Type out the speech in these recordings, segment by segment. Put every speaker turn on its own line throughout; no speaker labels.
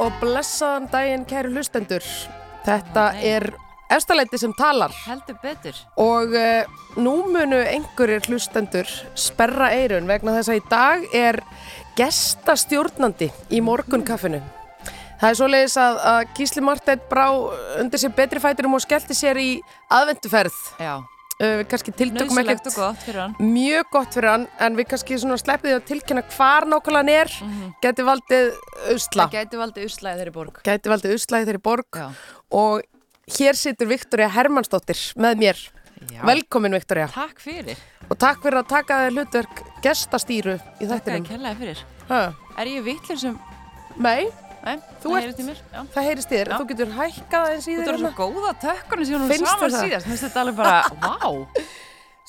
og blessaðan daginn kæru hlustendur. Þetta er efstaleiti sem talar
Heldur betur.
og uh, nú munu einhverjir hlustendur sperra eirun vegna þess að í dag er gestastjórnandi í morgunkaffinu. Það er svoleiðis að, að Gísli Marteinn brá undir sér betri fæturum og skellti sér í aðvenduferð.
Já,
Uh, við kannski tiltökum
nöðsilegt
ekkert
og gott fyrir hann.
mjög gott fyrir hann en við kannski svona sleppið því að tilkynna hvar nákvæmlega hann er
Mhm.
gæti valdið usla
Það gæti valdið uslæðið þeirri borg.
gæti valdið usla í þeirri borg
Já.
og hér situr Viktoria Hermannsdóttir með mér
Já.
velkomin Viktoria
Takk fyrir.
og takk fyrir að taka þér hlutverk gestastýru í
Takk að
þættinum
kella fyrir.
Ha.
Er ég vitlir sem...
nei,
Nei,
Þú
það
ert-
heyrist í mér. Já.
það heyrist í þér
Já.
þú getur hækkað aðeins í
Þú
þér
ert svo
hérna.
góða tökkunum sem hún
Finnst þér
saman
það?
síðast. Mér finnst þetta alveg bara, vá.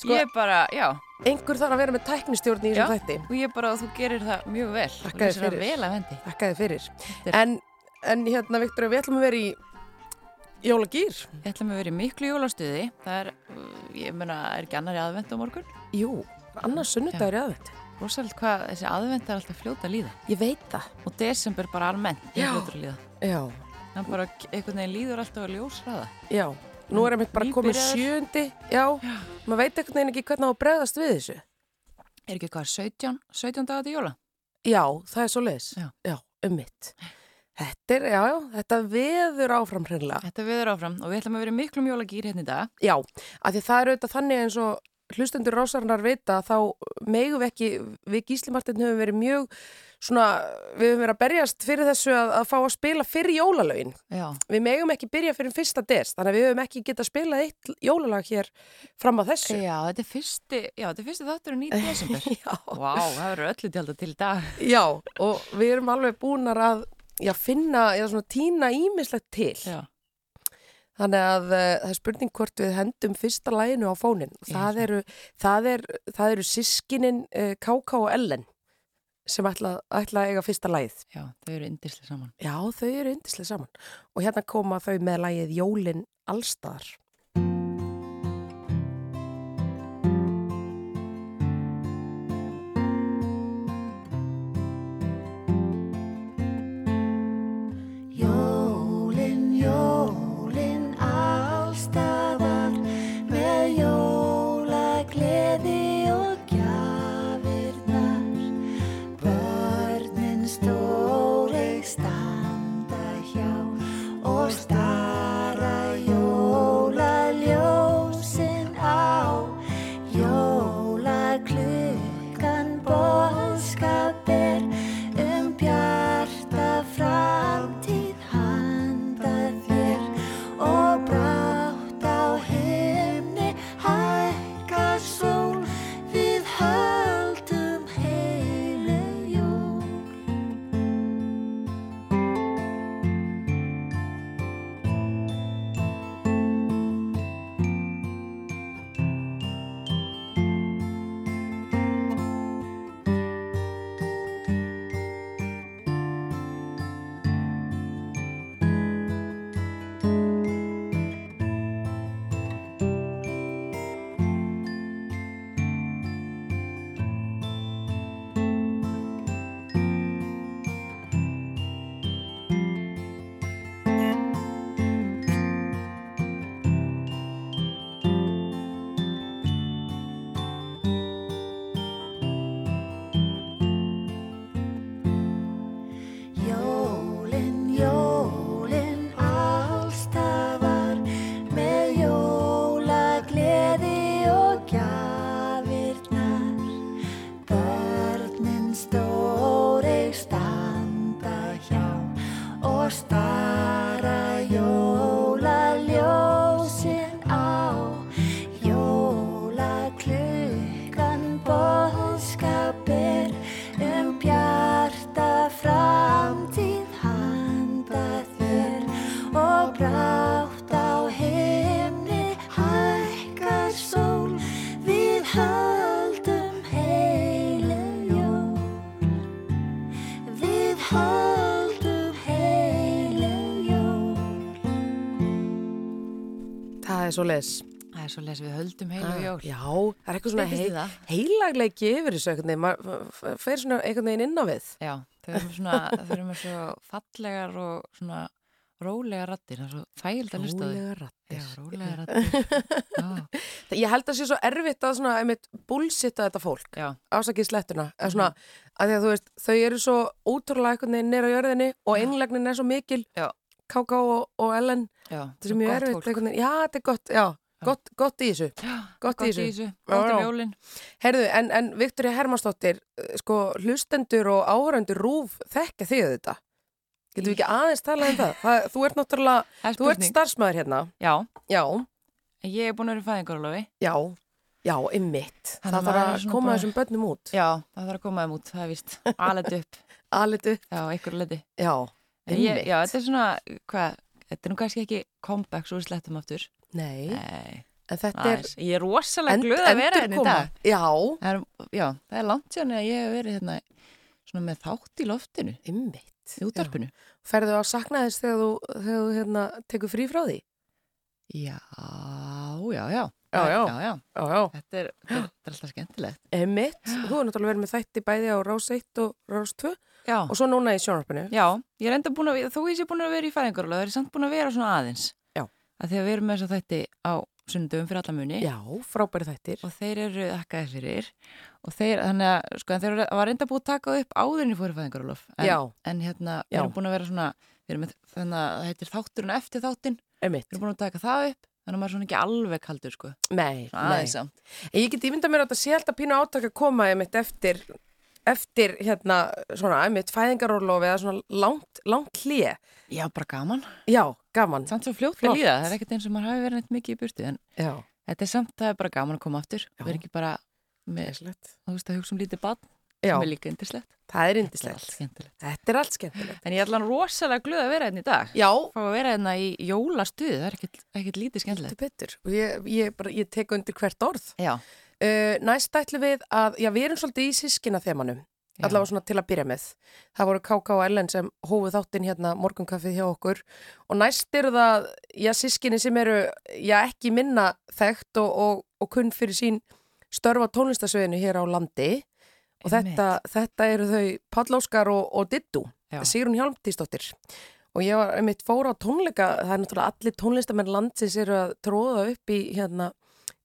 Sko-
ég er bara, já,
einhver þarf að vera með tæknistjórn í
já.
þessum þætti
Og ég er bara, þú gerir það mjög vel.
Þakka
Þú
þér
lýsir það
fyrir.
vel af hendi.
þakka þér fyrir
er-
en, en hérna Viktoria við ætlum að vera í jólagýr
Ég ætla mig að vera í miklu jólastuði. Það er, uh, ég meina, er ekki annari aðvent á morgun?
jú, annars sunnudagur í aðvend
Rósalega hvað þessi aðvent er alltaf fljóta að líða.
Ég veit það.
Og desember bara almennt, ég
Já.
fljóta að líða.
Já,
Hann bara einhvern veginn líður alltaf að ljósraða.
já. Nú er einmitt bara komið
Nýbyrjaður.
sjöndi, já. Maður veit einhvern veginn ekki hvernig á að bregðast við þessu.
Er ekki hvað, 17, 17 dagar til jóla?
Já, það er svo leiðis.
Já.
já um mitt. Þetta er, já, já, þetta veður áfram hreinlega.
Þetta við erum áfram og við ætlum að vera í miklum jólagýr hérna í dag.
Já, af því það er auðvitað þannig eins og hlustendur rásarinnar vita að þá megum við ekki, við gíslimartin höfum verið mjög svona, við höfum verið að berjast fyrir þessu að, að fá að spila fyrir jólalögin.
Já,
Við megum ekki byrja fyrir fyrsta des, þannig að við höfum ekki getað spilað eitt jólalag hér fram að þessu.
já, þetta er fyrsti, já, þetta er fyrsti þátturinn í desember.
Já.
Vá, það verður öllu tjálta til í dag.
Já, og við erum alveg búinar að já, finna, já, svona týna ímislegt til.
Já,
Þannig að uh, það er spurning hvort við hendum fyrsta læginu á fónin.
Já,
Það
það-
eru, það er, það eru sískinin uh, KK og Ellen sem ætla, ætla að eiga fyrsta lægið.
já, þau eru indislega saman.
Já, þau eru yndislega saman. Og hérna koma þau með lægið Jólin Allstar.
Jólin, jólin, allstaðar með jólagleði og gjafirnar. Börnin stóreik standa hjá og stara jólaljósin á. Jólaklukkan boðskap er um bjarta framtíð handa þér og brátt á himni hækkar sól við höldum heilum jól. Jólin, jólin, allstaðar með jólagleði og gjafirnar. Börnin stóreik standa hjá og stara jólaljósin á. Jólaklukkan boðskap er um bjarta framtíð handa þér og brátt á himni hækkar sól við höldum heilum jól við höldum heilum jól
Það er svo leiðis.
Það Það er svo lesið við höldum heilu jól.
Ah, Já, það er eitthvað svona
Styttist í
heil,
það.
heilagleiki yfir þessu einhvern veginn, maður f- f- fer svona einhvern veginn inn á við.
Já, þau eru með svona, þau eru með svo fallegar og svona rólega rattir, það er svo þægild að hlusta á þau.
Rólega
Já,
rattir.
rólega rattir. Já,
Ég held að sé svo erfitt að svona, einmitt, bullsitta þetta fólk,
já, Mhm.
ásakið slettuna, eða svona, að því að þú veist, þau eru svo ótrúlega einhvern veginn nýra á jörðinni og einlegnin er svo mikil,
Já.
KK og, og Ellen,
já.
þetta er mjög
gott
erfitt
fólk.
einhvern veginn, já, þetta er gott, já, gott, gott í þessu.
Já,
Gott í
gott í
þessu.
þessu. Gott
Já,
um
já.
jólinn.
Herðu, en, en Viktoria Hermansdóttir, eh, sko, hlustendur og áhörendur rúf þekka þig þetta. Getum við ekki aðeins talað um það? það þú ert náttúrulega,
Það er
þú ert
spurning.
starfsmæður hérna.
Já,
Já,
ég er búin að vera í fæðingarólofi.
já, já, ymmit.
Þannig
Það
að
þarf
maður er
að
svona
koma
bara-
þessum börnum út.
Já, það þarf að koma þeim út, það er víst. Alet upp,
Alitu,
já, einhverju leti.
já,
En ég,
ymmit.
já, þetta er svona, hvað, þetta er nú kannski ekki comeback svo við slettum aftur.
Nei,
Nei,
en þetta er
aðeins. Ég er rosalega glöð að vera hérna í dag.
Já,
Það er, já, það er langt sérna að ég hef verið hérna svona með þátt í loftinu,
ymmit.
í útarpinu.
Ferðu að sakna þess þegar þú, þegar þú hérna, tekur frí frá því?
Já, já, já.
Já, já.
já, já.
Já, já.
Þetta, er, þetta, er, þetta er alltaf skemmtilegt.
Ymmit. Þú er náttúrulega verið með þætti bæði á Rás 1 og Rás 2
Já.
og svo núna í sjónarpinu.
já, ég er enda búin að, þó ég sé búin að vera í fæðingarulega, það er samt búin að vera svona aðeins.
Já.
Að því að við erum með þess að þætti á sundum fyrir alla muni.
Já, frábæri þættir.
Og þeir eru þakkaði fyrir. Og þeir, þannig að, sko, en þeir eru- var enda búin að taka upp áðurinn í fóru fæðingarulof.
Já,
En hérna,
Já.
við erum búin að vera svona, við erum með, þannig að það heitir þátturinn eftir þáttinn. Við
emitt.
erum búin að taka það upp, þannig að maður er svona ekki alveg kaldur, sko.
Nei,
Svona aðeins
nei.
samt.
Ég get ímyndað mér að þetta sé alltaf pínu átak að koma emitt eftir, eftir hérna, svona, emitt, fæðingarólofi eða svona langt, langt hlýja.
Já, bara gaman.
Já, gaman.
Samt svo fljótt
Flott.
að líða, það er ekkert eins og maður hafi verið neitt mikið í burtu, en
Já,
þetta er samt, það er bara gaman að koma aftur.
Já.
Við erum ekki bara með,
æslegt.
þú veist, að hugsa um lítið badn,
Já,
sem er líka yndislegt.
það er
Það er allt
indislegt.
skemmtilegt.
Þetta er allt skemmtilegt.
En ég er allan rosalega glöð að vera hérna í dag.
Já,
Fá að vera hérna í jólastuð, það er ekkert, ekkert lítið skemmtilegt.
þetta er betur. Og ég, ég, bara, ég tek undir hvert orð.
Já.
Uh, næst ætlum við að, já, við erum svolítið í sískina þemanum.
Já.
allavega svona til að byrja með. Það voru KK og Ellen sem hófuð þáttinn hérna morgunkaffið hjá okkur og næst eru það, já, sískinni sem eru, já, ekki minna þekkt og, og, og kunn fyrir sín störfa tónlistasöðinu hér á landi og
Einmitt.
þetta, þetta eru þau Pallóskar og, og Dittu,
Já.
Sigrun Hjálmtísdóttir. Og ég var einmitt fór á tónleika, það er náttúrulega allir tónlistamenn landsins eru að tróða upp í hérna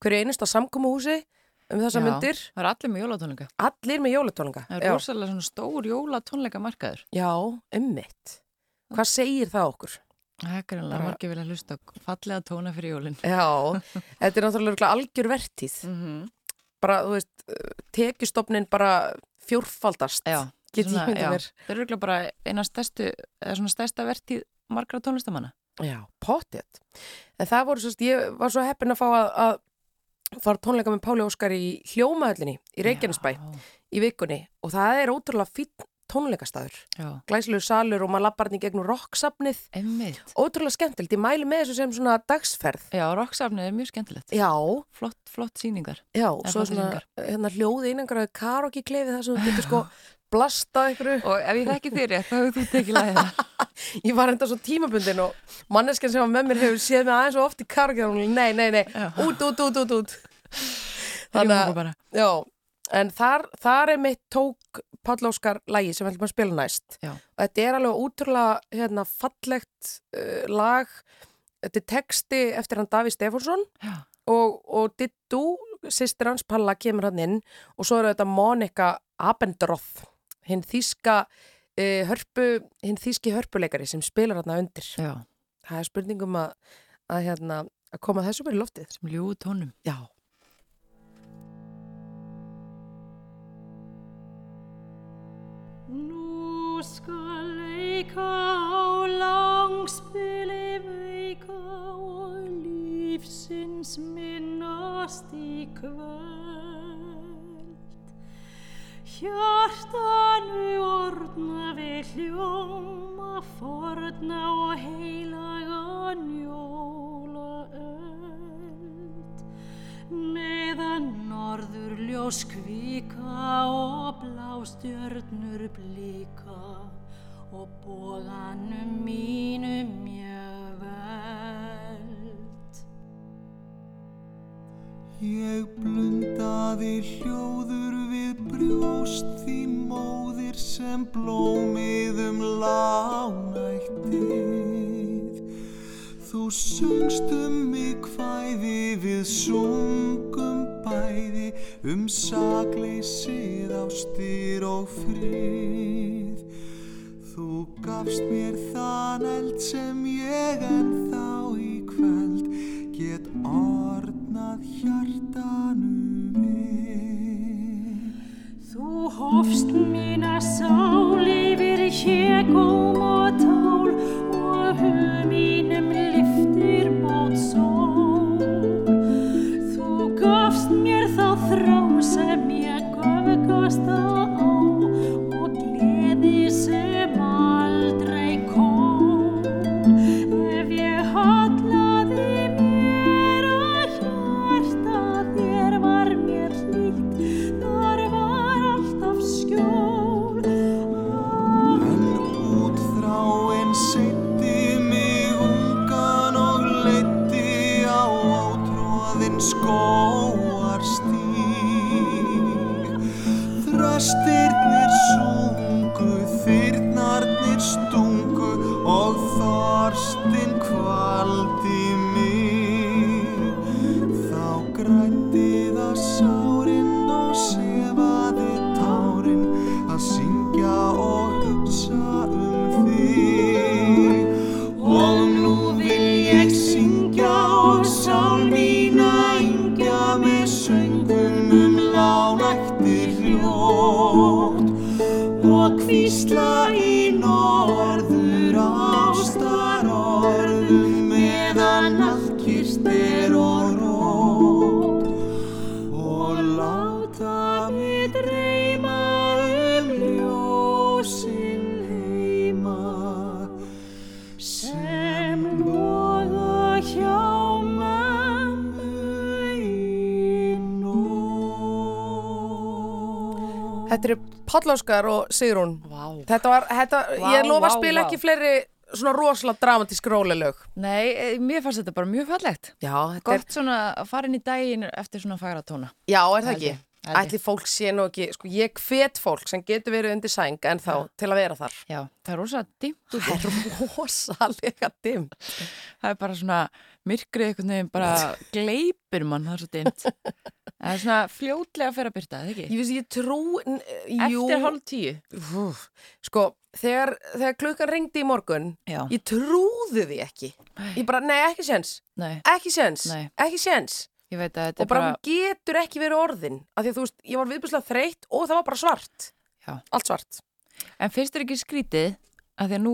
hverju einusta samkomuhúsi um þessa
Já.
myndir,
Það er allir með jólatónleika.
allir með jólatónleika.
Það
Já.
er rosalega svona stór jólatónleika markaður.
Já, ummitt. Hvað segir það okkur?
Það er greinlega
Bara-
margir vilja hlusta á fallega tóna fyrir jólinn.
Já, þetta er náttúrulega örugglega algjör vertíð.
Mm -hmm.
Bara, þú veist, tekjustofnin bara fjórfaldast.
Já,
Get ég
svona,
myndið
já.
mér.
Það eru örugglega bara eina stærstu, eða svona stærsta vertíð margra tónlistamanna.
Já, potið. En það voru, svo, ég var svo heppin að fá að, að fara á tónleika með Páli Óskar í hljómaöllinni í Reykjanesbæ í vikunni og það er ótrúlega fýtt tónleikastaður.
Já, já,
Glæsilegu salur og maður lappar hann í gegnum rocksafnið.
einmitt.
Ótrúlega skemmtilegt. Ég mæli með þessu sem svona dagsferð.
Já, rocksafnið er mjög skemmtilegt.
Já,
Flott, flott síningar.
Já,
er
svo
flottir
svona
hringar.
hérna, hljóði einangraðu karaoke klefið þar sem þú getur sko blastað ykkur.
Og ef ég þekki þér rétt, þá hefur þú tekið læðið það.
Ég var enda svo tímabundin og manneskjan sem var með mér hefur séð mig aðeins og oft í karaoke og hún er nei, nei, nei,
Já.
út, út, út, út, út.
Þannig
Þannig að,
bara.
já, en þar, þar er mitt tók Páll Óskar lægi sem við ætlum að spila næst.
Já.
Og þetta er alveg útrúlega hérna, fallegt uh, lag, þetta er texti eftir hann Daví Stefánsson
Já,
og, og Dittu, sýstir hans Palla, kemur hann inn og svo eru þetta Monika Abendroth, hinn þýska uh, hörpu, hinn þýski hörpuleikari sem spilar hann undir.
já,
Það er spurningum að, að, hérna, að koma þessu bara í loftið.
sem ljúðu tónum.
Já.
Nú skal leika á langspili veika og lífsins minnast í kvöld. Hjartanu orna við hljóma forna og heilaga njóla öld. Meðan norður ljós kvíka og blástjörnur blíka og bóðanum mínum mjög veld.
Ég blundaði hljóður við brjóst því móðir sem blómið um lánættið. Þú söngst um mig kvæði við sungum bæði um sakleysið ástir og frið. Þú gafst mér þann eld sem ég en þá í kveld get ornað hjartanu við.
Þú hofst mína sál yfir hégum og tál og hug mínum lyftir mót sól. Þú gafst mér þá þrá sem ég göfgast á og gleði sem aldrei kom. Ef ég hallaði mér að hjarta þér var mér hlýtt, þar var alltaf skjól. Af
En útþráin seyti mig ungan og leyti á átróðin skóarstíg. Þröstirnir sungu, þyrnarnir stungu og þorstinn kvaldi mig. Þá grætti það sárin og sefaði tárin að syngja og hugsa um þig. Og nú vil ég syngja og sál mína yngja með söngum um lánætti hljótt og hvísla í norður ástar orðum meðan allt kyrst er og rótt og láta mig dreyma um ljósin heima sem loga hjá mömmu í nótt.
Þetta eru Pállóskar og Sigrún.
Vá.
Þetta var, þetta,
Vá,
ég lofa að
vá,
spila
vá.
ekki fleiri svona rosalega dramatísk rólelög.
Nei, eh, mér fannst þetta bara mjög fallegt.
Já, þetta er,
Gott svona að fara inn í daginn eftir svona fagra tóna.
já, er það
Held
ekki?
ég, held ég.
Ætli fólk sé nú ekki, sko, ég hvet fólk sem getur verið undir sæng en þá til að vera þar.
Já, það er rosa dimmt út.
Það er rosalega dimm.
Það er bara svona myrkrið einhvern veginn bara gleipir mann, það er svo dimmt. Það er svona fljótlega að fyrir að byrta, eða
Ég
ekki?
veist, ég trú, n- jú.
Eftir hálf tíu.
Úff, Sko, þegar, þegar klukkan ringdi í morgun,
Já.
ég trúði því ekki. Ég bara, nei, ekki séns,
Nei,
ekki séns,
Nei.
ekki séns.
ég veit að þetta
Og
er
bara,
bara...
hún getur ekki verið orðin. Af því að þú veist, ég var viðbúslega þreytt og það var bara svart.
Já.
Allt svart.
En finnst þér ekki skrítið að því að nú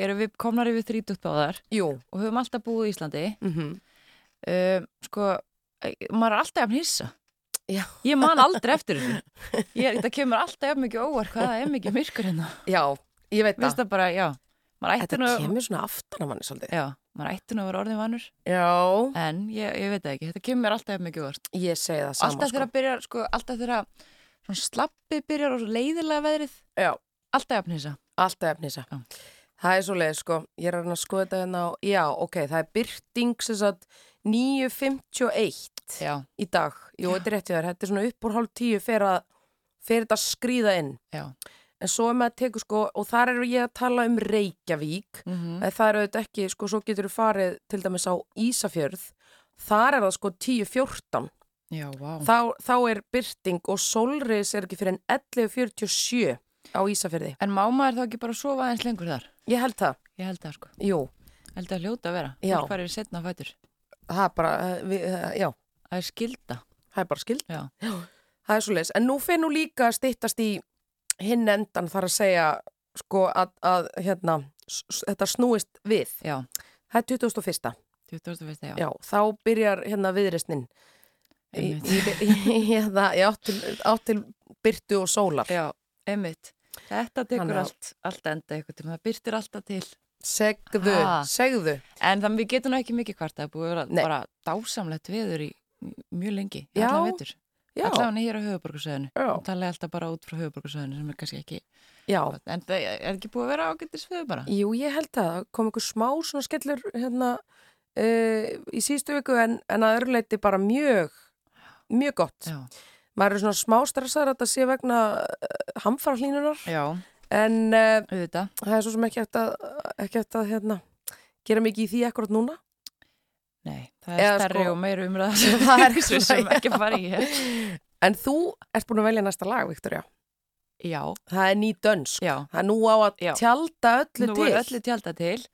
erum við komnar yfir þrítugt báðar
Jú.
og höfum alltaf búið í Íslandi.
Mm -hmm.
Mhm, Um, sko, eh, maður er alltaf að hissa.
Já.
Ég man aldrei eftir þessu. Ég, það kemur alltaf ef mikið óvar hvað það er mikið myrkur hérna.
Já, ég veit
Mér finnst
það.
það bara, já. Maður ætti
Þetta
nú...
kemur svona aftan af manni svolítið.
Já, maður ætti nú að vera orðin vanur.
Já.
En ég, ég veit það ekki, þetta kemur mér alltaf ef mikið óvart.
Ég segi það sama, sko.
alltaf þegar að byrjar, sko, alltaf þegar að svona slappið byrjar og svo leiðilega veðrið,
Já,
alltaf jafn hissa.
sko. alltaf efnisa.
Já.
Það er svolítið, sko. Ég er að reyna að skoða þetta hérna á... Já, ok, það er byrting sem sagt 9.51
Já,
í dag. Jú, þetta er rétt í þér. Þetta er svona upp úr hálf tíu fyrir að fyrir þetta að skríða inn.
já.
En svo er maður að teka sko, og þar eru ég að tala um Reykjavík,
Mm -hmm.
En það er auðvitað ekki, sko, svo getur þú farið til dæmis á Ísafjörð, þar er það sko 10.14,
Já, vá.
þá, þá er byrting og solriðs er ekki fyrir en 11.47 á Ísafjörði.
En má maður þá ekki bara sofa aðeins lengur þar?
Ég held það,
Ég held það, sko.
jú,
Held það hljóta að vera.
Já.
Fólk farir setna á fætur.
það er bara, eh, við, eh, já,
Það er skilda.
það er bara skild,
Já.
það er svo leis. En nú finn nú líka að styttast í hinn endan þar að segja, sko, að, að hérna, s- s- þetta snúist við.
Já.
Það er 2001.
20. veist það, já.
Já, þá byrjar hérna viðreysnin. Í-
Einmitt.
í- í- hérna, Já, átt til, átt til byrtu og sólar.
Já, einmitt. Þetta tekur
Þannig að-
allt, allt enda eitthvað til. Það byrtir alltaf til.
Segðu,
Ha.
segðu.
En þannig við getum nú ekki mikið hvart. Það er búið að vera
Nei.
bara dásamlegt veður í mjög lengi.
Já.
Allan vetur.
Já,
Allan hér á höfuborgarsöðinu.
Já.
Hún talaði alltaf bara út frá höfuborgarsöðinu sem er kannski ekki
já.
En það er ekki búið að vera ágættis við bara?
Jú, ég held að það kom einhver smá svona eh, skellur hérna uh, í síðustu viku en, en að öruleiti bara mjög mjög gott.
Já.
Maður er svona smá stressaður að þetta sé vegna uh, hamfara hlínunar
Já,
en uh,
auðvitað.
það er svo sem ekki eftir að, ekki eftir að hérna, gera mikið í því akkurat núna.
Nei, það er
Eða
stærri
sko-
og meiri umræða sem
Það er
svo sem
svona,
ekki að fara í hér.
En þú ert búin að velja næsta lag, Viktoria.
Já,
Það er ný dönsk.
já.
Það er nú á að
Já.
tjalda öllu
Nú
til.
er öllu tjálta til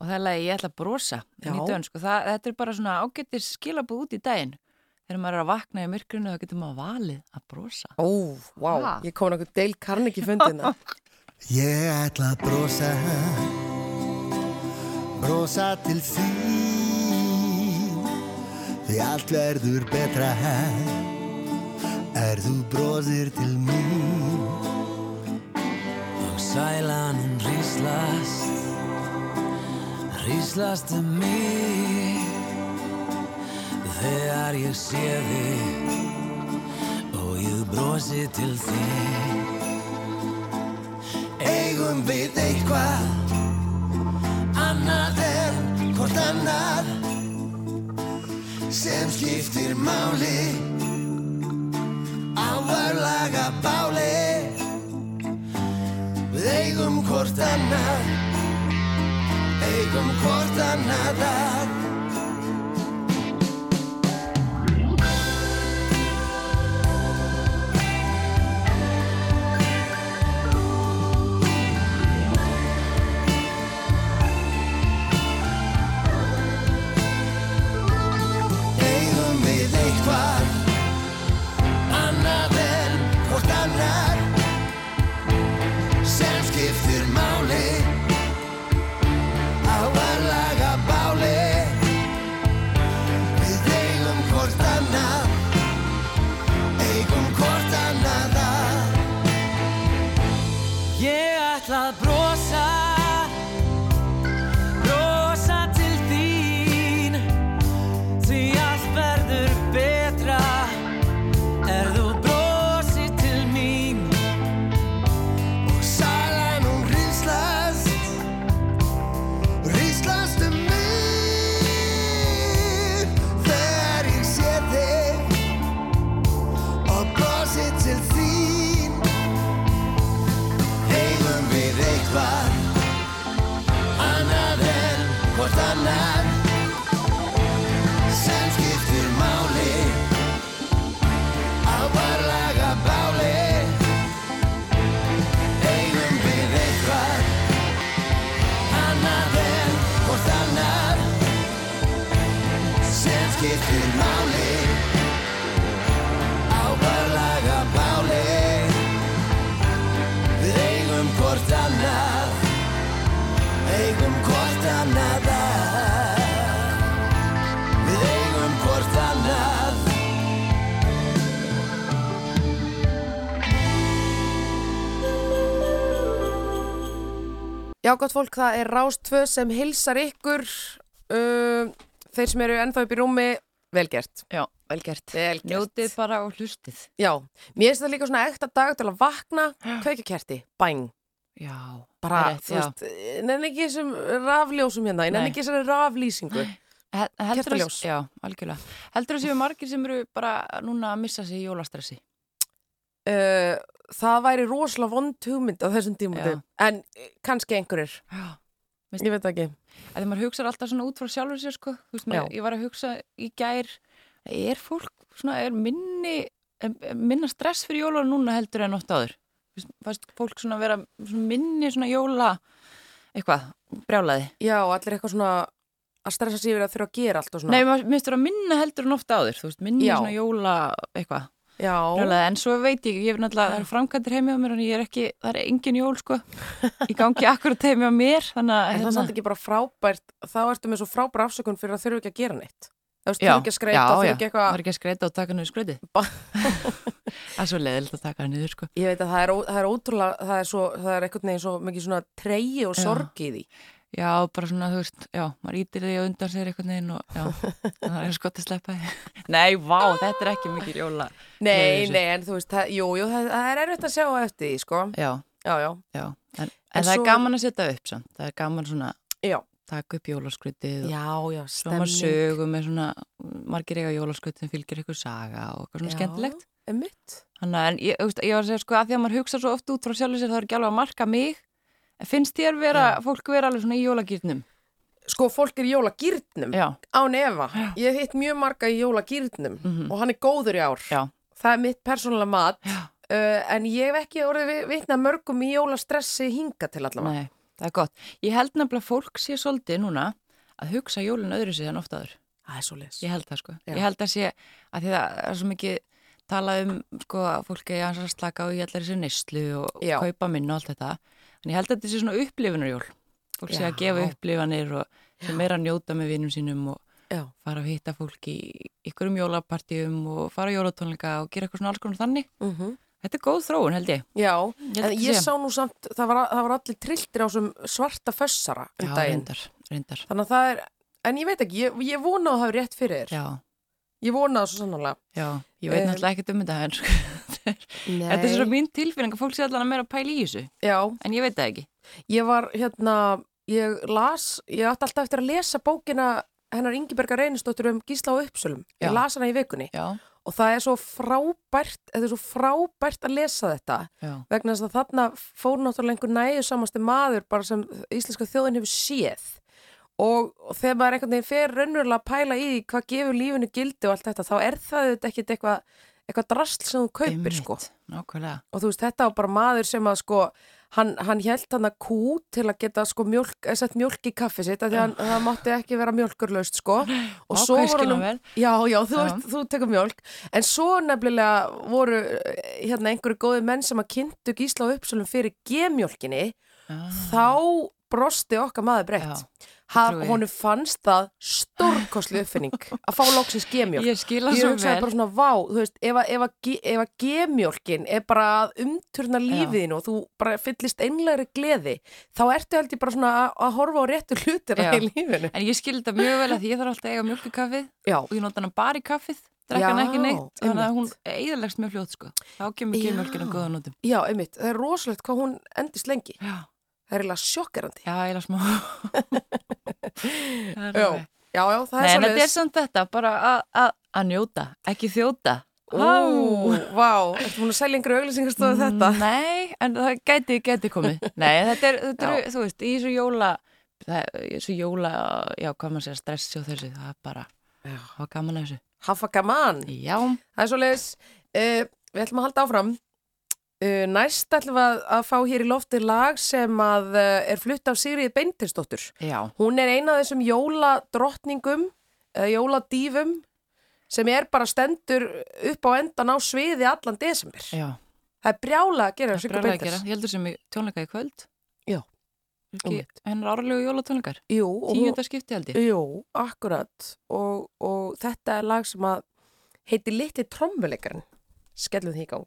og það er lagi ég ætla að brosa inn í
Já.
dönsk og það, þetta er bara svona ágættir skilabúð út í daginn. Þegar maður er að vakna í myrkrinu þá getur maður valið að brosa.
Ó, vá,
Ha?
ég kom nokkuð Dale Carnegie fundina.
Ég ætla að brosa Brosa til þín Því allt verður betra Er þú brosir til mín Og sælan hún ríslast Ríslast um mig Þegar ég sé þig Og ég brosi til þín eigum við eitthvað annað en hvort annað sem skiptir máli á að laga báli við eigum hvort annað eigum hvort annað að eigum við eitthvað annað en hvort annar sem skiptir máli á að laga báli við eigum hvort annað eigum hvort annað Ég ætla að brosa brosa til þín Því allt verður betra Er þú brosir til mín Og sælan hún ríslast Ríslast um mig Þegar ég sé þig Og brosir til þín Eigum við eitthvað Annað en hvort annar sem skiptir máli á varlaga báli eigum við eitthvað annað en hvort annar sem skiptir máli á varlaga báli við eigum hvort annað eigum hvort annað Við eigum hvort annað
Já, gott fólk, það er Rástvö sem hilsar ykkur uh, þeir sem eru ennþá upp í rúmi velgert.
Já, vel gert.
Vel gert.
Njótið bara og hlustið.
Já, mér finnst það líka svona ekta dag til að vakna, kveikja kerti, bæng,
Já,
bara,
það er rétt,
þú
já.
veist, nenni ekki þessum rafljósum hérna, ég nenni
Nei.
ekki þessari raflýsingu.
Hel- Heldur að,
Kertaljós.
já, algjörlega. Heldur að séu margir sem eru bara núna að missa sig í jólastressi?
Uh, það væri rosalega vond hugmynd á þessum tímundi,
Já.
en eh, kannski einhverjir,
Já.
ég veit það ekki.
að því maður hugsaði alltaf svona út frá sjálfur sér sko, þú veist, maður,
Já.
ég var að hugsa í gær, er fólk svona, er minni er- er minna stress fyrir jóla núna heldur en oft áður Þú veist, fannst fólk svona vera svona minni svona jóla eitthvað, brjálaði
Já, allir eitthvað svona að stressa sig yfir að þurfa að gera allt og svona.
nei, maður minnst vera minna heldur en oft áður þú veist, minni
Já.
svona jóla eitthvað
Já,
brjálaði, en svo veit ég, ég er náttúrulega það er framkvæmdur heimi á mér, en ég er ekki það er engin jól sko, í gangi akkurat heimi á mér, þannig að
en það er samt
hérna,
ekki bara frábært, þá ertu með svo frábæra afsökun fyrir að þurfa ekki að gera neitt. Þú veist,
Já,
þurfa ekki að skreita,
já,
þurfa
já.
ekki eitthvað
maður er ekki að skreita og taka niður skröti
Ba-
það er svo leiðilegt að taka hann niður sko
Ég veit að það er, ó- það er ótrúlega, það er, svo, það er einhvern veginn svo mikið svona treyji og
Já.
sorg í því.
Já, bara svona, þú veist, já, maður ítir því að undan sér einhvern veginn og já, það er skott að sleppa því. Nei, vá, þetta er ekki mikil jóla.
Nei,
þessu.
nei, en þú veist, það, jú, jú, það, það er erfitt að sjá á eftir því, sko.
Já,
Já, já,
já, en, en,
En
það
svo-
er gaman að setja upp samt, það er gaman svona,
já,
taka upp jólaskvitið og
Já, já,
svo maður
stemning.
sögum með svona margir eiga jólaskvitið sem fylgir eitthvað saga og eitthvað svona
Já.
skemmtilegt.
Emmitt.
Þannig að en ég, þú veist, ég var að segja sko að því að maður hugsa svo oft út frá sjálfur sér það er ekki alveg að marka mig en finnst þér vera, fólk vera alveg svona í jólagýrnum
Sko, fólk er í jólagýrnum.
Já, Mhm.
Án efa. Ég hef hitt mjög marga í jólagýrnum og hann er góður í ár.
já,
Það er mitt persónulega mat. Uh, en ég hef ekki orðið vi- vitna mörgum í jólastressi hinga til allavega.
nei, það er gott Ég held nefnilega að fólk sé svolítið núna að hugsa jólinn öðru sér en oft áður
Það er svo les.
Ég held það sko,
Já.
ég held það sé að því það er svo mikið talað um sko að fólk er að slaka á í allar þessu neyslu og
Já.
kaupa minn og allt þetta en ég held að þetta sé svona upplifunarjól fólk sé að
Já.
gefa upplifanir og sem er að njóta með vinum sínum og
Já.
fara að hitta fólk í ykkurum jólapartíum og fara á jólatónleika og gera eitthvað svona alls konar þannig.
Mm
Þetta er góð þróun held ég.
Já,
held
en
að
ég
sé.
sá nú samt, það var, það var allir trilltir á þessum svarta fössara um daginn.
reyndar, reyndar.
Þannig að það er, en ég veit ekki, ég, ég vona að það er rétt fyrir þér.
Já,
Ég vona það svo sannlega.
já. Ég veit
Um,
náttúrulega ekkert um þetta en sko,
Nei.
þetta er svo mín tilfinning að fólk sé allan að meira að pæla í þessu.
Já,
En ég veit það ekki.
ég var hérna, ég las, ég átti alltaf eftir að lesa bókina hennar Ingiberga Reynistóttur um Gísla og Uppsölum.
Já.
Ég las hana í vikunni
Já,
og það er svo frábært, þetta er svo frábært að lesa þetta
já,
vegna þess að þarna fór náttúrulega einhver næju samasti maður bara sem íslenska þjóðin hefur séð og, og þegar maður einhvern veginn fer raunverulega að pæla í því hvað gefur lífinu gildi og allt þetta þá er það auðvitað ekkit eitthvað eitthvað drasl sem þú kaupir sko
Nákvæmlega.
og þú veist þetta var bara maður sem að sko hann, hann held hann að kú til að geta sko mjölk, eh, sett mjölk í kaffi sitt af því að hann- það mátti ekki vera mjölkurlaust sko og svo
Ákveðin
var hann
skilnaður.
já, já, þú,
Já.
Veist, þú tekur mjölk en svo nefnilega voru eh, hérna einhverju góði menn sem að kynntu gísla og uppsölum fyrir gemjölkinni þá brosti okkar maður breytt
Ah. Já,
hann,
trúi ég.
honum fannst það stórkoslu uppfinning að fá loksins gemjölk
Ég skila
ég
svo
hugsaði
vel.
bara svona vá, þú veist, ef að- ef að ge- ef að gemjólkin er bara að umturna lífiðinu og þú bara fyllist einlegri gleði, þá ertu held ég bara svona að, að horfa á réttu hlutina
Já.
í lífinu.
En ég skil þetta mjög vel að því ég þarf alltaf að eiga mjölk í kaffið
Já,
og ég nota hana bara í kaffið, drekka hana ekki
Já,
neitt, þannig að hún
einmitt.
eðalegst mjög fljótt sko. Þá kemur
Já.
ekki mjölkinu góða notum.
já, einmitt, það er rosalegt hvað hún endist lengi.
Já.
Það er eiginlega sjokkerandi.
Já, ég las smá. Það er
Já,
alveg.
já, já, það
Nei,
er
en þetta er
svolítið.
samt þetta, bara að- að að njóta, ekki þjóta.
Ó, vá, ertu múin að selja yngri auglýsingastofu þetta?
Mm, Nei, en það gæti, gæti komið. Nei, en þetta er, þetta er þú veist, í þessu jóla, það, í þessu jóla, já, hvað maður segja, stressi og þessu, það er bara,
Já.
það var gaman að þessu.
Hafa gaman.
Já,
Það er svolítið, uh, við ætlum að halda áfram. Uh, næst ætlum við að, að fá hér í lofti lag sem að uh, er flutt af Sigriði Beintinsdóttur.
já,
Hún er eina af þessum jóladrottningum, eða jóladífum, sem er bara stendur upp á endan á sviði allan desember.
já,
Það er brjála að gera
það er
Sigga
bræðilega að
Beintins.
gera. Ég heldur sem í tónleika í kvöld.
Já.
Ekki, hennar árlegu jólatónleikar,
Jú, og hún,
tíunda skipti held ég.
jú, akkurat. Og, og þetta er lag sem að heitir Litli trommuleikarinn. Skellum því í gang.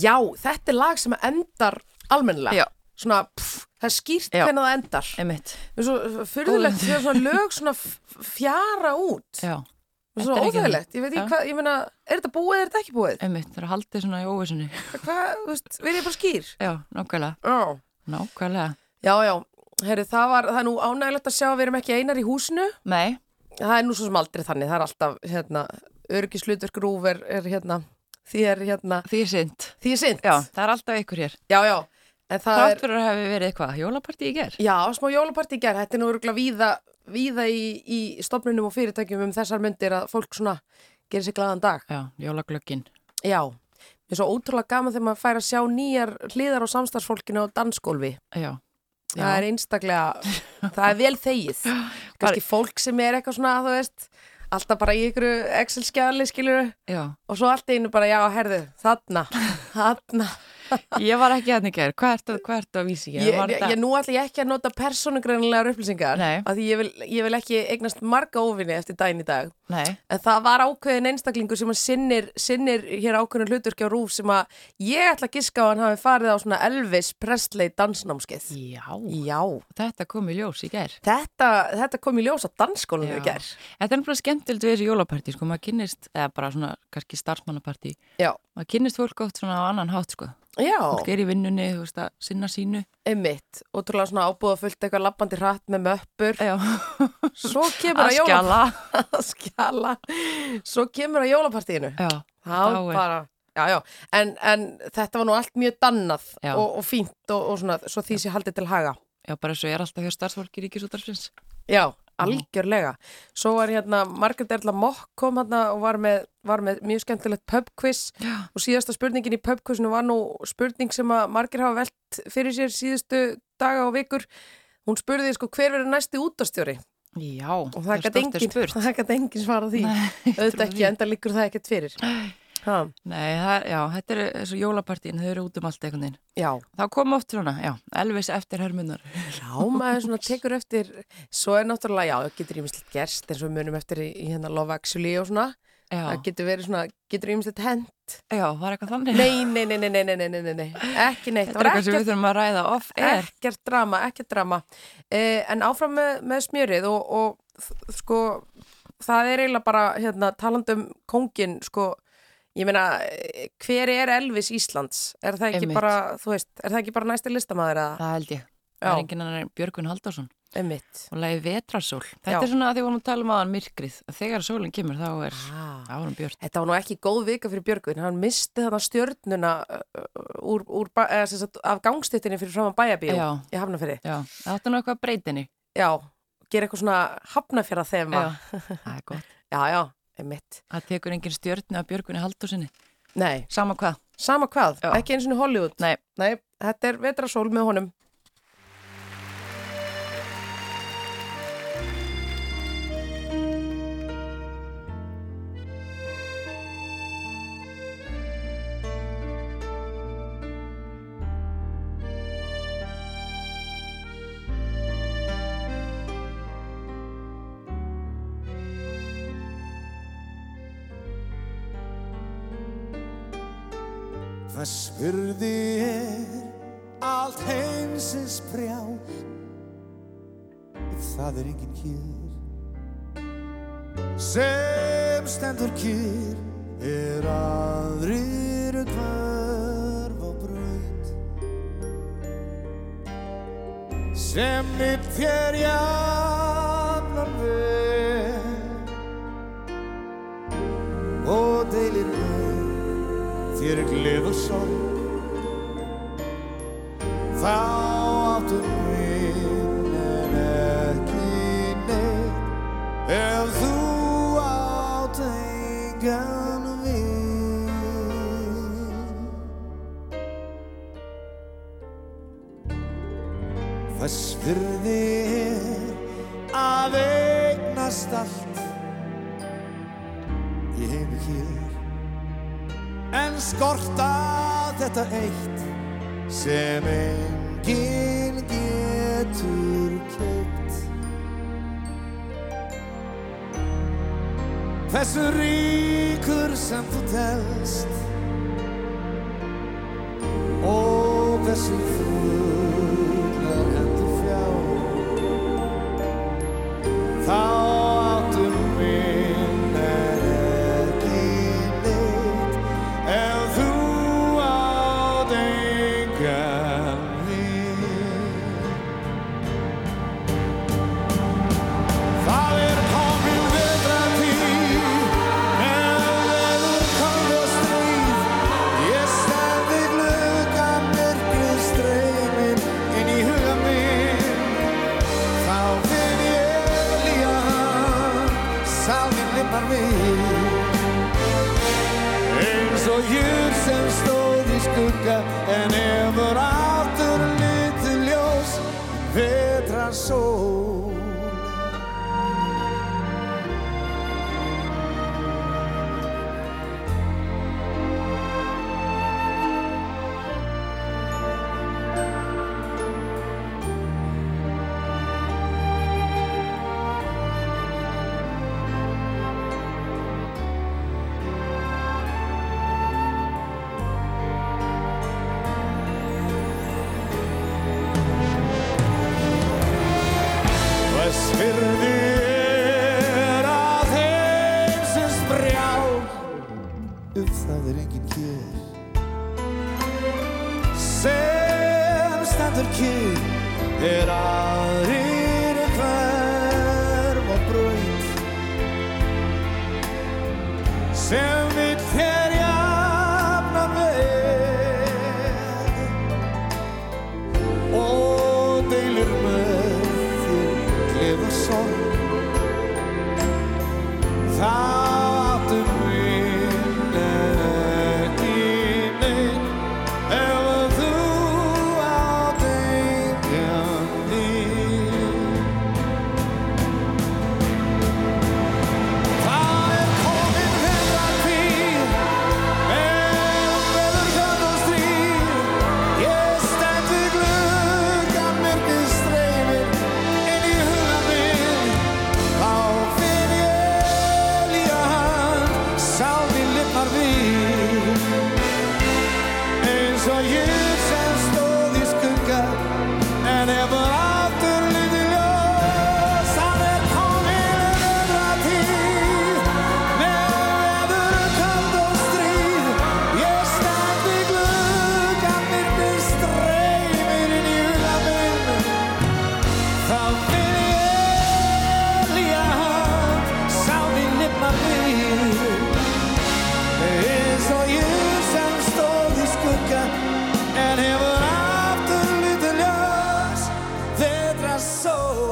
já, þetta er lag sem endar almennilega.
Já.
Svona, pff, það er skýrt
Já.
hvernig það endar.
einmitt.
Það er svo fyrðulegt þegar svona lög svona f- fjara út.
Já,
Það er svo
Þetta er ekki
óþægilegt. Ég veit ekki
Já.
hvað, ég meina, er þetta búið eða er þetta ekki búið?
einmitt, það er að haldið svona í óvissunni.
Hvað, þú veist, verið ég bara skýr?
Já, nákvæmlega,
Já.
nákvæmlega.
Já, já. Herru, það var, það er nú ánægilegt að sjá að við erum ekki einar í húsinu.
Nei,
Það er nú svo sem aldrei þannig, það er alltaf, hérna, örgislutverk rúf er, er hérna, því er hérna,
því er synd.
því er sint.
Já, það er alltaf ykkur hér.
já, já. En það
Þrátt
er,
fyrir að hafi verið eitthvað, jólapartí í ger.
já, smá jólapartí í gerð, þetta er nú örgulega víða, víða í, í stofnunum og fyrirtækjum um þessar myndir að fólk svona gerir sér glaðan dag.
Já, jólaglöggin.
Já, mér er svo ótrúlega gaman þegar maður fær að sjá nýjar hliðar á samstarfsfólkinu á dansgólfi.
Já,
Það er einstaklega, það er vel þegið. Kanski fólk sem er eitthvað svona, þú veist, alltaf bara í ykkur Excel-skjali, skilur,
já.
og svo allt í einu bara, já, herðu, þarna, þarna.
Ég var ekki hann í ger. Hvað ertu, hvað ertu að vísi í
Ég,
ger? Var
ég,
þetta-
ég, nú ætla ég ekki að nota persónugrænilegar upplýsingar,
Nei.
af því ég vil, ég vil ekki eignast marga óvinni eftir daginn í dag.
Nei,
En það var ákveðin einstaklingur sem að sinnir, sinnir hér ákveðin hluturkja á rúf sem að ég ætla að giska á að hann hafi farið á svona Elvis Presley dansnámskeið.
já,
Já,
þetta kom í ljós í ger.
þetta, þetta kom í ljós á dansskólanum
Já.
í gerð.
Þetta er náttúrulega skemmtilegt við þessi jólapartí, sko, maður kynnist, eða bara svona, kannski starfsmannapartí,
Já,
maður kynnist fólk oft svona á annan hátt, sko.
já,
Fólk er í vinnunni, þú veist, að sinna sínu.
einmitt. Ótrúlega svona ábúða fullt eitthvað lappandi hratt með möppur.
Já,
Svo kemur
að
að jólapartíinu.
skjala.
Að skjala. Svo kemur að jólapartíinu.
Já,
Það
dáið.
bara... Já, já, en, en þetta var nú allt mjög dannað
Já.
og, og fínt og, og svona, svo því sé haldið til haga.
já, bara eins og ég er alltaf hjá starfsfólki Ríkisútarfins.
Já, algjörlega. Svo var hérna, Margrét Erla Mokk kom hérna og var með, var með mjög skemmtilegt pubquiz
Já.
og síðasta spurningin í pubquizinu var nú spurning sem að margir hafa velt fyrir sér síðustu daga og vikur. Hún spurði sko hver verður næsti útastjóri
Já,
og það gat
stórt
engin,
spurt.
það gat engin svara því. Auðvitað
trúi
ekki,
því.
enda líkur það ekkert fyrir. Ha,
Nei, það, er- já, þetta er eins og jólapartín, þau eru út um allt einhvern veginn.
já,
Þá kom oft svona, já, Elvis eftir hermunar.
já, maður svona tekur eftir, svo er náttúrulega, já, getur ímislegt gerst eins og við munum eftir í, í hérna Love Actually og svona,
Já,
það getur verið svona, getur ímislegt hent
já, var eitthvað þannig.
Nei, nei, nei, nei, nei, nei, nei, nei, nei, nei, ekki neitt,
þetta
það var
er eitthvað sem við
ekkert,
þurfum að ræða off air.
ekkert drama, ekkert drama, eh, en áfram með, með smjörið og, og þ- sko, það er eiginlega bara, hérna, talandi um kóngin, sko, ég meina, eh, hver er Elvis Íslands? Er það ekki
Einmitt.
bara, þú veist, er það ekki bara næsti listamæður eða?
Það held ég.
Já.
Það er enginn annar en Björgun Haldarsson.
Emmitt.
og lagi vetrasól. Þetta
Já.
er svona að því vorum að tala um aðan myrkrið. Að þegar sólinn kemur þá er
Ah.
árum björn.
Þetta var nú ekki góð vika fyrir Björgvin, hann misti þarna stjörnuna uh, uh, úr, úr, ba- eða, sem sagt, af gangstuttinni fyrir framan bæjabíu
Já.
í Hafnafyrði.
Já, það áttu nú eitthvað að breyta henni.
Já, gera eitthvað svona hafnafjara þema.
Já. Það er gott.
Já, já, einmitt.
Það tekur engin stjörnu að björgunni Halldórsinni.
Nei,
Sama hvað.
sama hvað,
Já.
ekki eins og Hollywood.
Nei.
Nei, þetta er vetrasól með honum.
Það spurði er allt heimsins brjál En það er enginn kýr Sem stendur kýr Er aðrir hverf og braut Sem mitt þér jafnar veg Og deilir veg þér er gleð og sorg þá áttu minn en ekki neitt ef þú átt engan vinn þess virði er að eignast allt í heimi hér en skorta þetta eitt sem enginn getur keitt. Þessu ríkur sem þú telst þessum fuglar hendur fjár Þá áttum minn er ekki neitt En þú átt engan vin Það er komin vetratíð, með veður komið stríð. Ég stend við gluggann, myrkrið streymir inn í huga minn. Þá finn ég hlýja hann, sálminn limmar mig. Eins og jörg sem stóð í skugga, en hefur aftur litið ljós, vetrarsól. Vestfirði er að heimsins brjál Um það er enginn hér Sem stendur kýr Er aðrir en hverf og braut Sem við þér jafna veg og deilir með þér gleða sorg Það áttu minn ekki neitt ef þú átt engan vin Það er komin veðratíð En veður þjóðum stríð Ég stend við gluggann, myrkrið streymir inn í huga minn. Þá finn ég hlýja hönd, sálin lifnar við. Eins og ég sem stóð í skugga, en hefur aftur litið ljós. Það er um komin veðratíð, með veður köld og stríð. Ég stend við gluggann, myrkrið streymir inn í huga minn. Þá vil ég elja hann, sálin lifna við. Eins og ég sem stóð í skugga, en hefur aftur lítið ljós, vetra sól.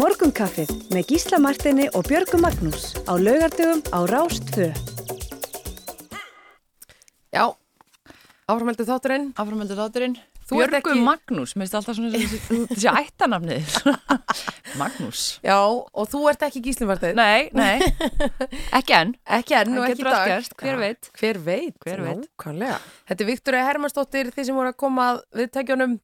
Morgunkaffið með Gísla Martini og Björgu Magnús á laugardöfum á Rás 2.
Já, áframhaldið þátturinn.
Aframöldu þátturinn.
Þú ert
Björgu
ekki-
Magnús, mér finnst alltaf svona þessi- þessi ættanafnið. Magnús.
Já, og þú ert ekki gíslimartið.
Nei, nei, ekki enn.
Ekki enn og
Það
ekki í
getur allt
dag.
gerst, hver
Já,
veit?
Hver veit,
Hver veit.
nákvæmlega. Þetta er Viktoria Hermannsdóttir, þið sem voru að koma að viðtækjunum.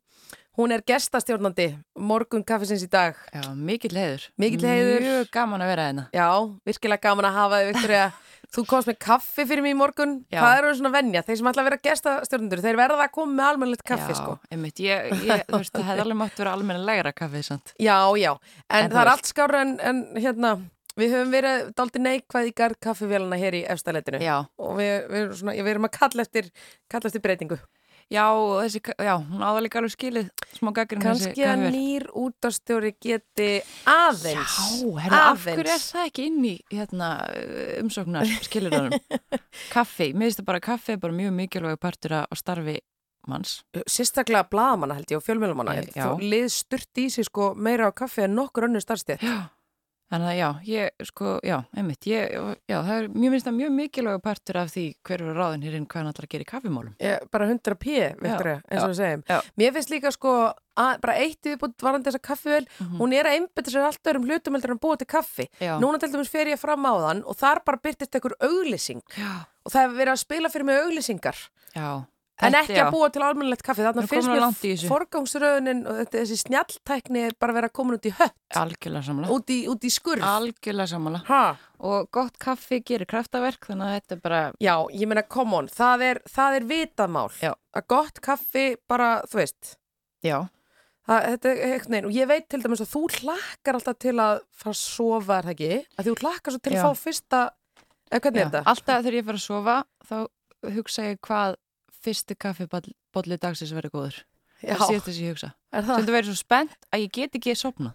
Hún er gestastjórnandi morgun kaffisins í dag.
Já, mikill heiður.
Mikill heiður.
Mjög gaman að vera hérna.
Já, virkilega gaman að hafa þið, Viktoria. Þú komst með kaffi fyrir mig í morgun.
Já.
Það eru svona venja. Þeir sem ætla að vera gestastjórnandur, þeir verða að koma með almennilegt kaffi,
já,
sko.
einmitt, ég, ég, þú veist, það hefði alveg mátt vera almennilegra kaffið, sant?
Já, já. En,
En þú
það er
veist.
allt skára en, en hérna, við höfum verið daldi neikvæð í garð kaffivélana hér í efstaleitinu.
Já,
Og við, við, erum svona, við erum að kalla eftir, kalla eftir breytingu.
já, og þessi, ka- já, hún áður líka alveg skilið smá gaggrinn
Kanski að nýr útastjóri geti aðeins.
Já, herru, af hverju er það ekki inn í hérna, umsóknar skilurunum? kaffi, mér finnst það bara að kaffi er bara mjög mikilvæg partur af- á starfi manns.
Uh,
Eh,
Sérstaklega blaðamanna held ég og fjölmjölumanna.
Já.
Þú lið sturt í sig sko meira á kaffi en nokkur önnu starfstétt.
Já. Þannig að já, ég, sko, já, einmitt, ég, já, það er mjög minnst að mjög mikilvægur partur af því hver eru ráðin hérinn hvað hann ætlar að gera í kaffimálum.
Ég, bara 100 p, Viktoria,
Já,
eins og við segjum
já.
mér finnst líka sko, að, bara eitt viðbútt varandi þessa kaffivel, hún er að einbetta sér allt öðrum hlutum heldur en að búa til kaffi
Mhm. Já.
núna til dæmis fer ég fram á þann og þar bara byrtist einhver auglýsing
Já.
og það hefur verið að spila fyrir mig auglýsingar
Já.
en
Þetta,
ekki
já.
að búa til almennilegt kaffi
Nú
þannig finnst
komin á langt í
mér
þessu.
forgangsröðunin og þetta, þessi snjalltækni er bara að vera komin út í hött
Algjörlega sammála.
út í, út í skurð
Algjörlega sammála.
ha.
Og gott kaffi gerir kraftaverk, þannig að þetta er bara,
Já, ég meina, come on, það er, það er vitamál
Já.
að gott kaffi bara, þú veist
já,
Það, þetta er eitthvað neinn og ég veit til dæmis að þú hlakkar alltaf til að fara að sofa er það ekki, að þú hlakkar svo til
Já.
að fá fyrsta, eða hvernig
já.
er þetta?
alltaf þegar ég fer að sofa, þá hugsa ég hvað fyrsti kaffibotli dagsins verður góður.
Já,
Það séu þess að ég hugsa.
er
Svo
það?
þetta verður svo spennt að ég get ekki sopnað.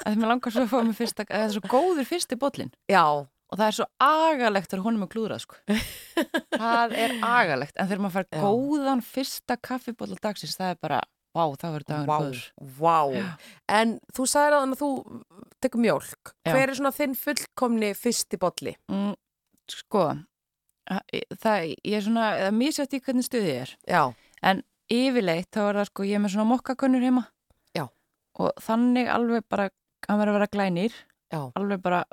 Þegar mér langar svo að fá mér fyrsta, eða það er svo góður fyrsti botlin.
Já,
og það er svo agalegt þegar honum er klúðrað sko. það er agalegt en þegar maður fær
Já.
góðan fyrsta kaffibóla dagsins það er bara, vá, það verður dagan
vá,
góður Já.
vá. En þú sagðir að þú tekur mjólk.
Já.
Hver er svona þinn fullkomni fyrsti bolli?
mm, sko e, það, ég er svona, það misjátt í hvernig stuði ég er
Já,
en yfirleitt þá er það sko, ég er með svona mokkakönnur heima
Já.
og þannig alveg bara, hann verður að vera glænir
já.
alveg bara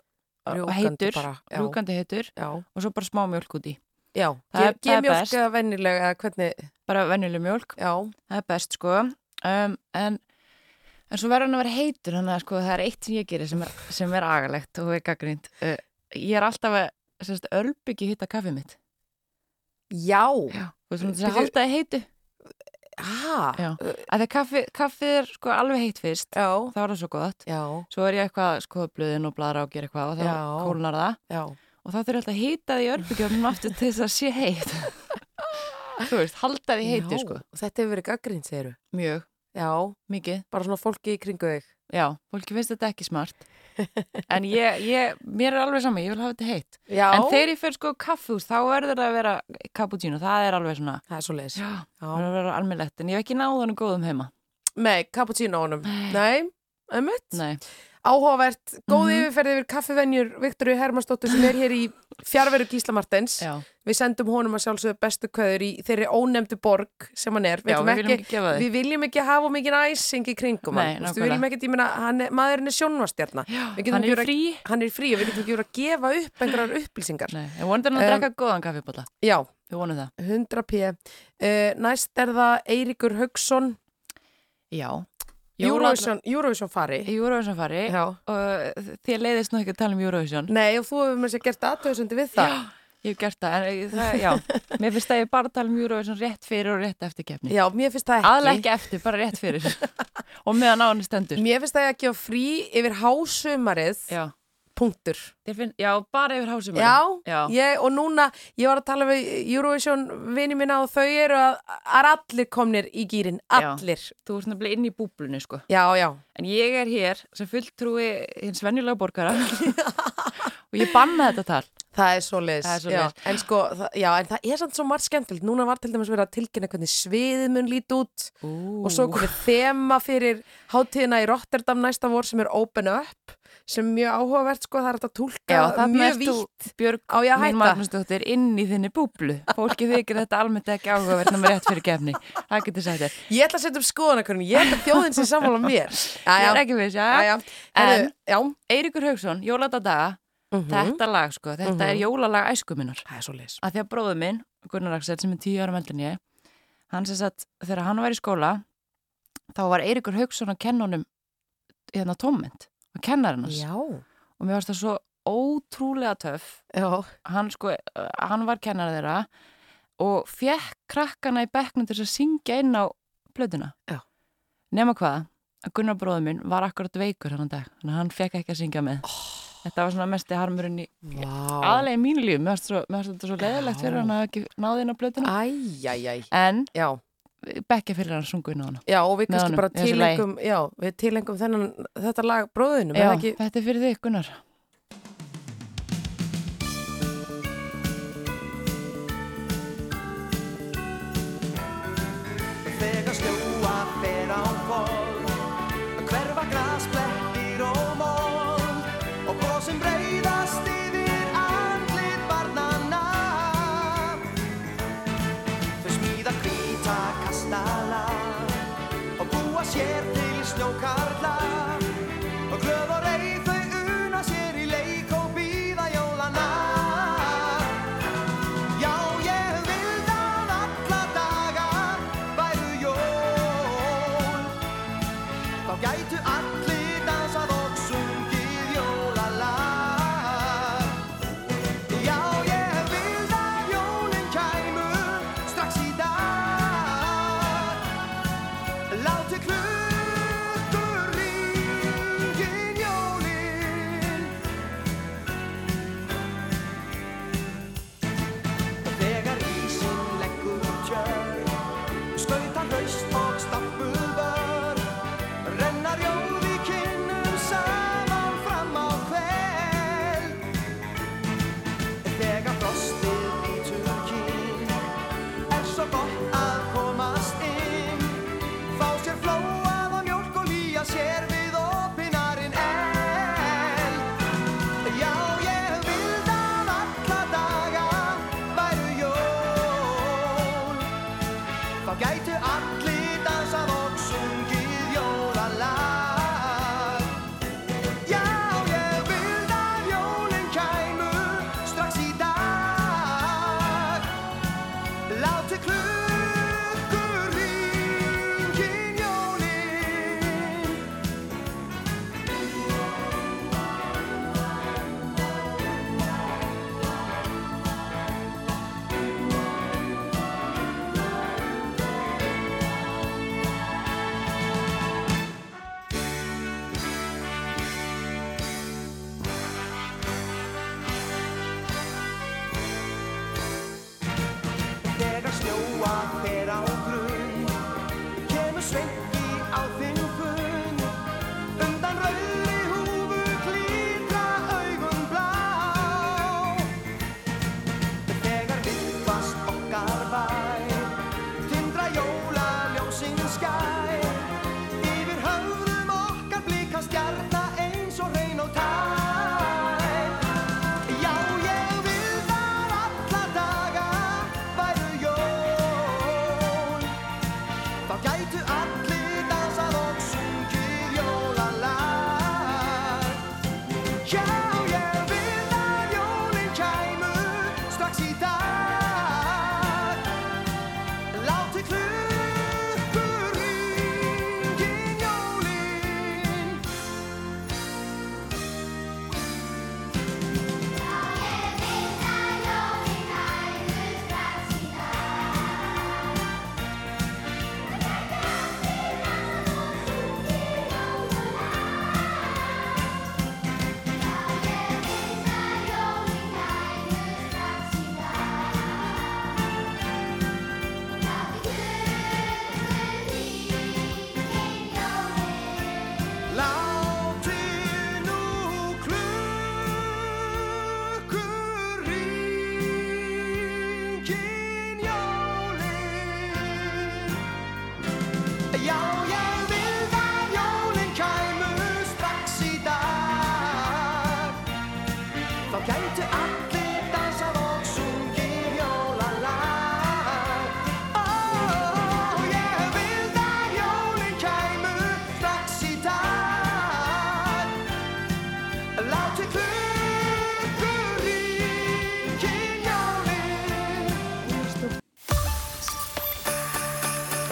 Rjúkandi
heitur,
bara, já.
rjúkandi heitur
Já,
og svo bara smá mjölk út í
já.
Það er-
Ég
það
gef
er best.
mjólk eða vennilega, eða hvernig,
bara venjuleg mjölk
já,
það er best sko um, en, en svo verður hann að vera heitur þannig að sko það er eitt sem ég gerir sem er, sem er agalegt og veika grínt uh, ég er alltaf að sérst, örbyggi hitta kaffið mitt
já,
já. og svona þess að
Bíddu.
halda það heitu
ha,
já. að því kaffið kaffi er sko alveg heitt fyrst
já,
þá er það svo gott
já,
svo er ég eitthvað að skoða blöðin og bladra og gera eitthvað og þá
Já.
kólnar það
já.
og þá þurfir alltaf að hýta því örbyggjum aftur til þess að sé heitt þú veist, halda því heitu
Já,
sko
Þetta hefur verið gaggrind, segiru.
mjög,
Já,
mikið
bara svona fólki í kringu þig.
Já, fólki finnst þetta ekki smart En ég, ég, mér er alveg sama, ég vil hafa þetta heitt
Já,
En þegar ég fer sko á kaffús, þá verður það að vera cappuccino, það er alveg svona
það er svo leiðis.
Já, það verður að vera almennlegt En ég hef ekki náð honum góðum heima
Nei, cappuccino-unum. Nei, einmitt.
Nei,
Áhugavert, góð
Mhm.
yfirferð yfir kaffevenjur Viktoru Hermannsdóttur sem er hér í fjárveru Gísla Martens.
já,
Við sendum honum að sjálfsögðu bestu kveður í þeirri ónefndu borg sem hann er.
já við viljum ekki gefa því
Við viljum ekki hafa mikið æsing í kringum
Nei,
hann. Þú veist, Við
nákvæmlega.
viljum ekki, ég meina, hann er- maðurinn er sjónvastjarna. Við getum
Hann
ekki
er
verið
í
að-
frí
Hann er í frí og við getum ekki verið að gefa upp einhverjar upplýsingar.
Nei, ég vonið hann að
Um,
drekka góðan kaffibólla
Já,
Við vonum það
100 p. Uh, næst er það Eiríkur Haugsson,
Já
Eurovision, Eurovision fari.
Eurovision fari
Já.
og uh, þér leiðist nú ekki að tala um Eurovision
Nei, og þú hefur með sér gert aðtöðsundi við það.
Ég hef gert það, en það, já Mér finnst að ég bara tala um Eurovision rétt fyrir og rétt eftir keppni
Já, mér finnst það ekki.
aðlega ekki eftir, bara rétt fyrir og meðan á henni stendur
Mér finnst það ekki á frí yfir hásumarið,
já.
punktur.
Ég Finn, já, bara yfir hásum
Já,
Já.
Ég, og núna, ég var að tala við Eurovision vini minna og þau eru að, að allir komnir í gýrin,
Já.
allir.
þú ert nefnilega inn í búblunni sko.
Já, já,
en ég er hér sem fulltrúi hins venjulega borgara og ég banna þetta tal
það er svo leis.
Það er svoleiðis.
Já, en sko, það, já, en það er samt svo margt skemmtilegt. Núna var til dæmis verið að tilkynna hvernig sviðið mun lít út og svo komið þema fyrir hátíðina í Rotterdam næsta vor sem er Open Up, sem er mjög áhugavert, sko, það er hægt að tólka
já, þannig
mjög
er þú
vítt.
Björg
Á ég að
mín
hætta?
Magnúsdóttir inn í þinni búblu fólki þykir þetta almennt ekki áhugavert nema rétt fyrir kefni, það getur sagt þér
Ég ætla að setja upp skoðanakörnum, ég ætla að þjóðin sem sammála mér.
ég
Jæja,
er ekki við
jæja.
þess
Heyrðu,
en
já, Mhm.
Eiríkur Haugsson, Jóladadaga þetta lag sko, þetta er jólalag æskuminnar
það er svo leis.
að því að bróðu minn, Gunnar Axel sem er tíu ára meldin ég, hann sem sagt þegar hann var í skóla þá var Eiríkur Hauksson að kenna honum hérna tómment, að kenna hennas
Já,
og mér varst það svo ótrúlega töff
já,
hann sko, eh, hann var kennar þeirra og fekk krakkana í bekknum til þess að syngja inn á plötuna
Já.
nema hvað, að Gunnar bróðu minn var akkurat veikur hann dag, þannig að hann fekk ekki að syngja með þetta var svona mesti harmurinn í
vá.
aðlega í mínu líf, mér varst svo- mér varst þetta svo leðilegt fyrir hann að ekki náði inn á plötuna
Æjæjæj,
en
já,
bekkja fyrir hann sungu inn á hana
já, og við
Með
kannski
honum,
bara
í þessu lagi.
tilengum, já, við tilengum þennan, þetta lag bróðinum,
Já,
en ekki,
þetta er fyrir þig Gunnar
Þegar snúa fer á fólk Hverfa græsblettir og mól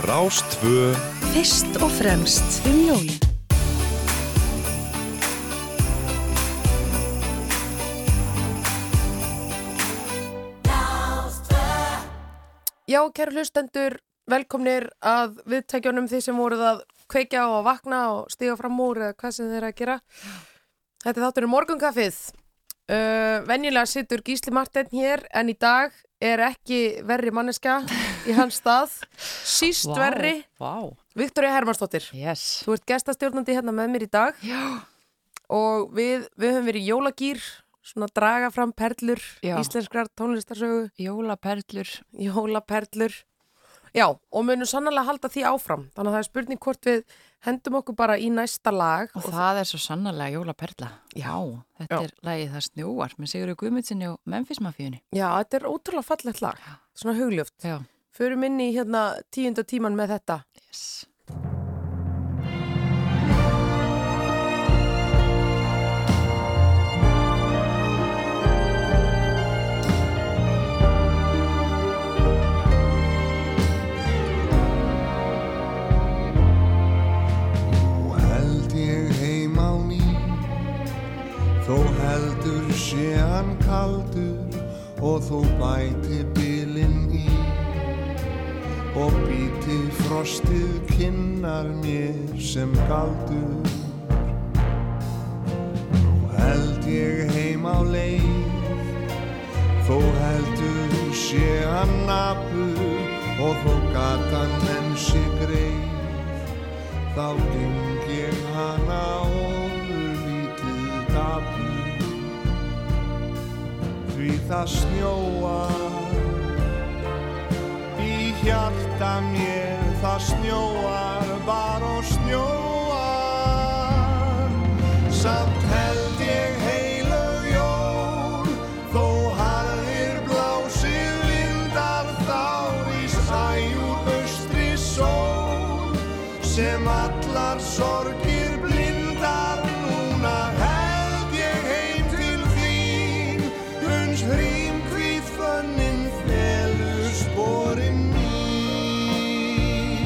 Rástvö
Fyrst og fremst um jólin.
Já, kæru hlustendur, velkomnir að viðtækjunum því sem voruð að kveikja og vakna og stíga fram úr eða hvað sem þeir eru að gera. Þetta er þátturinn morgunkaffið. Uh, venjulega situr Gísli Martin hér en í dag er ekki verri manneska í hans stað. Síst
Vá,
verri,
Vá,
Viktoria Hermannsdóttir.
yes.
Þú ert gestastjórnandi hérna með mér í dag. Já. Og við, við höfum verið í jólagýr, svona draga fram perlur,
Já.
íslenskrar tónlistarsögu
Jólaperlur.
jólaperlur Já, og munum sannlega halda því áfram þannig að það er spurning hvort við hendum okkur bara í næsta lag
Og það er svo sannarlega jólaperla. Já, þetta
Já.
er lagið það snjóar með Sigurður Guðmundsinni og Memphis Mafíunni.
Já, þetta er ótrúlega fallegt lag svona hugljöft
Já.
Förum inn í hérna tíunda tíman með þetta
Yes.
Nú held ég heim á ný Þó heldur sé hann kaldur og þó bæti bylinn í og býti frostið kinnar mér sem galdur Nú held ég heim á leið Þó heldur sé hann napur og þó gatan enn sé greið þá geng ég hana ofurlítið dapur því það snjóar í hjarta mér það snjóar bara og snjóar samt held ég heilög jól þó harðir blásir vindar þá í sæjúr austri sól sem allar sorgir blindar núna held ég heim til þín uns hrým hvíð fönnin felur sporin mín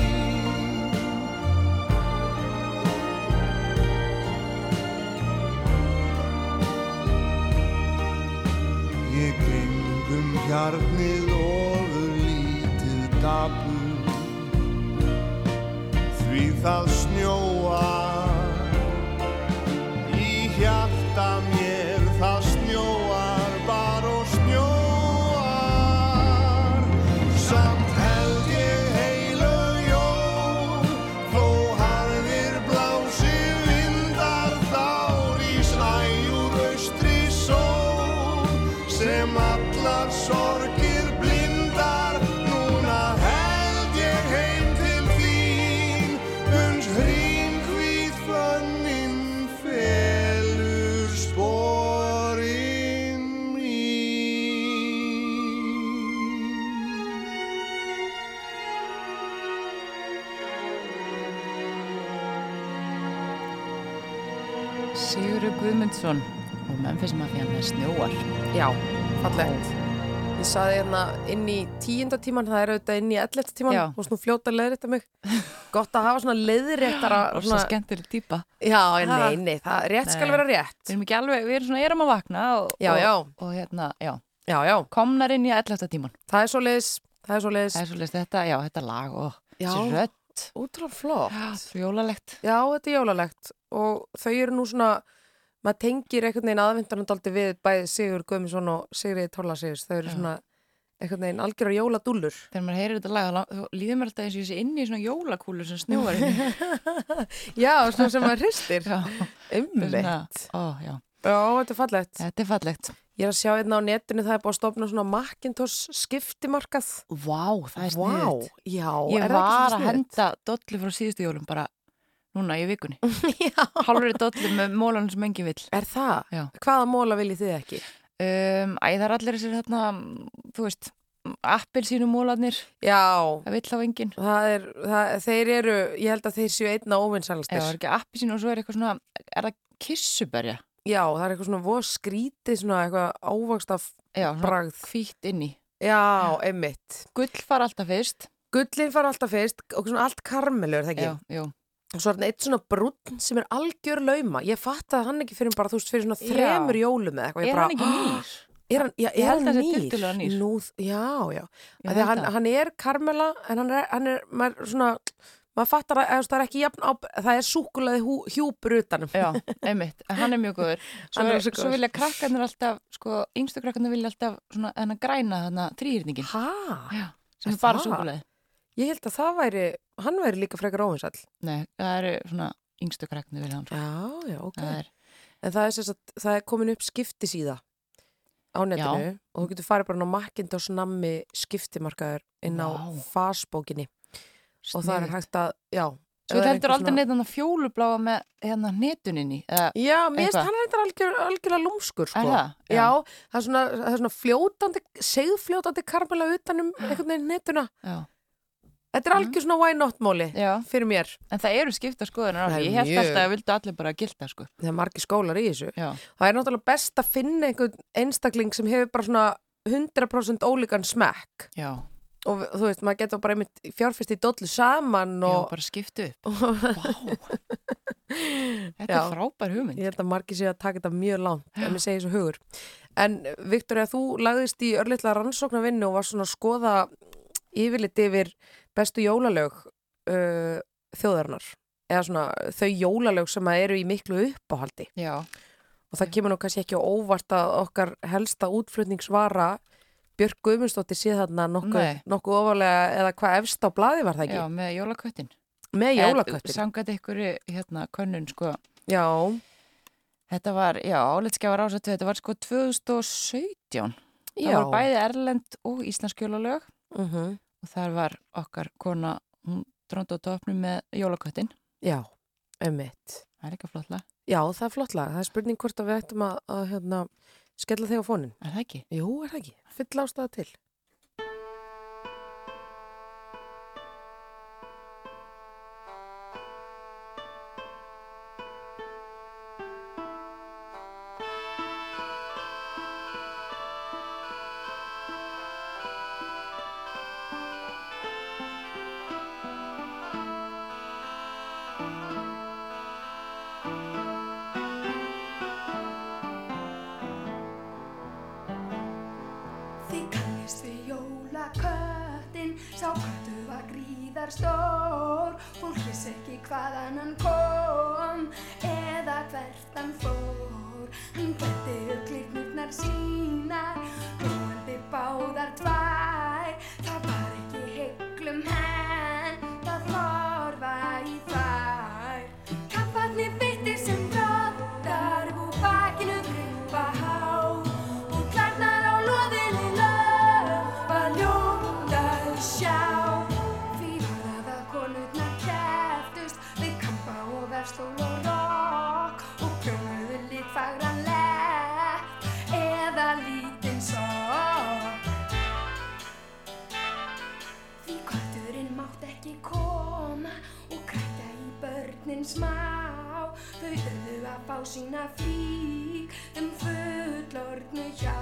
ég gengum hjarnið ofur lítið dapur því það snjóar í hjarta mér það snjóar bara og snjóar samt held ég heilög jól þó harðir blási vindar þá rís æjúr austri sól sem allar sorgir blindar núna held ég heim til þín uns hrým hvíð fönnin felur sporin mín
Sigurður Guðmundsson og Memphis Mafíunni það snjóar.
Já, fallegt Ég saði hérna inn í tíunda tíman það er auðvitað inn í elletta tíman
Já.
og svona fljóta leiðrétta mig Gott að hafa svona leiðréttara
Rósa
svona...
skemmtileg típa.
Já, en nei, nei, það rétt skal
Nei.
vera rétt
Við erum ekki alveg, við erum svona, erum að vakna og,
Já,
og,
já.
og hérna, já,
Já, já,
komnar inn í 11. tíman.
það er svo leiðis Það er svo leiðis
Það er svolítið þetta, já, þetta lag og
Já.
þessi rödd,
Útrúlega flott
svo jólalegt.
Já, þetta er jólalegt og þau eru nú svona, maður tengir einhvern veginn aðvindunandaldi við bæði Sigur Guðmundsson og Sigriði Torlasíðus, þau eru svona einhvern veginn algjörar jóladúllur.
Þegar maður heyrir þetta lag, þá lá- þá líður mér alltaf eins og ég sé inn í svona jólakúlu sem snjóar inn í.
Já, svona sem maður hristir. Ummitt.
Ó, já,
Já, þetta er fallegt.
þetta er fallegt.
Ég er að sjá hérna á netinu það er búið að stofna svona Macintosh skiptimarkað.
Vá, það er
Vá,
sniðut.
já,
Ég
er það ekki
var
svo
að
sniðugt?
henda dollu frá síðustu jólum bara núna í vikunni.
Já.
Hálfur dollu með mólanum sem engin vill.
Er það?
Já.
Hvaða móla viljið þið ekki?
Um, æ, það er allir þessir þarna, þú veist, appelsínu mólanir,
Já,
það vill á engin.
það er, það, þeir eru, ég held að þeir séu einna
Já, það
óvinnsalistir.
er ekki appelsínu og svo er eitthvað svona, er það kissuberja?
Já, það er eitthvað svona voð skrítið, svona eitthvað ávaksta
Já, svona
bragð.
hvítt inn í.
Já, einmitt.
Gull fara alltaf fyrst
Gullin fara alltaf fyrst og svona allt karmelur, það ekki?
já, já.
Og svo er þetta eitt svona brúnn sem er algjör lauma. Ég fatt að hann ekki fyrir bara, þú veist, fyrir svona
Já.
þremur jólum eða eitthvað. Ég
Er
bara,
hann ekki nýr?
Er hann, já,
Ég
er
held
hann
að
nýr?
sé tiltölulega nýr.
Nú, já, já. Af Því
Ég held
að hann,
það.
hann er karmela, en hann er, hann er maður svona, maður fattar að þú veist, það er ekki jafn á, það er súkulaði hú, hjúpur utanum.
Já, einmitt, en hann er mjög góður Svo,
Hann er
er,
rosa góður.
svo vilja krakkarnir alltaf sko, yngstu krakkarnir vilja alltaf svona, hennar græna þarna þrýrningin
Hæ?
Já, sem
Er
er bara
það?
súkuleið
Ég held að það væri, hann væri líka frekar óhinsall.
Nei, það eru svona yngstu krakkarnir vilja hann sko.
Já, já, ok.
Það er,
En það er sérst að það er komin upp skiptisíða á netinu og þú getur farið bara inn á Macintosh nammi skiptimarkaður inn á
Vá.
fasbókinni og það er
Sniðugt.
hægt að, já. ef
Svo
það er
heldur
einhver
aldrei neitt hann að fjólubláa með hérna hnetuninni eða,
Já, mér finnst
Eitthvað.
hann reyndar algjör, algjörlega lúmskur sko.
Er það?
Já.
Já.
það er svona, það er svona fljótandi, segfljótandi karmela utanum einhvern veginn netuna.
já,
Þetta er algjör svona why not móli
já.
fyrir mér.
En það eru skipta skoðunar á
Það
því.
er
Ég held
mjög-
alltaf að vildu allir bara gilda sko.
Það er margi skólar í þessu.
Já,
Það er náttúrulega best að finna einhvern einstakling sem hefur bara svona 100% ólíkan smekk
já,
og þú veist, maður getur bara einmitt fjárfyrst í dollu saman
já,
og
bara skiptu upp. Vá, þetta
Já.
er frábær hugmynd.
ég held að margi sé að taka þetta mjög langt en ég segi svo hugur. En Viktor, þú lagðist í örlitla rannsóknarvinnu og var svona að skoða yfirlit yfir bestu jólalög uh, þjóðarinnar eða svona þau jólalög sem að eru í miklu uppáhaldi
Já,
og það kemur nú kannski ekki á óvart að okkar helsta útflutningsvara Björk Guðmundsdóttir sé þarna nokkuð,
Nei.
nokkuð ofalega eða hvað efst á blaði var það
já,
ekki?
með jólaköttin.
Með jólaköttir.
Sangat ykkur hérna könnun sko.
Já,
Þetta var, já, álitskjafar ásættu, þetta var sko 2017.
já.
Það voru bæði Erlend og Íslensk jólalög
Mm
og þar var okkar kona, hún dróndi á topnum með jólaköttin.
Já, emmitt.
Það er ekki flottlega,
Já, það er flott lag. Það er spurning hvort að við ættum að, að hérna, skella þig á fónin.
er það ekki?
Jú, er það ekki? Fyll ástæða til.
Því kallist við jólaköttin, sá köttu var gríðar stór. Fólk viss ekki hvaðan hann kom, eða hvert hann fór. Hann kvætti upp glitnirnar sínar, glóandi báðar tvær. Það var ekki heiklum henn, það horfa í þær. Kapparnir byttir sem broddar og bakinu gripa há og klærnar á loðinni löfa ljóndar sjá Því varað að konurnar kæftust við kampa og verslól og rokk og prjónuðu litfagran lett eða lítinn sokk Því kötturinn mátt ekki koma og krakka í börnin smá. Þau urðu að fá sína flík um fullornu hjá.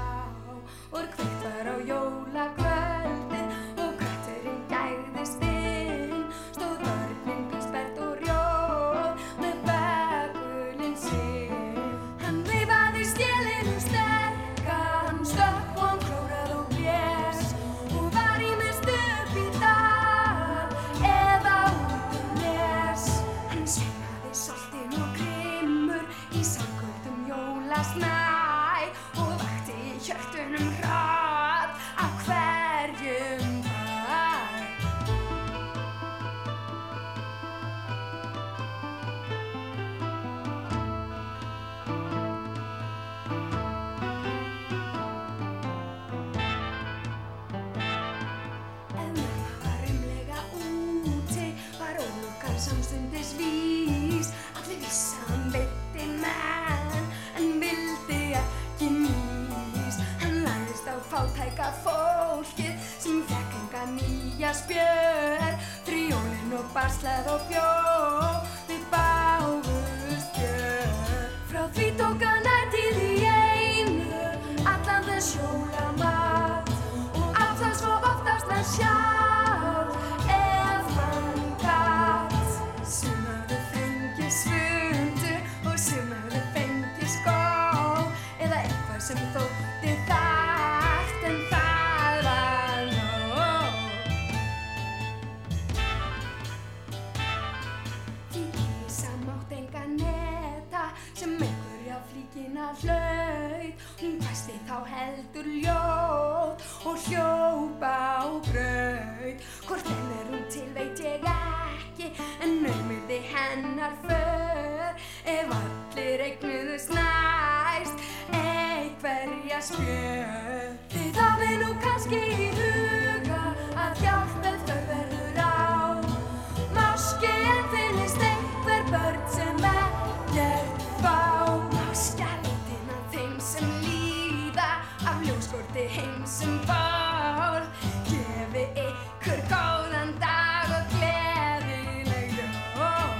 Og kveikt var á jólakvöldin og kötturinn gægðist inn. Stóð börnin bísbert og rjóð með begulinn sinn. Hann veifaði stjelinu sterka, hann stökk og hann klórað og blés. Og var í mestu upp í dal eða út um les. Hann sveinaði soltin og grimmur í samkvöldum jólasnæ og vakti í hjörtunum hratt á hverjum dag. En mamma var umlega úti, var ólukkan samstundis vís. Allir vissi að hann veitti menn, en vildi ekki mís. Hann lagðist á fátæka fólkið sem fekk enga nýja spjör. Friólin og barslað og bjór, við báðust björ. Frá því tók hann ættið í einu, allan þess jólamat og allt það svo oftast að sjá hana hlaut Hún hvæsti þá heldur ljótt og hljópa á braut Hvort ennur hún til veit ég ekki en naumiði hennar för Ef allir eignuðu snæst einhverja spjör Þið hafið nú kannski í huga að hjálpað þau verður á Máski en finnist einhver börn sem ekkert fá Máska litin af þeim sem líða Af ljóskorti heim sem bál Gefi ykkur góðan dag og gleðileg jól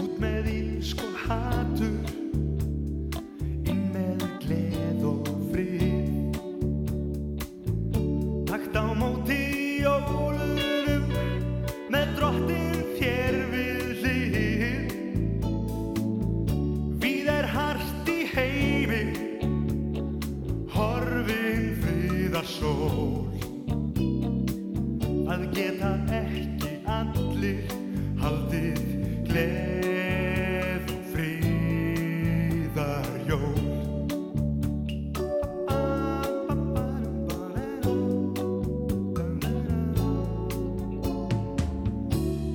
Út með ílskor hatur, inn með gleð og frið. Takt á móti jólunum, með drottin fjær við hlið. Víð er hart í heimi, horfin friðar sól. að geta ekki allir haldið gleð og fríðar jól.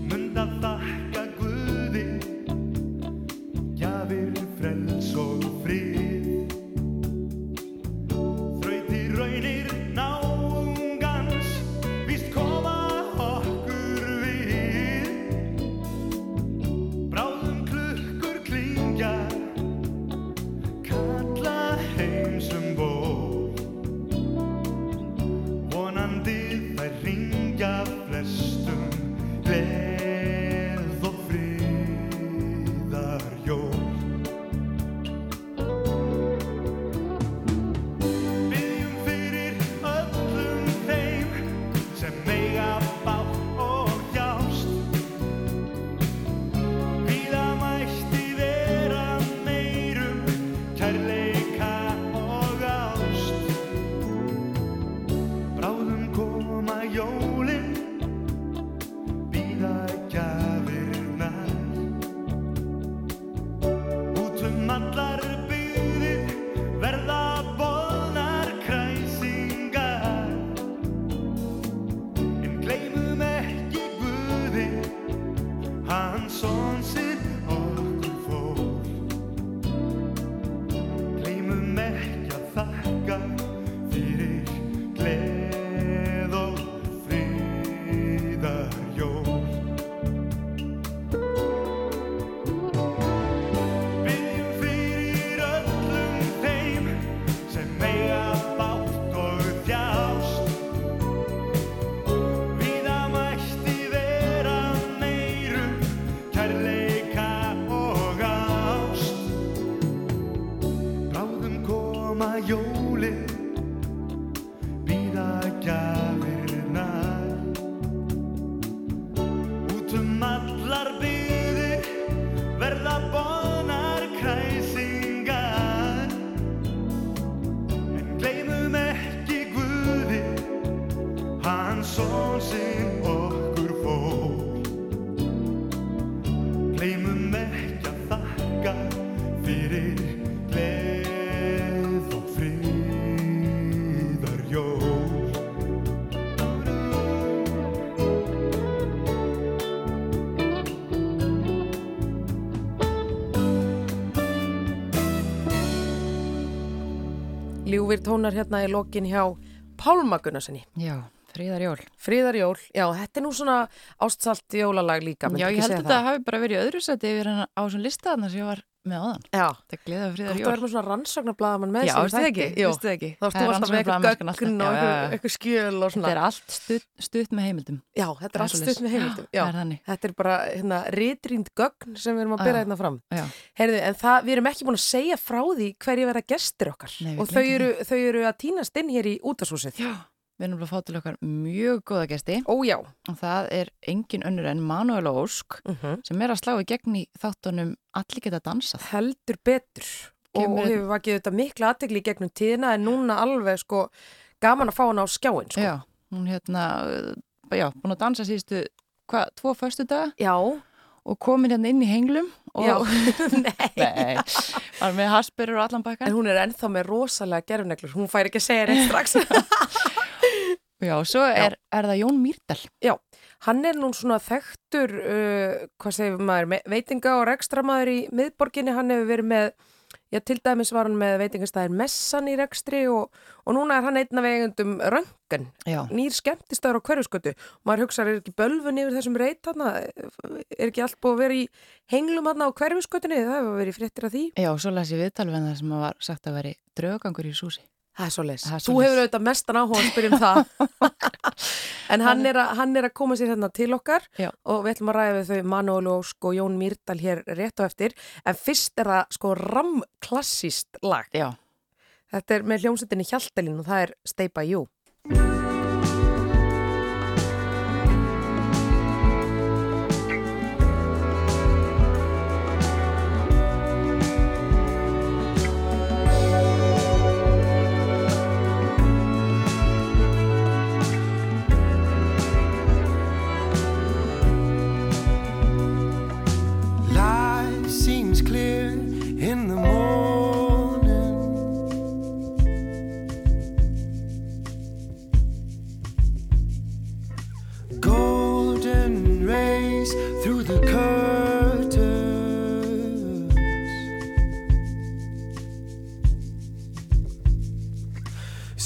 Mund að þakka Guði, gjafir, frels og frið. Þrautir raunir náungans Víst koma okkur við Bráðum klukkur klingja Kalla heim sem ból Vonandi þær ringja flestum Gleð og fríðar jól Byggjum fyrir öllum þeim sem mega bátt og hjást Víða mætti vera meirum kærleika og ást Bráðum koma jólin Víða gjafir nær Út um allar byggðir verða boðnar kræsingar En gleymum ekki Guði, hann son sinn okkur fór Gleymum ekki að þakka fyrir gleð og fríðar jól Byggjum fyrir öllum þeim sem mega bátt og þjást Víða mætti vera meiru kærleika og ást Bráðum koma jólin, víða gjafir nær Út um allar byðir verða bonar kræsingar En gleymum ekki Guði, hann són sinn okkur fór Gleymum ekki að þakka fyrir gleð og fríðar jól
Ljúfir tónar hérna í lokin hjá Pálma Gunnarssoni.
Já, fríðarjól.
Fríðarjól, já, þetta er nú svona ástsalt jólalag líka. myndi
Já,
ekki
ég held
segja
að þetta hafi bara verið í öðru seti yfir hann á svona listaðna sem ég var með áðan.
Já.
Þetta er gleðið að friðar
Þetta verður
jól.
með svona rannsóknarblaðamann með
Já,
sér í
veistu það
þætti.
ekki?
Jú.
Veistu það ekki?
Þá ertu
Það er
alltaf með eitthvað
rannsóknarblaðamennskan
gögn
alltaf.
og
Já, já, já.
eitthvað- eitthvað skjöl og
Þetta
svona.
er allt stutt, stutt með heimildum.
Já, þetta
Það
er
er
allt
svoleiðis.
stutt með heimildum.
Já, það er þannig.
Þetta er bara hérna, ritrýnd gögn sem við erum að bera
Já.
hérna fram.
Já.
Herðu, en það, við erum ekki búin að segja frá því hverju verða gestir okkar.
Nei, við
og þau
gleymdum
eru, þau eru að týnast inn hér í útashúsið.
Já. Við erum bara að fá til okkar mjög góða gesti
Ó já.
og það er engin önnur en Manuel Ósk
Mhm.
sem er að slá í gegn í þáttunum Allir geta dansað.
Heldur betur.
Kemur hérna-
og
einn-
hefur vakið þetta mikla aðtegli í gegnum tíðina en núna alveg sko gaman að fá hana á skjáin sko.
Já, hún hérna, uh, já, búin að dansa síðustu, hvað, tvo förstu dag
Já.
og komin hérna inn í henglum
Já.
og, nei, var með hasperur og allan
En
bakkan.
hún er ennþá með rosalega gerfneglur. Hún fær ekki að segja reitt strax.
Já, svo er, er það Jón Mýrdal.
Já, hann er nú svona þekktur, uh, hvað segir maður, me- veitinga og rekstramaður í miðborginni, hann hefur verið með, já til dæmis var hann með veitingastæðin Messan í rekstri og, og núna er hann einn af eigendum Röngan,
Já,
nýr skemmtistæður á hverjuskötu. Maður hugsaður, er ekki bölvun yfir þessum reyt þarna, er ekki allt búið að vera í henglum þarna á hverjuskötunni, það hefur verið fréttir af því.
já svo las ég viðtal við hann þar sem að var sagt að veri draugangur í súsi.
Það er svo leis.
Það er
Þú
svoleiðis.
hefur auðvitað mestan áhuga að spyrja um það. en hann er, að, hann er að koma sér hérna til okkar
Já.
og við ætlum að ræða við þau Manuel Ósk og Jón Mýrdal hér rétt á eftir. En fyrst er það sko ramklassíst lag.
Já,
Þetta er með hljómsveitinni Hjaltalín og það er Stay By You.
Life seems clear in the morning. Golden rays through the curtains.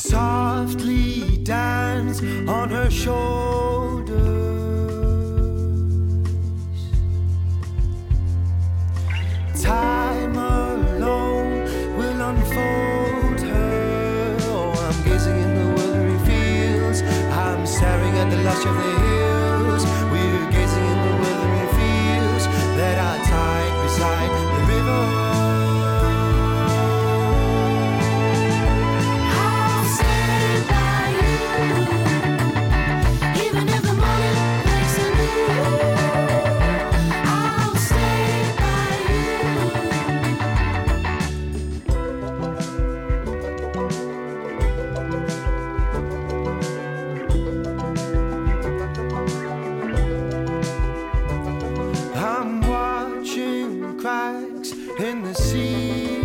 Softly dance on her shoulders. Time alone will unfold her. Oh, I'm gazing in the wildery fields. I'm staring at the lush of the hills. We're gazing in the wildery fields that are tied beside the river.
I'll stand by you, even if the morning breaks the news. I'll stand by you.
I'm watching cracks in the sea.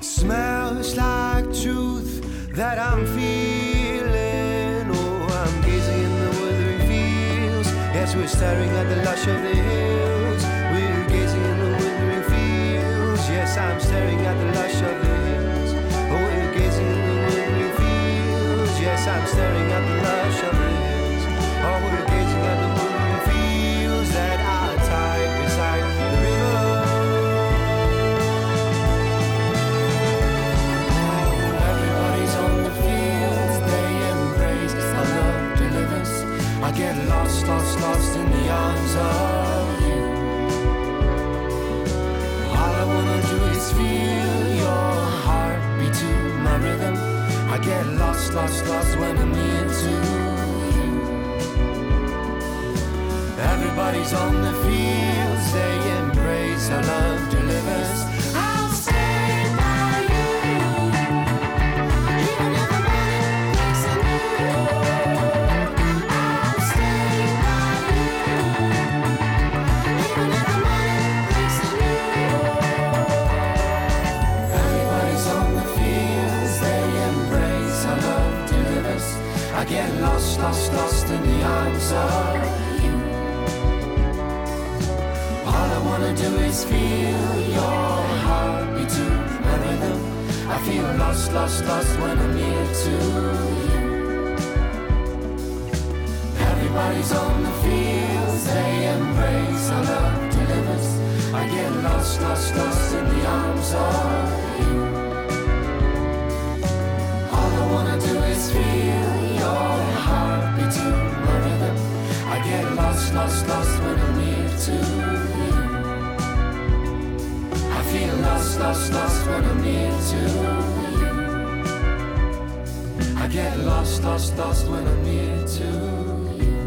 Smells like truth that I'm feeling. Oh, I'm gazing in the withering fields. Yes, we're staring at the lush of the hills. We're gazing in the withering fields. Yes, I'm staring at the lush of the hills. Oh, we're gazing in the withering fields. Yes, I'm staring at the lush of the hills. Oh, we're gazing at the withering fields that are tied beside the river. Everybody's on the fields, they embrace our love delivers. I get lost, lost, lost in the arms of you. All I wanna do is feel your heartbeat to my rhythm. I get lost, lost, lost when I'm near to you. Everybody's on the fields, they embrace our love delivers.
I'll stand by you, even if the morning breaks the news. I'll stand by you, even if the morning breaks the
Everybody's on the fields, they embrace our love delivers. I get lost, lost, lost in the arms of you. All I wanna do is feel your heartbeat to my rhythm. I feel lost, lost, lost when I'm near to you.
Everybody's on the fields, they embrace our love delivers. I get lost, lost, lost in the arms of you. All I wanna do is feel your heartbeat to my rhythm. I get lost, lost, lost when I'm near to you. I feel lost, lost, lost when I'm near to you. I get lost, lost, lost when I'm near to you.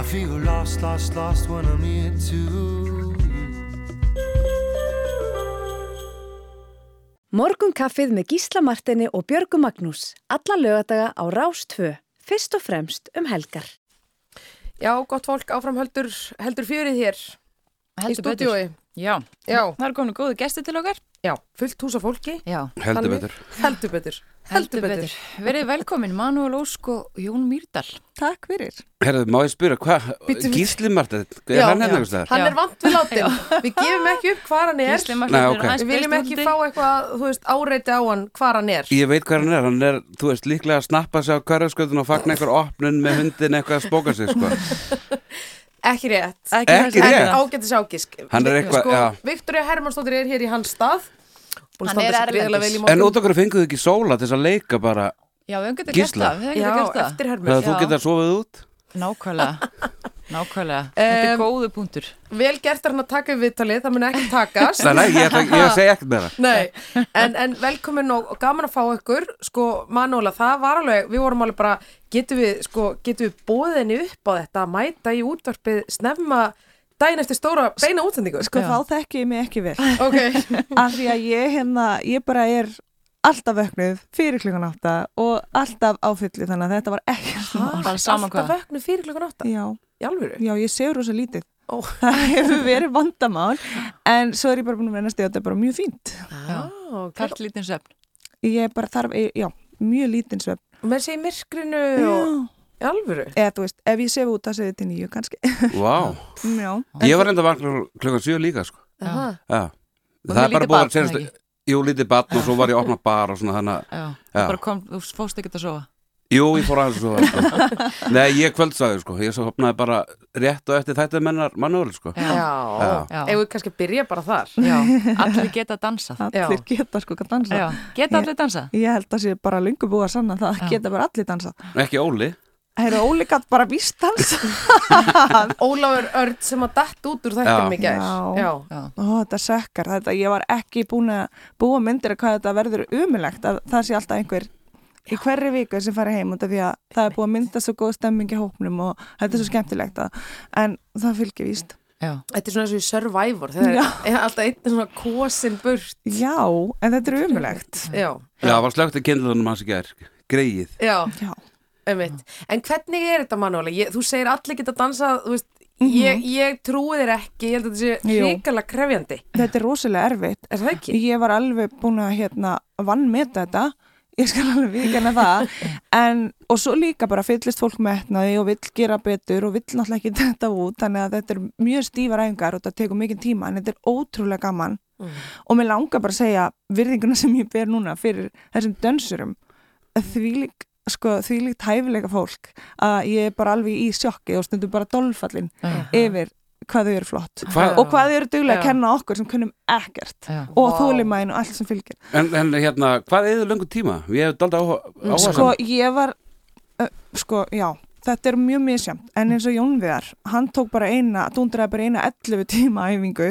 I feel lost, lost, lost when I'm near to you.
Morgunkaffið með Gísla Martini og Björgu Magnús. Alla lögadaga á Rás 2. Fyrst og fremst um helgar.
Já, gott fólk áfram heldur, heldur fjörið hér í
Heldur betur.
stúdiói.
Já.
Já.
Það eru komin góðu gesti til okkar.
Já, fullt hús af fólki.
Já.
Heldur
Þannig-
betur.
Heldur betur. Heldur betur.
Verið velkomin, Manuel Ósk og Jón Mýrdal.
Takk fyrir.
Herðu, má ég spyrja, hvað,
Bíddu, bíddu.
Gísli Martin, er
Já,
hann
já.
hérna einhvers staðar?
Hann
Já.
er vant við látin. Við gefum ekki upp hvar hann er.
Gísli Marteinn er
Nei, ok.
aðeins
Við viljum
besti
ekki
úti.
fá eitthvað, þú veist, áreiti á hann hvar hann er.
Ég veit hvað hann er, hann er, þú veist, líklega að snappa sig á hverjasköldun og fagna einhver opnun með hundin eitthvað að spóka sig, sko.
Ekki rétt.
Ekki,
Ekki
En
rétt.
ágætis ágisk.
Hann er eitthvað-
sko,
já.
Viktoria Hermannsdóttir er hér í hans stað. Búin að
Hann
standa
er
sig gríðarlega
erlendis.
vel í
En
morgun.
út okkur fenguðu ekki sóla til þess að leika bara,
Já, við höfum getið gert
Gísla.
það. Við höfum
Já,
getið gert það.
eftir
það
Hermann.
að þú
Já.
getur að sofa út?
Nákvæmlega. Nákvæmlega. Þetta
Em,
er góðu punktur.
Vel gert er hann að taka við viðtalið, það mun ekki takast.
Nei, nei, ég, ætla- ég segi ekkert með það.
Nei, en, en velkomin og, og gaman að fá ykkur sko Manóla, það var alveg við vorum alveg bara, getum við sko, getum við bóðið henni upp á þetta að mæta í útvarpið snemma daginn eftir stóra beina útsendingu
Sko
Já.
þá þekki ég mig ekki vel.
Ok,
Af því að ég hérna, ég bara er alltaf vöknuð fyrir klukkan átta og alltaf áfyllu þannig að þetta var ekkert mál.
Bara saman
alltaf
hvað.
vöknu fyrir klukkan átta
Já,
í alvöru
já, ég segur rosa lítið.
Ó.
Það hefur verið vandamál en svo er ég bara búin að vennast í að þetta er bara mjög fínt.
ah, okay.
Kallt lítinn söfn.
Ég bara þarf, já, mjög lítinn svefn.
Með sér í myrkrinu og
Já.
í alvöru
Eða þú veist, ef ég sef út að segja til nýju kannski.
Vá,
já.
ég var enda vakna klukkan 7 líka, sko.
Aha.
Já.
Og
Það
með
er bara
lítið
búið
barn,
að segjast,
eða ekki?
jú, lítið batn og svo var ég að opna bar og svona þannig að,
Já.
Já.
Þú bara kom, þú fóst ekkert að sofa.
jú, ég fór aðeins og svo það, sko. Nei, ég kvöldsaði, sko, ég svo hopnaði bara rétt og eftir þetta mennar mannúri, sko.
Já, já.
Já.
Já.
eigum við kannski að byrja bara þar
Já. Allir geta dansað.
Allir geta sko að dansa.
Já. Geta allir dansað.
Ég held að sé bara lungu búið að sanna það,
Já.
geta bara allir dansa.
Ekki Óli.
Það eru ólíkat bara víst dansa.
Ólafur Örd sem að datt út úr þættum
Já.
í gær
Já.
Já.
Já.
Ó, þetta sökkar, þetta, ég var ekki búin að búa myndir að hvað þetta verður umilegt að það sé alltaf einhver í hverri viku sem fari heim út af því að það er búið að mynda svo góð stemming í hópnum og þetta er svo skemmtilegt að, en það fylgir víst.
Já.
Þetta er svona eins og í Survivor þegar er alltaf einn svona kosin burt
Já, en þetta er umilegt.
Já,
Já, það var slögt að kynlaðunum hans í gær, greið.
já
Já.
Einmitt. En hvernig er þetta mannuáli? Ég, þú segir allir geta dansað, þú veist, ég, ég trúi þér ekki, ég held að þetta sé
Mhm. Jú.
hrikalega krefjandi.
Þetta er rosalega erfitt.
Er það ekki?
Ég var alveg búin að hérna vannmeta þetta, ég skal alveg viðkjanna það, en og svo líka bara fyllist fólk metnaði og vill gera betur og vill náttúrulega ekki þetta út, þannig að þetta er mjög stífar æfingar og þetta tekur mikið tíma, en þetta er ótrúlega gaman og mér langar bara að segja virðinguna sem ég ber núna fyrir þessum dönsurum, þvílík sko, þvílíkt hæfileika fólk að ég er bara alveg í sjokki og stundum bara dolfallin yfir hvað þau eru flott
Hvað-
og hvað þau eru duglega að
Já.
kenna okkur sem kunnum ekkert
Já.
og þólimæðin og allt sem fylgir
En, en hérna, hvað eða lengur tíma? Ég hef dalda áhuga áhuga
sko ég var uh, sko já þetta er mjög misjæmt en eins og Jón Viðar hann tók bara eina, dundraði bara eina 11 tíma æfingu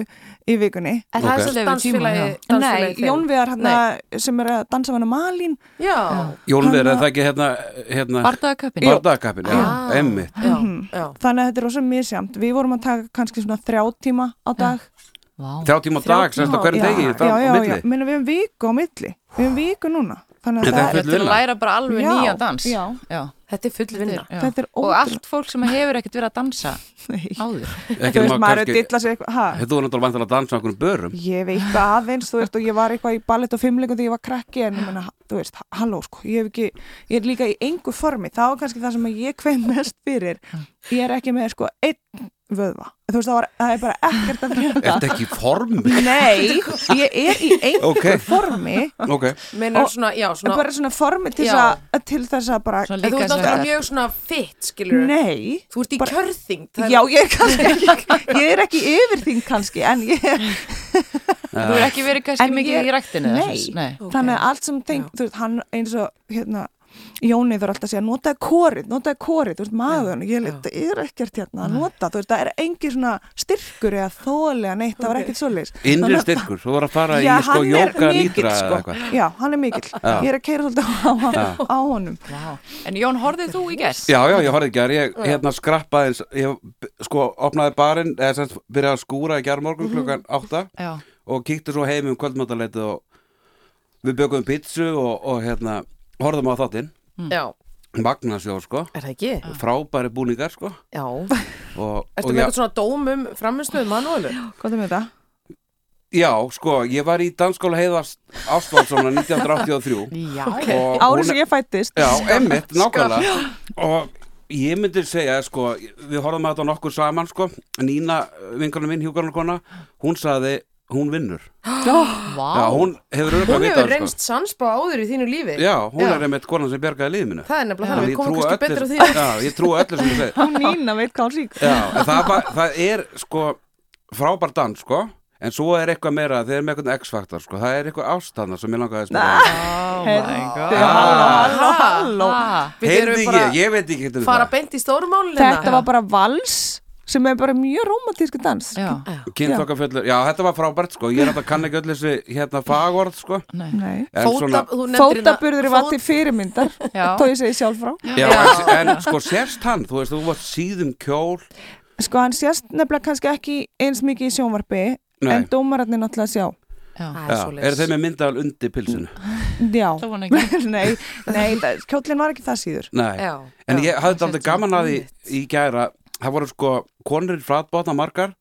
í vikunni
En það
Ok.
er svolítið
Leyfir tíma,
dansfélagi,
já.
Nei,
dansfélagi þinn.
Jón Viðar hann sem er að dansa hann að Malín
Já,
Jón verið,
Hann-
er það ekki hérna, hérna
Bardaðakappin.
Bardagakapin, já,
Ah.
emmitt
já, já.
Mhm. þannig að þetta er rosa misjæmt við vorum að taka kannski svona þrjá tíma á dag
Vá.
Þrjá tíma á
Þrjá
dag, semst
tíma
á
á-
hverju degi
já,
það
já,
á
já, já.
milli.
Minna, við hefum viku á milli við hefum viku núna þannig
Þetta
að
er
það,
full-
Þetta er að
vinna.
læra bara alveg
Já,
nýja dans.
já.
Já.
Þetta er full vinna.
Já.
þetta er
Og
ótrúlega
allt fólk sem hefur ekkert verið að dansa
Nei.
áður.
Ekki
þú veist maður
nema
er að
kannski-
dilla sér eitthvað ha?
Þú er náttúrulega vantilega að dansa á einhvern börum
Ég veit það aðeins, þú veist, og ég var eitthvað í ballett og fimmleikum þegar ég var krakki en ég menna, þú veist, halló, sko, ég hef ekki, ég er líka í engu formi, það var kannski það sem ég kveim mest fyrir, ég er ekki með, sko, einn vöðva, þú veist, það, var, það er bara ekkert að
Ertu
frétta.
ekki í formi?
Nei, ég er í engu
Ok.
formi,
Ok,
Meinar
Og-
svona, já, svona,
bara svona formi til,
Já.
að, til þess að bara,
Svona
en þú
líka
ert
sem
aldrei mjög svona fitt, skilur
Nei.
Þú ert í
Bara-
kjörþyngd. það er-
Já, ég er kannski ekki, ég er ekki yfir þín kannski, en ég
Þú er ekki verið kannski
En
mikið
ég-
í ræktinu eða
Nei,
svoleiðis? Nei.
þannig að allt sem tengt, þú veist, hann eins og hérna, Jóni þarf alltaf að segja notaði kórið, notaði kórið, þú veist, maðurinn ég lit, er ekkert hérna að nota þú veist, það er engin svona styrkur eða þóli að neitt, það var ekkert svoleiðis
Innri
Þannig að-
styrkur, þú voru að fara
Já,
í sko
hann er
jóka
mikill,
nýtra
sko.
eða eitthvað
Já, hann er mikill,
Já.
ég er að keira svolítið á, á,
Já.
á honum
Vá. En Jón, horfið þú í gerð?
Já, já, ég horfði ekki að ég hérna skrappaði eins, ég b- sko opnaði barinn, eða sem sagt, byrjaði að skúra í gærmorgun klukkan 8
Já.
og kíkti svo heim um kvöldmáttaleitið og við bjökuðum pítsu og, og hérna, horfðum á þáttinn
Mm. Já,
Magnasjó, sko,
er það ekki?
frábæri búningar, sko
Já.
og,
Ertu
og
með
já,
eitthvað svona dóm um framistuð manúölu?
Hvað er með þetta?
já, sko, ég var í danskóla heiðast Ástvaldssonar 1983
Já.
og hún-
Árið sem ég fættist
Já, emmitt, nákvæmlega Og ég myndi segja, sko, við horfum að þetta nokkur saman, sko Nína, vingarnum minn, hjúkarnarkona, hún sagði, hún vinnur
Vá.
Já, hún hefur auðvitað
Hún
vitað,
hefur
sko.
reynst sansbá áður í þínu lífi.
Já, hún
Já.
er einmitt konan sem bjargaði liðið mínu
Það er nefnilega
Þannig
þannig,
ég
við komum
trúi
kannski
öllu
betur á
sem-
því.
Já, ég trúi öllu sem þú segir
Hún Nína veit hvað hún sík
Já, en það, var, það er sko frábær dans sko En svo er eitthvað meira, þeir eru með eitthvað x-faktor sko Það er eitthvað ástæðna sem ég langaði að spila um.
Oh my god.
Halló, halló
Ah.
Við
Heyrði
erum
ég,
bara
ég veit Ah. ekki hvernig
fara
það
beint í stórmálina.
Þetta var bara vals sem er bara mjög romantísku dans
Já.
Kynþokkafjöllur, já þetta var frábært sko Ég er hægt að kann ekki öll þessi hérna fagorð sko
Nei.
Nei
En
Fóta, þú nefndir hérna-
Fótaburður var til fyrirmyndar
Já.
þó ég segi sjálf frá
Já, en, en sko sérst hann, þú veist, þú varst síðum kjól
Sko hann sést nefnilega kannski ekki eins mikið í sjónvarpi
Nei.
en dómararnir náttúrulega sjá
Já.
Það
Já,
er
er
svoleiðis.
þeir með myndaðal undir pilsinu?
Já
Það var hann ekki.
Nei, nei það- kjóllinn var ekki það síður
Nei,
Já,
en
já,
ég hafði aldrei
sett svo
gaman að því í gæra Það voru sko konurinn fratbótna margar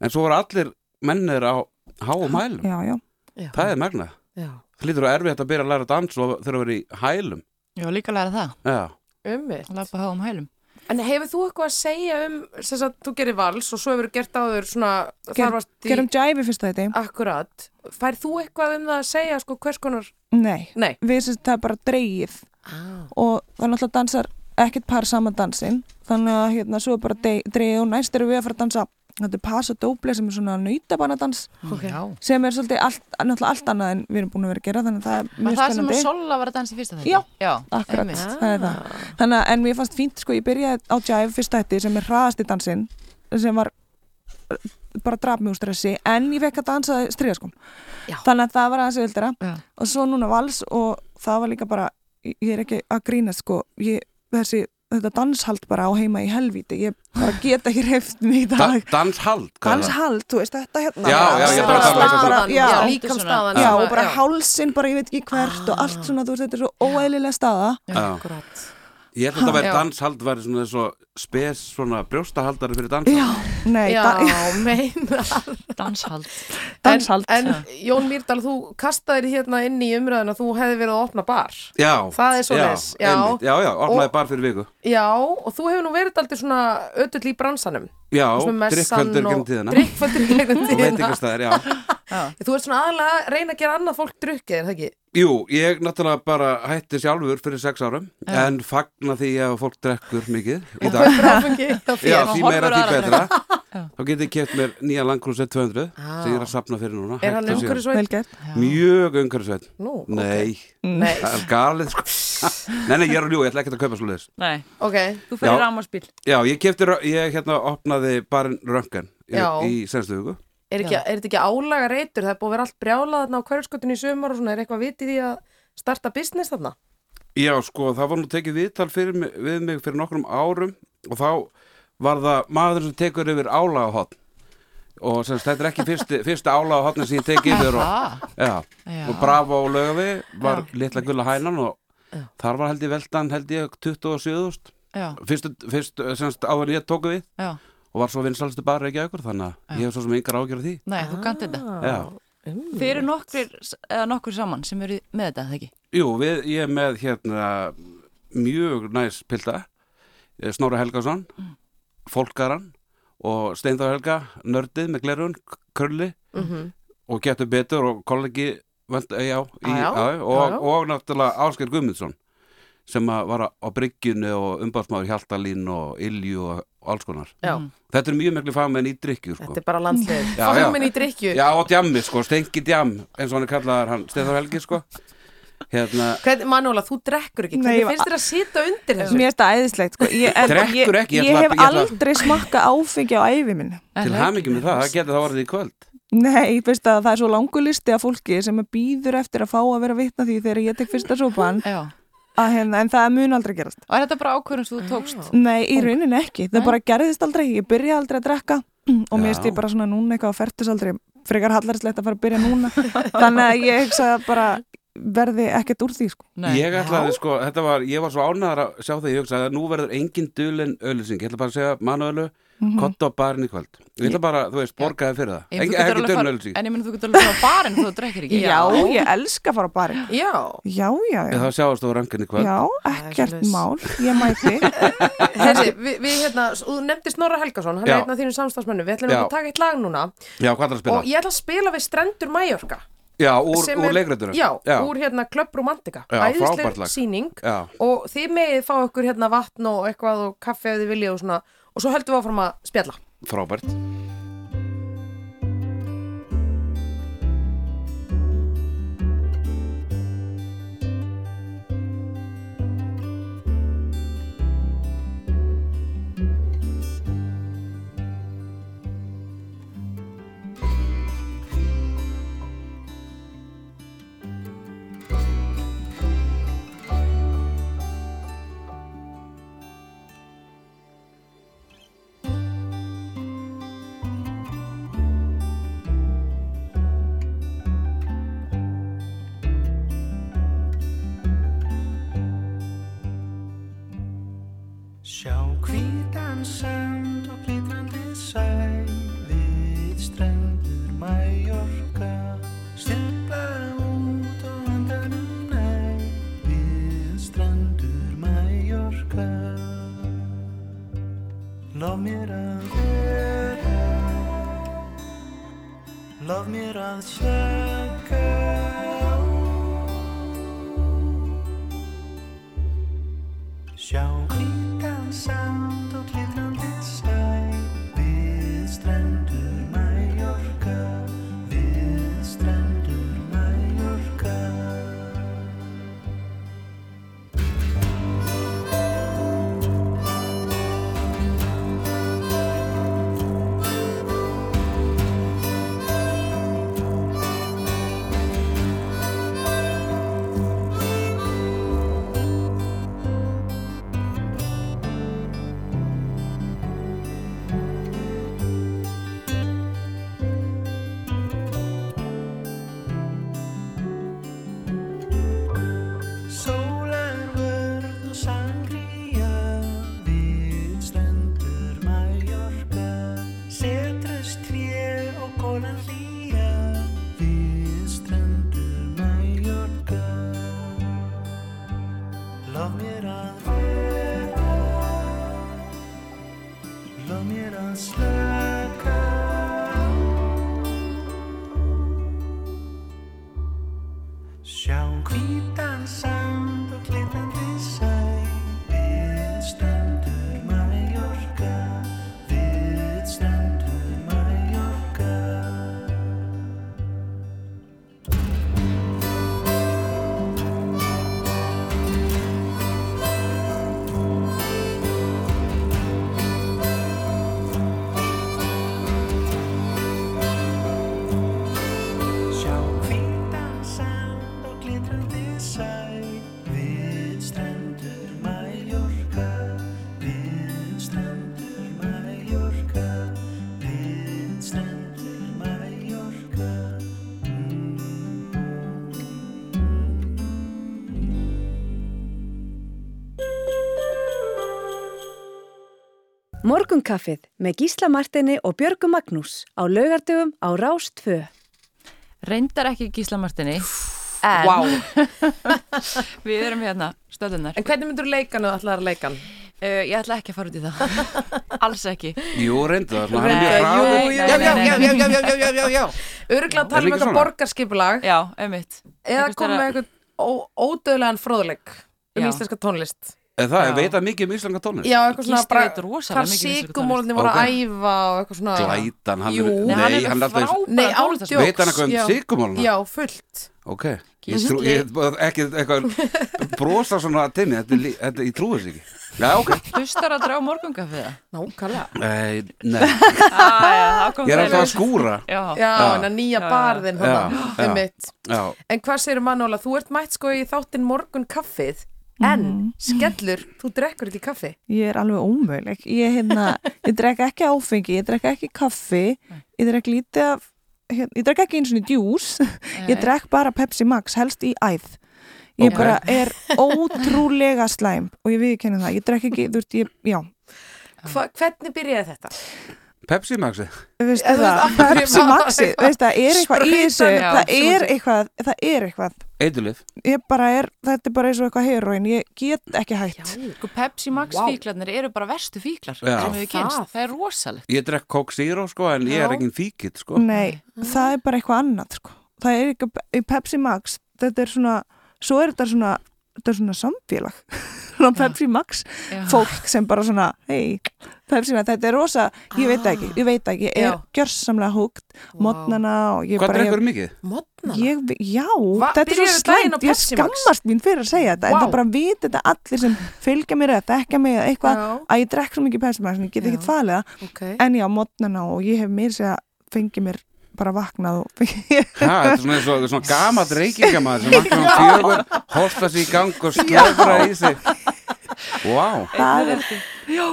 En svo voru allir mennir á háum hælum
Já, já
Já,
Það er magnað
já.
Það lítur að erfitt að byrja að læra dans og þurfa að vera í hælum
Já, líka að læra það.
Já,
Ummitt.
Að lappa háum hælum.
En hefur þú eitthvað að segja um sem sagt, þú gerir vals og svo hefur gert áður svona
Ger-
þarfast í
Gerum jive fyrst þetta
akkurat færð þú eitthvað um það að segja sko hvers konar
Nei
Nei.
Við sem það er bara dreigið
ah.
og það náttúrulega dansar ekkert par sama dansinn þannig að hérna svo er bara de- dreigið og næst erum við að fara að dansa Þetta er Paso Doble sem er svona nautabannadans
okay.
Já.
sem er svolítið allt, náttúrulega allt annað en við erum búin að vera að gera þannig að það er
Var
mjög
það sem
spennandi
að Sola var að dansa í fyrsta þetta?
Já.
Já.
Akkurat,
einmitt.
það er það. Þannig að, en mér fannst fínt, sko, ég byrjaði á Jive fyrst ætti sem er hraðasti dansinn, sem var eh, bara draf mig úr stressi, en ég fekk að dansa stríða, sko.
Já.
Þannig að það var aðeins auðvildara.
Já.
Og svo núna vals og það var líka bara, ég er ekki að grína, sko, ég, þessi, þetta danshald bara á heima í helvíti, ég bara get ekki reyft mig í
da
dag.
danshald hvað er það?
Danshald, þú veist, þetta hérna.
Já, já, ég er bara að tala um þessa-
Bara-
já,
já.
líkamstaðan
Já,
sem að-
og bara hálsin, bara ég veit ekki hvert og allt svona, þú veist, þetta er svo óæðilega staða.
Já.
akkurat
Ég held að þetta væri
Já.
danshald væri svona þess og spes svona brjóstahaldari fyrir danshald
Já, nei,
Já,
da,
meina
Danshald.
danshald.
En, en Jón Mýrdal, þú kastaðir hérna inn í umræðuna þú hefði verið að opna bar
Já,
Það er svoleiðis,
Já,
já.
einmitt. já, já opnaði
Og-
bara fyrir viku
Já, og þú hefur nú verið aldrei svona öll í bransanum
Já,
Svona messan
drikkföldur
og-
genn tíðina
Drikkföldur gegnum
Og veit
tíðina
ekki staðar, já
Þú ert svona aðalega að reyna að gera annað fólk drukkið, er það ekki?
Jú, ég náttúrulega bara hætti sjálfur fyrir sex árum En fagna því að fólk drekkur mikið í dag
Ráfengi hjá
Já,
þér
horfir
því
á
meira því
aðra
betra Þá get ég keft mér nýja langkrúset 200 sem ég er að sapna fyrir núna
Er hann
hægt og síðan.
umhverfisveit?
Vel gert.
Mjög umhverfisveit
Nú, ok.
Nei,
Nei,
það er galið sko Nei, nei, ég er að ljú, ég ætla ekkert að kaupa svo
Nei,
ok
þú
Já.
fyrir rámarspil.
Já, ég kefti, ég hérna opnaði barinn Röngan í,
Já.
í senstu hugu
Er, ekki, er þetta ekki álaga reytur? Það er búið að vera allt brjálað þarna á hverjarskotinu í sumar og svona er eitthvað vitið í því að starta business þarna?
Já, sko, það var nú tekið viðtal fyrir, mig- við mig fyrir nokkrum árum og þá var það maður sem tekur yfir álagahotn og sem sagt, þetta er ekki fyrsti, fyrsta álagahotn sem ég tek yfir og, já,
Já.
og bravo og lögafi var litla gulla hænan og þar var held ég veldan held ég 27.000
Já,
fyrst, fyrst semst, áður en ég tóku við
já.
og var svo vinsalstu bara ekki aukur þannig að ég hef svo sem yngar ágjörð því
Nei, þú kannt
Ah,
þetta.
Já,
Þið eru nokkur, eða nokkur saman sem eru með þetta, það ekki?
jú, við, ég er með hérna mjög næs pilda eh, Snorri Helgason
Mm.
Fólkaran og Steindar Helga, nördið með glerun Körli
Mhm.
og getur betur og kollegi vönd, já, í,
Já, já,
og,
já, já.
og náttúrulega Ásker Guðmundsson sem að var á- á bryggjunni og umbásmáður Hjaltalín og Ilju og alls konar.
Já.
Þetta er mjög miklu fagmenn í drikju, sko.
Þetta er bara landslið.
Já, já.
Fagmenn í drikju.
Já, og djammi, sko, stengi djam, eins og hann er kallaðar hann, Stefán Helgi, sko. Hérna,
Hvernig, Manúla, þú drekkur ekki.
Nei,
Hvernig
ég var-
finnst þér að sita undir þessu?
Mér er þetta æðislegt sko. ég, en
Drekkur
ég,
ekki, ég
ég,
ætla-
hef
ég ætla-
aldrei smakka áfengi á ævi minni
til hamingjum með það, það getur það orðið í kvöld.
Nei, veist að það er svo langur listi af fólki sem býður eftir að fá að vera vitna því þegar ég tek fyrsta sopan
Já.
að hérna, en það mun aldrei gerast
Og er þetta bara ákvörðum sem þú tókst?
Nei, í rauninni ekki, það bara gerðist aldrei ég byrja aldrei að drekka og
Já.
mér stið bara svona núna eitthvað á fertusaldri frekar hallarslegt að fara að byrja núna þannig að ég hugsa að bara verði ekkert úr því sko.
Nei.
Ég ætlaði, sko, þetta var, ég var svo ánæðar að sjá það, ég hugsaði að nú verður engin dulin öllusing, ég ætla bara að segja manuölu, kotta og barinn í kvöld. Ég ætla bara, þú veist, borgaði fyrir það.
Ég- þú
Engin,
getur
ekki
alveg
dulin
fara-
öllusing.
En ég menn þú getur alveg að fara á barinn þú drekkir ekki.
Já, ég elska að fara á barinn
Já.
Já, já, já,
Það sjáast þú á ranginni í kvöld.
já, ekkert mál ég mæti
Herri, við, við hérna, þú nefndist Norra Helgason, hann
Já.
er einn af þínum samstafsmönnum. Við ætlum
Já.
að taka eitt lag núna
Já, hvað er að spila?
og ég ætla að spila við Strendur Mæjorka.
Já, úr,
sem
úr
er-
leikrættunum.
Já, úr hérna Club Romantica.
Já, frábært
Æðisleg
lag.
síning
Já.
og þið megið fá okkur hérna vatn og eitthvað og kaffe ef þið viljið og svona og svo höldum við áfram að spjalla.
Frábært.
Sjá hvítan sand og glitrandi sæ við strendur Mallorca Stilblar út og andanum næ við strendur Mallorca Lof mér að vera Lof mér að slaka á Sjá hvítan sand og glitrandi sæ Við strendur Mallorca Við strendur Mallorca Sólar vörn og sangría Við strendur Mallorca Setrust tré og konan hlýja Við strendur Mallorca Lof mér að vera Lof mér að slaka Sjá hvítan sand og glitrandi sæ Við strendur Mallorca Við strendur Mallorca Sjá hvítan sand og glitrandi sæ Við strendur Mallorca Við strendur Mallorca Við strendur Mallorca Mm.
Morgunkaffið með Gísla Martini og Björgu Magnús á laugardöfum á Rás 2.
Reyndar ekki Gísla Martini. En
Vá.
við erum hérna, stöðunar.
En hvernig myndur leikan og allar leikan?
Uh, ég ætla ekki að fara út í það. Alls ekki.
Jú, reyndu það, svona hann er mjög
Nei,
hraður.
jú, jú,
Já,
nei,
já,
nei,
já,
nei.
já, já, já, já, já, já. Öruglega
Er
tala um
líka
eitthvað
svona?
borgarskipulag
Já, einmitt.
eða
Einhvers
koma með
staðar-
eitthvað ó- ódauðlegan fróðleik. um
Já.
íslenska tónlist
En það,
Já.
veit það mikið um íslenga tónlist?
Já, eitthvað svona
Gísli veit rosalega
hvar
mikið um íslenska
sigumólni voru
tónlist.
að æfa og eitthvað svona
Glætan, hann
Jú.
er,
Nei,
nei,
hann er
hann er, alltaf eins
Nei, án
tónlistarfólk.
djóks
Veit hann eitthvað um
já.
sykumálana?
Já, fullt
Ok, ég, trú, ég ekki eitthvað brosa svona að tenni, þetta, er lí- þetta, ég trúi þess ekki Já, ok,
Hlustar að drá morgungafiða?
Nákvæmlega
nei, nei
Ah,
Ég er alltaf að skúra
Já,
Já,
Já.
en að nýja
Já, já.
barðin
Já,
hana,
já.
einmitt.
Já,
En hvað segir Manóla, þú ert mætt sko í þáttinn morgun kaffið En,
Mhm.
skellur, þú drekkur ekki kaffi
Ég er alveg ómöguleg. Ég, hérna, ég drek ekki áfengi, ég drek ekki kaffi, ég drek lítið af, hérna, ég drek ekki eins og djús, ég drek bara Pepsi Max, helst í æð. Ég
Ok.
bara er ótrúlega slæm og ég viðkenni það. Ég drek ekki, þú veist, ég, já,
Hva, Hvernig byrjaði þetta?
Pepsi Maxi
veistu
af
það,
hverju
Pepsi
var
Maxi,
eitthvað-
veistu það, er eitthvað í þessu,
Sprautan, já,
það er
sjúkur.
eitthvað, það er eitthvað.
Eitulif
Ég bara er, þetta er bara eins og eitthvað heroin, ég get ekki hægt.
Sko Pepsi Max
Vá.
fíklarnir eru bara verstu fíklar
Já.
sem við
Það.
kynst, það er rosalegt
Ég drekk Coke Zero sko en ég
Já.
er engin fíkitt sko
Nei, það er bara eitthvað annað sko. Það er ekki, í Pepsi Max þetta er svona, svo er þetta svona þetta er svona samfélag svona Pepsi Max
Já.
fólk sem bara svona, hei, Pepsi Max þetta er rosa, ég veit það ekki, ég veit það ekki ég er
Já.
gjörsamlega húgt, modnana og ég
Hvað
bara,
drekkur
ég,
mikið?
Modnana?
ég, já
Va-
þetta er svo
byrjaðu daginn á
slæmt, ég
Pepsi Max?
skammast mín fyrir að segja þetta,
Vá.
en það bara vit þetta allir sem fylgja mér eða þekka mig eða eitthvað,
Já.
að ég drekk svo mikið Pepsi Max en ég get
Já.
ekkert falið það
Okay.
En já, mótnana og ég hef mér sér að fengi mér bara vaknað og
Ha, þetta er svona, svona, svona gamað reykingamaður sem vantum um fjögur, hosta sér í gang og slöfra í sig Vá,
það er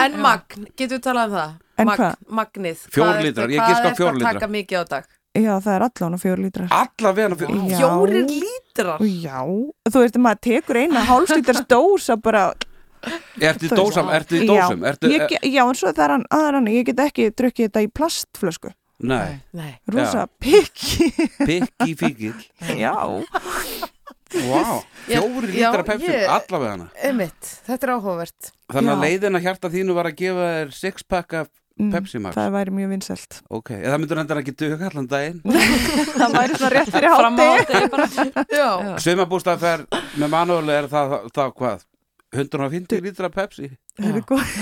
En magn, getur við talað um það?
En
magn,
hvað?
Magnið
Fjór
Hvað ertu-
lítrar, ég giska á fjór
Hvað er
lítra.
að taka mikið á dag?
já, það er allan og fjóri lítrar
alla vegna fyrir
Já.
Fjórir lítrar?
Og Já, þú veist, maður tekur eina hálslítars dósa bara
Ertu
þú
í
veist.
dósam, ertu í dósum
Já,
ertu,
ég, ge- já en svo það er hann, það er hann ég get ekki drukkið þetta í plastflösku
Nei,
Nei
rosa pikki
pikki fíkill
já,
Vá, fjóri
Já,
lítra pepsi,
ég-
alla vegna
Einmitt, þetta er áhugavert
Þannig að
Já.
leiðin að hjarta þínu var að gefa þér six pack af Pepsi Max
það væri mjög vinsælt
Ok, eða það myndur endur ekki duga allan daginn
það væri svona rétt fyrir
Fram á
hátti
þetta er bara
Já,
Sveimabústaðferð með manúlega er það, það, það hvað 150 lítra Pepsi
það er góð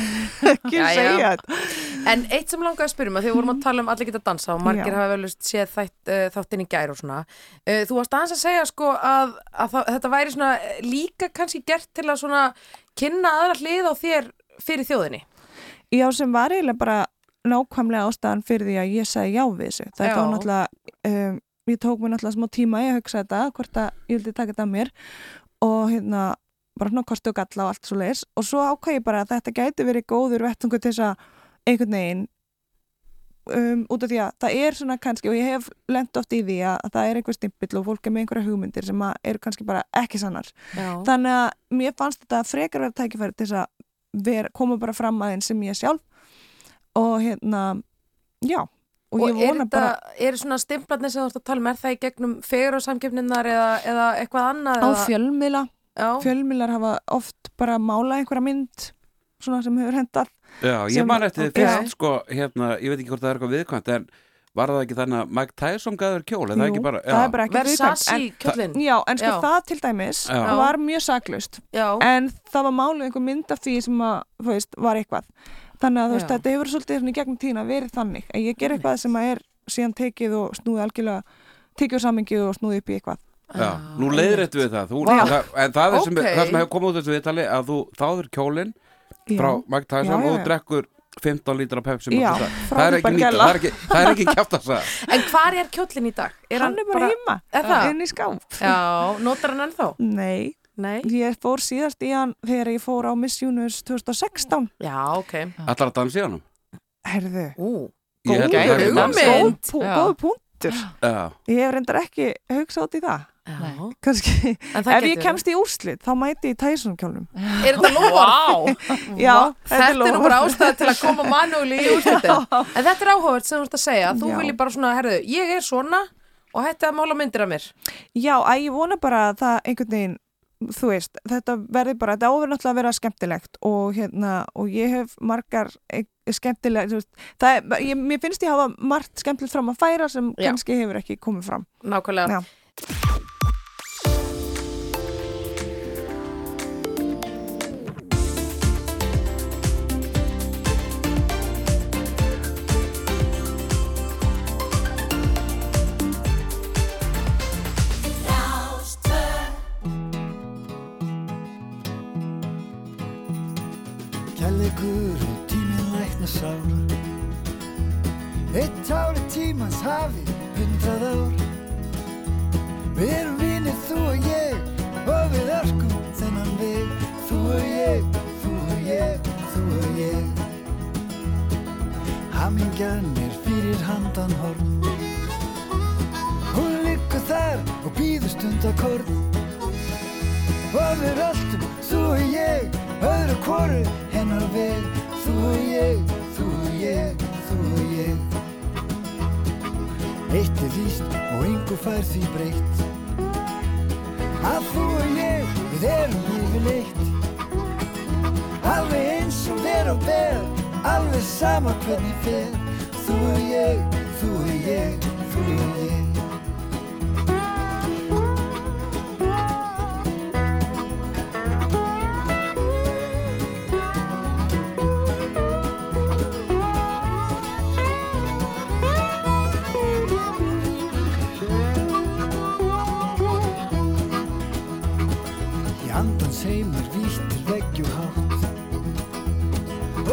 ekki
Já, já.
segja þetta
en eitt sem langaði að spyrja mig, þegar við vorum að tala um allir geta dansa og margir
Já.
hafa vel séð þætt, uh, þáttinn í gær og svona uh, Þú varst aðeins að segja sko að, að það, þetta væri svona eh, líka kannski gert til að svona kynna aðra hlið á þér fyrir þjóðinni
Já, sem var eiginlega bara nákvæmlega ástæðan fyrir því að ég sagði já við þessu. Það
Já.
er þá náttúrulega, um, ég tók mér náttúrulega smá tíma í að hugsa þetta, hvort að ég vildi taka þetta að mér og hérna bara svona kosti og galla og allt svo leis og svo ákvæði ég bara að þetta gæti verið góður vettungu til þess að einhvern veginn um, út af því að það er svona kannski og ég hef lent oft í því að, að það er einhver stimpill og fólk er með einhverja hugmyndir sem að eru kannski bara ekki sannar
Já,
þannig að mér fannst þetta frekar verið tækifæri til þess að vera, koma bara fram aðeins sem ég er sjálf og hérna, já og, ég
er
vona bara
er svona stimplarnir sem þú ert að tala um, er það í gegnum fegur á samkeppninnar eða, eða eitthvað annað?
á
eða-
fjölmiðla
Já.
fjölmiðlar hafa oft bara málað einhverja mynd svona sem hefur hendað
Já, ég
Sem-
man eftir því
Já.
fyrst sko, hérna, ég veit ekki hvort það er eitthvað viðkvæmt en var það ekki þannig að Mike Tyson gaður kjól, er það ekki bara, já,
það er bara ekki viðkvæmt en,
Versace kjöllin
já, en sko
Já.
það til dæmis
Já.
var mjög saklaust
Já,
en það var málið einhver mynd af því sem að, þú veist, var eitthvað þannig að þú veist,
Já.
þetta hefur svolítið svona í gegnum tína verið þannig að ég ger eitthvað sem að er síðan tekið og snúið algjörlega tekið úr samingi og snúið upp í eitthvað
já, nú leiðir þetta við það, þú,
Vá.
það en það, er sem,
Ok.
það sem hefur komið út þessu viðtali að þú þáður kjólinn
Já.
frá Mike
Já,
Tyson
já,
og
já.
þú drekkur 15 lítra Pepsi Max
Já,
í dag.
frá
það er
því
ekki
bara
nýtt,
gæla.
það er ekki, það er ekki kjátt að sagða
en hvar er kjöllin í dag? Er
hann er bara,
Er
heima,
það?
inn í skáp
Já, notar hann ennþá?
Nei,
Nei
ég fór síðast í hann þegar ég fór á Miss Universe 2016
Já, ok
Allar að dansa í honum
Herðu,
Ú,
Ég held að
Góð
það er
hugmynd.
dansa.
góð
Mynd.
pú-
Já.
góður punktur
Já,
Ég hef reyndar ekki hugsað út í það
já
Nei.
Kanski,
En það
ef ég
getur
kemst í úrslit þá mæti ég í Tyson kjólnum
Er þetta lofar?
Vá,
Já,
Þetta er nú
loforð.
bara ástæða til að koma manúli í úrslutin En þetta er áhugavert sem þú ert að segja Þú
Já.
vilji bara svona, herðu, ég er svona og hætti að mála myndir af mér
Já, að ég vona bara að það einhvern veginn, þú veist, þetta verði bara, þetta áverður náttúrulega að vera skemmtilegt og hérna, og ég hef margar e- skemmtilegt, þú veist, það er, ég, mér finnst ég hafa margt skemmtilegt fram að færa sem
Já.
kannski hefur ekki komið fram.
Nákvæmlega
Já.
tekur og tíminn lækna sár Eitt ári tímans hafi hundrað ár Við erum vinir þú og ég og við örkum þennan veg Þú og ég, þú og ég, þú og ég Hamingjan er fyrir handan horn Hún liggur þar og býður stundakorn Og við röltum, þú og ég, öðru hvoru hennar veg Þú og ég, þú og ég, þú og ég Eitt er víst og engu fær því breytt Að þú og ég, við erum yfirleitt Alveg eins og ver og ber, alveg sama hvernig fer Þú og ég, þú og ég, þú og ég Í andans heimur vítt til veggju hátt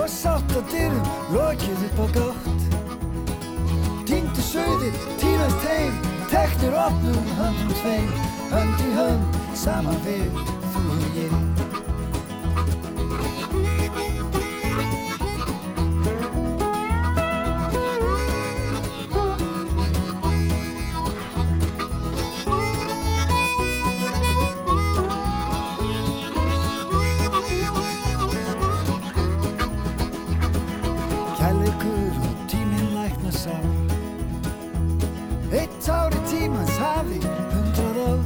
Og sátt að dyrum lokið upp á gátt Týndu sauðir, týnast heim Teknir opnum höndum tveim Hönd í hönd, saman við þú og ég Kærleikur og tíminn lækna sár Eitt ári tímans hafi hundrað ár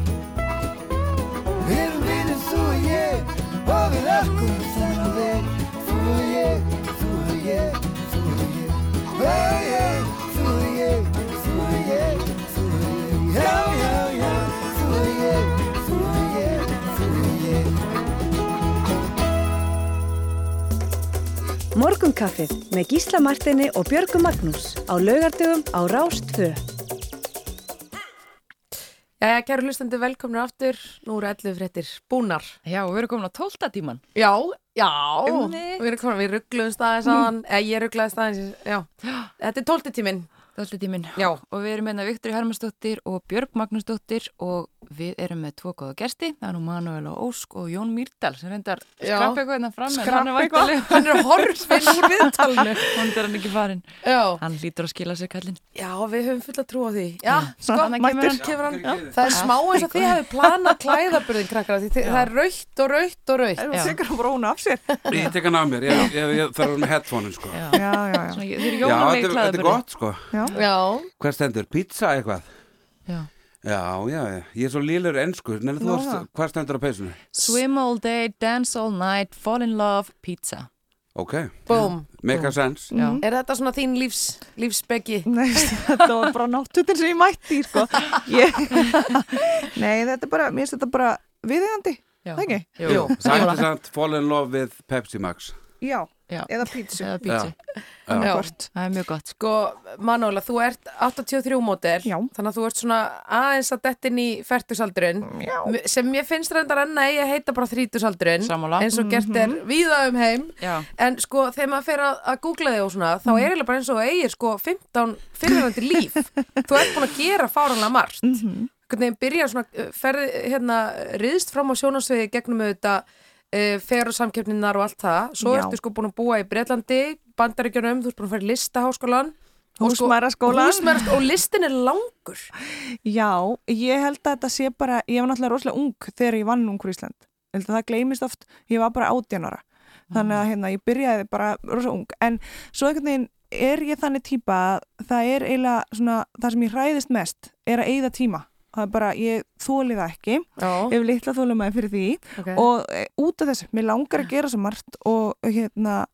Við erum vinir þú og ég Og við öllum þennan veg Þú og ég, þú og ég, þú og ég Já, já, þú og ég, þú og ég, þú og ég Já, já, já, þú og ég, þú og ég, þú og ég
Morgunkaffið með Gísla Martini og Björgu Magnús á laugardögum á Rástfö.
Jæja, kæru hlustandi, velkomnir aftur. Nú eru 11 fréttir búnar.
Já, við erum komin á 12. tíman.
Já, já.
Einmitt. Mm.
Við erum komin, við ruggluðum staðið saman, eða ég rugglaði staðið, já. Þetta er 12. tíminn.
12. tímin. Já. Og við erum meina Viktor Hermannsdóttir og Björg Magnúsdóttir og við erum með tvo góða gesti. Það er nú Manuel og Ósk og Jón Mýrdal sem reyndar
Já.
skrappa eitthvað hérna fram. en
Skrappa
hann er
eitthvað.
væntanlega-
Hann er horfinn úr viðtalinu.
Hún er hann ekki farin.
Já.
Hann lítur að skila sér kallinn.
Já, við höfum fulla trú á því. Já, sko,
Þannig kemur hann.
kemur hann.
Já.
Það er smá eins og því hefur planað klæðaburðin krakkar, því þið-
Já.
það er raukt og raukt og raukt.
Ef hún tekur hann bara óna af sér.
Ég tek hann af mér, ég, ég, ég þarf að vera með headphone sko. Já,
Já, já, já.
Svona, þið eru
þetta
jólalegi
er, þetta er
klæðaburður.
gott sko
Já.
Já.
Hvað stendur, pizza eitthvað?
Já.
Já, já, já. ég er svo lýlur ennsku Nefnir þú,
Nú,
varst-
það.
hvað stendur á peysunni?
Swim all day, dance all night, fall in love, pizza.
Ok,
Búm.
make a sense
Já.
Mhm. Er þetta svona þín lífs, lífsbeggi?
Nei, þetta var bara náttutin sem ég mætti, í, sko. Ég... Nei, þetta er bara, mér finnst þetta bara viðeigandi,
Já.
það ekki?
Jú.
Sætti samt fall in love with Pepsi Max
Já,
Já.
eða pítsu.
Eða pizza.
Já.
Já.
Það er mjög gott.
Sko, Manóla, þú ert 83 mótel,
Já.
þannig að þú ert svona aðeins að dettin í fertusaldurinn,
Já.
sem ég finnst reyndar enn að ég heita bara þrítusaldurinn,
Sammála.
eins og
Mhm.
gert er víða um heim,
Já.
en sko, þegar maður fer að, að googla þig og svona,
Mm.
þá er eiginlega bara eins og þú eigir sko 15 fyrirvændi líf, þú ert búin að gera fáranlega margt,
Mhm.
hvernig þeim byrja svona, uh, ferði, hérna, riðst fram á sjónasviði gegnum auðvitað, uh, fer og samkeppninar og allt það, svo
Já.
ertu sko búin að búa í Breitlandi, Bandaríkjunum, þú ert búin að fara í listaháskólan, Og sko-
Húsmæðraskólan.
Húsmæðraskólan og listin er langur
Já, ég held að þetta sé bara, ég var náttúrulega rosalega ung þegar ég vann ungur Ísland. Ég held að það gleymist oft, ég var bara 18 ára. Þannig
Mm.
að hérna, ég byrjaði bara rosalega ung. En svo einhvern veginn er ég þannig típa að það er eiginlega svona, það sem ég hræðist mest er að eigða tíma. Það er bara, ég þóli það ekki. Ég
Já,
hef litla þólumæði fyrir því.
okay.
og e, út af þessu, mér langar að gera svo margt og hérna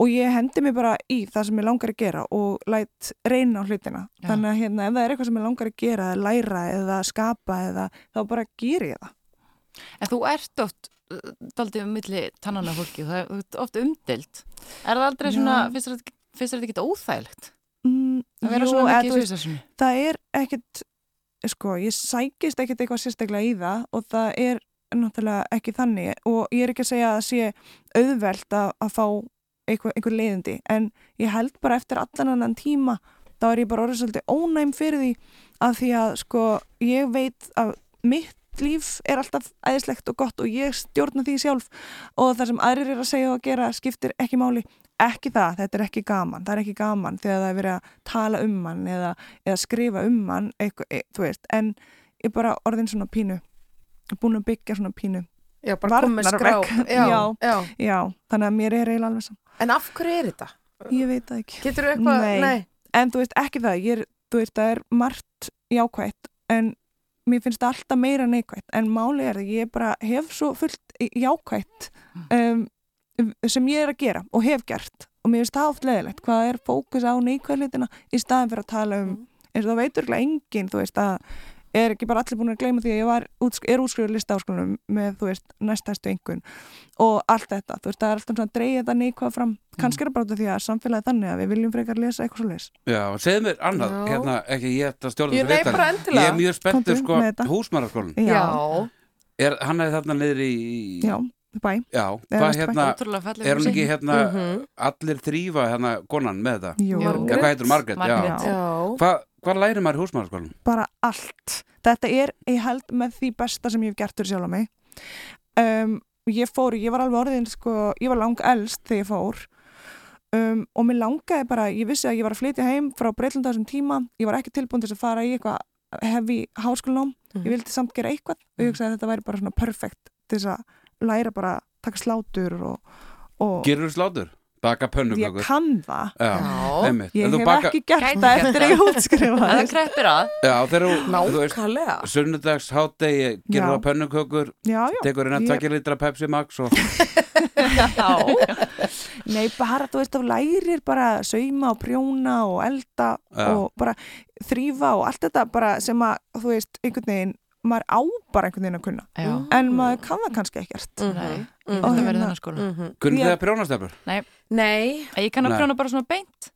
og ég hendi mér bara í það sem ég langar að gera og læt reyna á hlutina
Já.
þannig að hérna, ef það er eitthvað sem ég langar að gera eða læra eða skapa eða þá bara ger ég það
En þú ert oft daldið um milli tannana fólki og það er þú ert oft umdilt. Er það aldrei
Já.
svona, finnst þér þetta ekki- finnst þér þetta ekki óþægilegt?
mm,
Það vera
jú,
svona
eða
mikið
þú
í
veist,
sviðsessinu.
það er ekkit sko, ég sækist ekkit eitthvað sérstaklega í það og það er náttúrulega ekki þannig og ég er ekki að segja að það sé auðvelt að, að fá einhver, einhver leiðindi en ég held bara eftir allan annan tíma þá er ég bara orðið svolítið ónæm fyrir því að því að sko ég veit að mitt líf er alltaf æðislegt og gott og ég stjórna því sjálf og það sem aðrir er að segja og gera skiptir ekki máli ekki það, þetta er ekki gaman, það er ekki gaman þegar það er verið að tala um mann eða, eða skrifa um mann eitthvað, e, þú veist, en ég er bara orðin svona pínu búin að byggja svona pínu
Já, bara komið með skrá.
varnarvegg.
Já,
já,
já.
þannig að mér er eiginlega alveg saman
En af hverju er þetta?
Ég veit það ekki.
Getur þú eitthvað?
Nei.
Nei.
En þú veist ekki það, ég er, þú veist, það er margt jákvætt en mér finnst það alltaf meira neikvætt en málið er að ég bara hef svo fullt jákvætt um, sem ég er að gera og hef gert og mér finnst það oft leðilegt hvað það er fókus á neikvæðlitina í staðin fyrir að tala
Mm.
um eins og það veitur ekki enginn, þú veist, að er ekki bara allir búin að gleyma því að ég var, útsk er útskrifur listaháskólanum með, þú veist, næstæstu einhvern og allt þetta, þú veist, það er alltaf svona að dreigja þetta neikvæða fram, kannski er það bara út af því að samfélagið þannig að við viljum frekar lesa eitthvað svo leis
Já, segðu mér annað,
Já.
hérna, ekki ég ætla að stjórna
Jú,
þessu
nei,
viðtali.
bara endilega.
Ég er mjög
Komdu
spenntur sko
með þetta.
húsmaraskólan er, Hann er þarna niður í
Já, bæ
Já,
Eða
hvað
vesturbæ.
hérna,
Ótrúlega falleg
er hún
húsi.
ekki hérna
Mhm.
allir þrýfa hérna konan með þetta?
Jú.
Eða
Margrét.
Hvað heitir Margrét?
Margrét.
Já.
Já.
Hvað hva lærir maður í húsmaraskólan?
bara allt þetta er, ég held, með því besta sem ég hef gert fyrir sjálf á mig um, ég fór, ég var alveg orðin sko, ég var lang elst þegar ég fór um, og mér langaði bara ég vissi að ég var að flytja heim frá Breitlanda á þessum tíma, ég var ekki tilbúin til þess að fara í eitthvað hefi háskólanám
Mhm.
ég vildi samt gera eitthvað og ég hugsaði að þetta væri bara svona perfekt til þess að læra bara að taka slátur og, og
Gerur þú slátur? Baka
ég
pönnukökur?
kann það
Já, einmitt.
ég
En þú
hef
baka-
ekki gert það eftir að ég útskrifa
Það kreppir að
Já, þegar þú, þú veist,
Nákvæmlega.
sunnudags hátegi, gerur
Já.
það pönnukökur,
Já, já.
tekur hérna
Ég-
2 litra Pepsi Max og
Nei, bara, þú veist, þá lærir bara að sauma og prjóna og elda
Já.
og bara þrýfa og allt þetta bara sem að, þú veist, einhvern veginn maður á bara einhvern veginn að kunna
Já. Mm.
en maður kann það kannski ekkert
Mhm.
hérna
Nei, ég vil það verið þannig skóla
Kunnið þið að prjónastöflur?
Nei.
Nei
Ég kann að
Mhm. Nei.
prjóna bara svona beint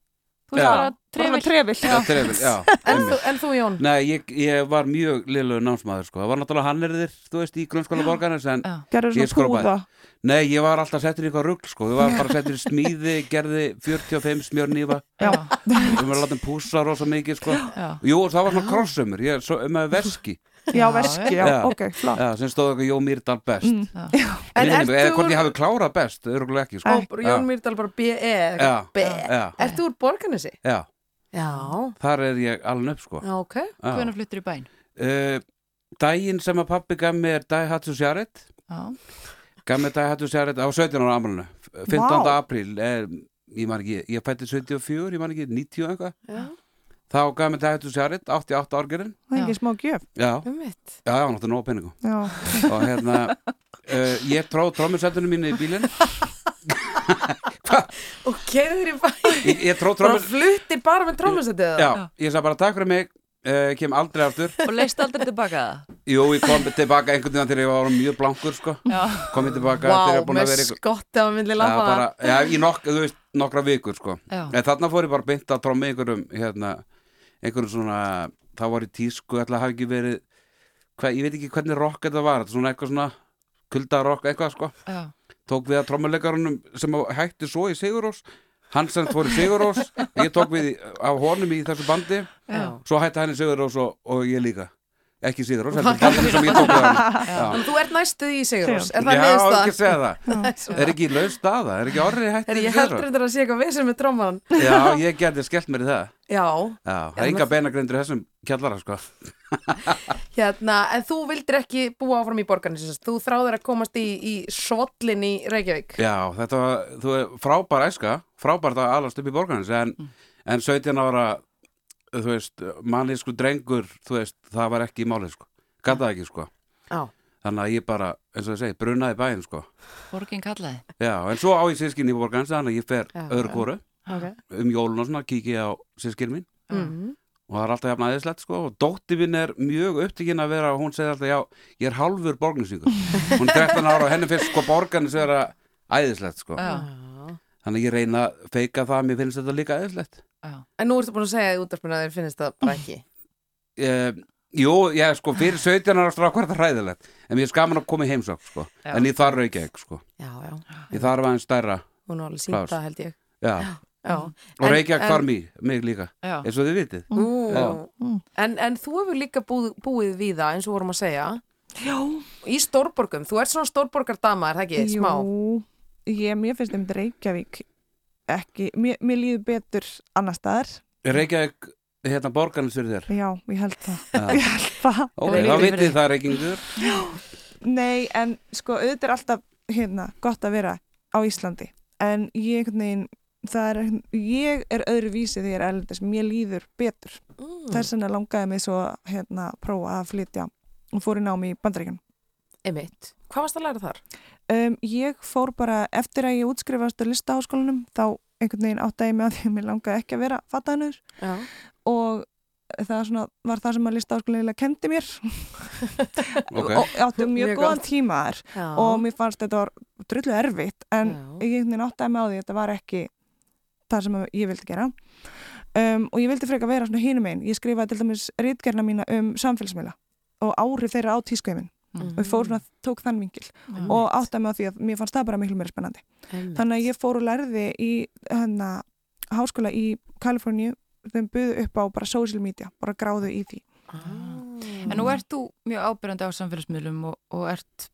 Þú
Já.
veist bara
Bara svona
trefil
trefil.
Já, trefil, já,
En þú, en þú Jón?
Nei, ég, ég var mjög liðlegu námsmaður sko. Það var náttúrulega hannirðir, þú veist, í grunnskóla borgarnes en
Gerðirðu svona
ég skrópaði.
púða?
Nei, ég var alltaf settur í eitthvað rugl sko. Ég var bara settur í smíði, gerði 45 smjörnýfa
Já.
Við varum að láta um púsa rosa mikið sko.
Já.
Jú, og það var svona krossumur Ég svo, um að veski
Já, veski, já, ok, flott.
Já, sem stóð eitthvað Jó Mýrdal best
Mm.
En
Minnir
ert
mig, Eða
þú-
hvort ég hafi klárað best, örugglega ekki sko.
Og Jón Mýrdal bara B.E.
Já,
eða eitthvað, B.E.
já.
Ert þú úr Borgarnesi?
Já,
Já.
þar er ég alveg upp sko.
Já, ok.
Já.
Hvernig fluttir í bæn?
uh, daginn sem að pappi gaf mér Daihatsu Sjarit
Já.
gaf mér Daihatsu Sjarit á 17 ára amrunu 15.
Vá.
apríl eh, ég man ekki, ég fætti 74, ég man ekki 90 og eitthvað,
Já.
þá gaf mér Daihatsu Sjarit 88 árgerinn
það er ekki smá gjöf
já,
Einmitt.
já, já, náttúrulega nóg penningu
Já.
og hérna uh, ég tróð trómmursættunum mínu í bílinn
Og gerður í bæ.
ég, ég tróð
Bara
trómmursættunum
fluttir bara með trómmursættið
já, ég sagði bara takk fyrir mig uh, kem aldrei aftur
Og leist aldrei tilbaka það?
Jú, ég kom tilbaka einhvern veginn þegar ég var mjög blankur sko.
Já.
kom ég tilbaka þegar
Vá,
ég búin að
með
vera einhver-
skottið á myndli
Já,
lafa.
bara, já, í nokk, þú veist, nokkra vikur sko.
Já.
en þarna fór ég bara beint að trómi einhverjum hérna, einhverjum svona þá var ég tísku, ætla að hafa ekki verið hva, ég veit ekki hvernig rokk þetta var þetta er svona eitthvað svona kuldarokk eitthvað sko,
Já.
tók við að trómuleikarunum sem að hætti svo í Sigurós hann sem fór í Sigurós ég tók við í- af honum í þessu bandi
Já.
svo hætti hann í Sigurós og, og ég líka ekki Sigurós, heldur bandinu sem ég tók við hann
Þannig að þú ert næstuð í Sigurós.
Já,
Er það
ég
niðurstaðan?
ekki að segja það Er ekki laus staða, er ekki orðið hættið
Er ég heldur þetta að sé eitthvað vesen með tróman?
Já, ég geti skellt mér í það
Já,
Já, það
Já,
er enga beinagrindur í þessum kjallara sko
hérna, en þú vildir ekki búa áfram í borgarni, þú þráður að komast í, í svollin í Reykjavík.
Já, þetta var, þú er frábær æska frábært að alast upp í borgarins en,
Mm.
en 17 ára þú veist, mannisku drengur þú veist, það var ekki í málið sko Gataði ekki sko
Já.
Þannig að ég bara, eins og ég segi, brunaði bæinn sko
Borgin kallaði
Já, en svo á ég sískinni í borgarins þannig að ég fer
Já,
öðru
já.
kóru
Ok.
um jólun og svona, kíki á sískinn mín
Mhm.
og það er alltaf jafn aðeinslegt sko og dótti minn er mjög upptíkin að vera hún segir alltaf já, ég er hálfur borgnisingur hún er 13 ára og henni finnst sko borgarnis vera æðislegt sko
Já.
þannig að ég reyna að feika það að mér finnst þetta líka æðislegt
En nú ertu búin að segja í útarpinu að þér finnst það bara ekki.
um, Jú, ég sko fyrir 17 ára strákvar þetta hræðilegt en mér er skaman að koma í heimsók sko
Já.
en ég þarf ekki ekki sko
Já, já.
ég þarf aðeins stærra
hún er alveg sínda
Klár.
held ég
Já.
Já.
Og
En-
Reykjavík
en-
farm í mig líka,
Já. Mm.
eins og þið vitið.
Ú,
Já.
en, en þú hefur líka búið, búið við það eins og vorum að segja Já Í stórborgum, þú ert svona stórborgardama er það ekki, smá
Jú, ég, mér finnst um Reykjavík ekki, mér, mér líður betur annar staðar,
Reykjavík, hérna borgarnir fyrir þér.
já, ég held það
Já.
ég held það
Ok, þá vitið það Reykjavíkur.
Nei, en sko auðvitað er alltaf hérna, gott að vera á Íslandi en ég, einhvern veginn, það er, ég er öðru vísi þegar ég er erlendis mér líður betur
mm.
þess vegna langaði mig svo hérna, að prófa að flytja og fór í námi í bandaríkjunum
Emitt, hvað varst að læra þar?
Um, ég fór bara eftir að ég útskrifast á listaháskólanum þá einhvern veginn áttaði ég mig að því að mér langaði ekki að vera fatanur
Já.
og það svona, var það sem að listaháskólan eiginlega kendi mér
Ok.
Sko.
og átti mjög,
Mjög
góðan
gott.
tíma þar
Já.
og mér fannst þetta var drullu erfitt en ég einhvern veginn áttaði mig á því að þetta var ekki það sem ég vildi gera um, og ég vildi frekar vera svona hínum einn ég skrifaði til dæmis rítgerna mína um samfélagsmiðla og áhrif þeirra á tískuðiminn og ég fór svona, tók þann vingil
Mhm. Einmitt.
og áttaði mig á því að mér fannst það bara miklu meira spennandi
Einmitt.
þannig að ég fór og lærði í hana, háskóla í Kaliforníu þeim buðu upp á bara social media bara gráðu í því
Mm.
En nú ert þú mjög ábyrjandi á samfélagsmiðlum og, og ert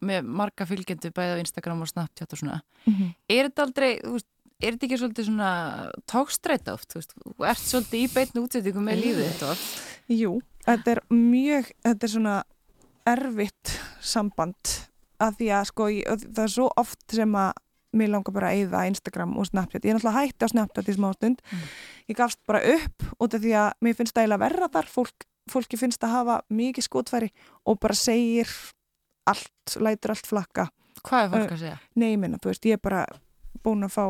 með marga fylgjendu bæði á Instagram og Snapchat og svona.
Mhm.
Er þetta aldrei, þú veist, er þetta ekki svolítið svona tókstrætt oft, þú veist, þú ert svolítið í beitni útsettingu með lífið þetta oft.
Jú, þetta er mjög, þetta er svona erfitt samband að því að sko, ég, það er svo oft sem að mér langar bara að eyða Instagram og Snapchat. Ég er náttúrulega hætti á Snapchat í smá stund.
Mm.
Ég gafst bara upp út af því að mér finnst það eiginlega verra þar. Fólk, fólki finnst að hafa mikið skotfæri og bara segir allt, lætur allt flakka.
Hvað er fólk að segja?
Nei, ég minna, þú veist, ég er bara búin að fá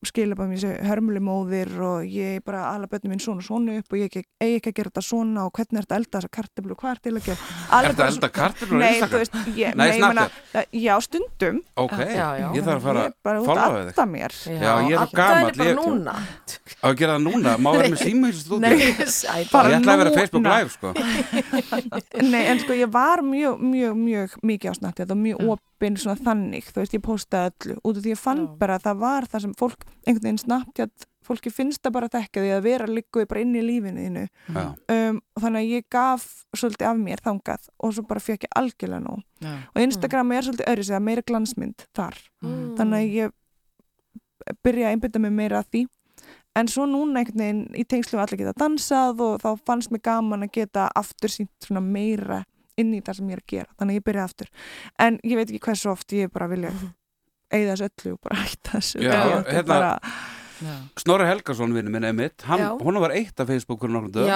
skilabæð mér þessu hörmulimóðir og ég er bara alla bönnum minn svona og svona upp og ég ekki- eigi ekki að gera þetta svona og hvernig er þetta elda þessa kartiblu, hvað er til að gera? Alveg
Ertu að
bara
elda
svona-
kartöflur á
Nei,
Instagram?
þú veist, ég,
Nei,
nei, ég meina,
Snapchat.
það- já, stundum
Ok, ég þarf að fara
Ég er bara
að
út að
followa þig.
adda mér.
Já, ég
Addaðu
er það gammal.
henni bara núna.
Á að gera það núna, má vera með síma í þessu stúdíu.
Nei,
Ég ætla að vera Facebook
núna.
live, sko.
Nei, en sko ég var mjög, mjög, mjög mikið á Snapchat og mjög opinn svona þannig, þú veist, ég postaði öllu út af því ég fann bara að það var það sem fólk, einhvern veginn Snapchat, fólki finnst það bara að þekka því að vera líkuði bara inn í lífinu þínu
Já.
um, og þannig að ég gaf svolítið af mér þangað og svo bara fekk ég algjörlega nóg
Já.
og Instagram er svolítið öðru sig að meira glansmynd þar þannig að ég byrja að einbytta mig meira að því en svo núna einhvern veginn í tengslu við allir geta dansað og þá fannst mér gaman að geta aftur sínt svona meira inn í það sem ég er að gera, þannig að ég byrja aftur en ég veit ekki hversu oft ég bara vilja eigða þessu öllu og bara hætta þessu
Já,
Þetta er
hérna,
bara,
Snorri Helgason, vinnu minn, emitt, hann,
Já.
hún var eitt af Facebookur nokkrum dögum.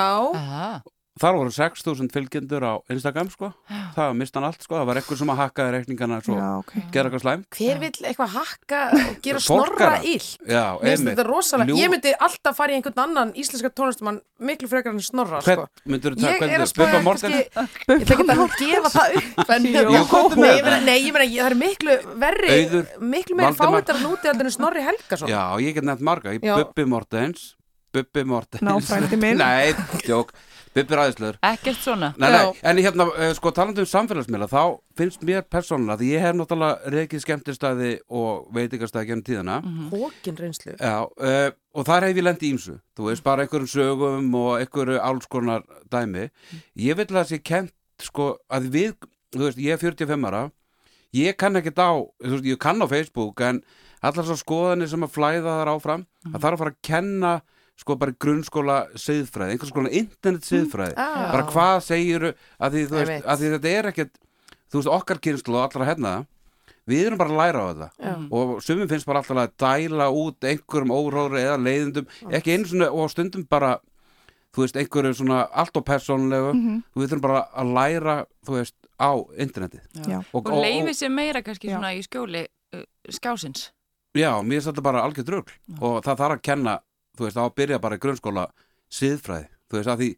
Já.
Þar voru 6.000 fylgjendur á Instagram, sko. Það mist hann allt, sko. Það var ekkur sem að hakkaði reikningana, svo
Já, ok.
gera eitthvað slæm.
Hver vill eitthvað hakka og gera snorra
Fólkara.
illt?
Já,
Mér finnst
einmitt.
þetta rosalega,
Ljú-
ég myndi alltaf fara í einhvern annan íslenska tónlistumann miklu frekar en snorra
Hvern
sko.
myndirðu taka-
Ég er
hvern myndirðu-
að spara
Bubba Morthens?
kannski, ég ætla ekki að gefa það upp en,
Jú, komdu
nei,
með
ég meina, nei, ég meina, ég- það er miklu verri
Auður,
miklu meiri
Valdimar.
fávitar núti heldur en snorri Helgason
Já, ég get nefnt marga. Ég-
Já.
Bubbi Mortens, Bubbi Mortens.
Ná, frændi minn.
Nei, tjók. Bubbi Ræðisleður.
Ekkert svona.
Nei, nei, en hérna, eh, sko, talandi um samfélagsmiðla þá finnst mér persónulega, því ég hef náttúrulega reikið skemmtistæði og veitingastæði genum tíðina
Mhm. hókin reynslu
Já, uh, og þar hef ég lendi ímsu þú veist, bara einhverjum sögum og einhverju alls konar dæmi ég vil að það sé kent, sko, að við þú veist, ég er 45 ára ég kann ekkert á, þú veist, ég kann á Facebook en allar svo skoðanir sem að flæða þar áfram, það þarf að fara að kenna sko bara í grunnskóla siðfræði, einhvers konar internet siðfræði
Já.
bara hvað segiru að því, þú veist,
Einmitt.
að því þetta er ekkert þú veist, okkar kynslu og allra hérna við erum bara að læra á þetta
Mm.
Já.
og sumum finnst bara alltaf að dæla út einhverjum óróðri eða leiðindum ekki einu svona og á stundum bara þú veist, einhverju svona allt og persónlegu
Mhm.
við þurfum bara að læra þú veist, á internetið
Já.
Og, og leifið sér meira kannski svona í skjóli uh, skjásins.
Já, mér finnst þetta bara algjör drögl og það þarf að kenna, þú veist, á að byrja bara í grunnskóla siðfræði, þú veist, að því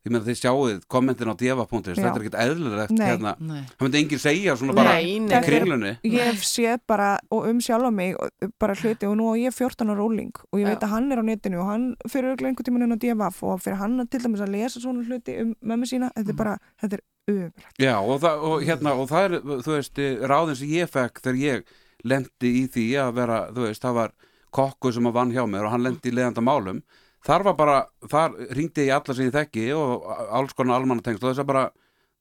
ég meina þið sjáuð kommentin á deva.is
Já.
þetta er ekkert eðlilegt
Nei.
hérna
Nei.
það myndi enginn segja svona bara í kringlunni
ég hef séð bara og um sjálf á mig og bara hluti og nú á ég 14 ára óling og ég veit að hann er á netinu og hann fyrir örugglega einhvern tímann inn á DFF og fyrir hann að til dæmis að lesa svona hluti um mömmu sína,
Mhm.
þetta er bara, þetta er ömulegt.
Já, og það, og, hérna, og það er, þú veist, ráðin sem ég fekk þegar ég lendi í því að vera, þú veist, það var kokku sem að vann hjá mér og hann lendi í leiðanda málum þar var bara, þar ringdi ég í alla sem ég þekki og alls konar almannatengst og þess að bara,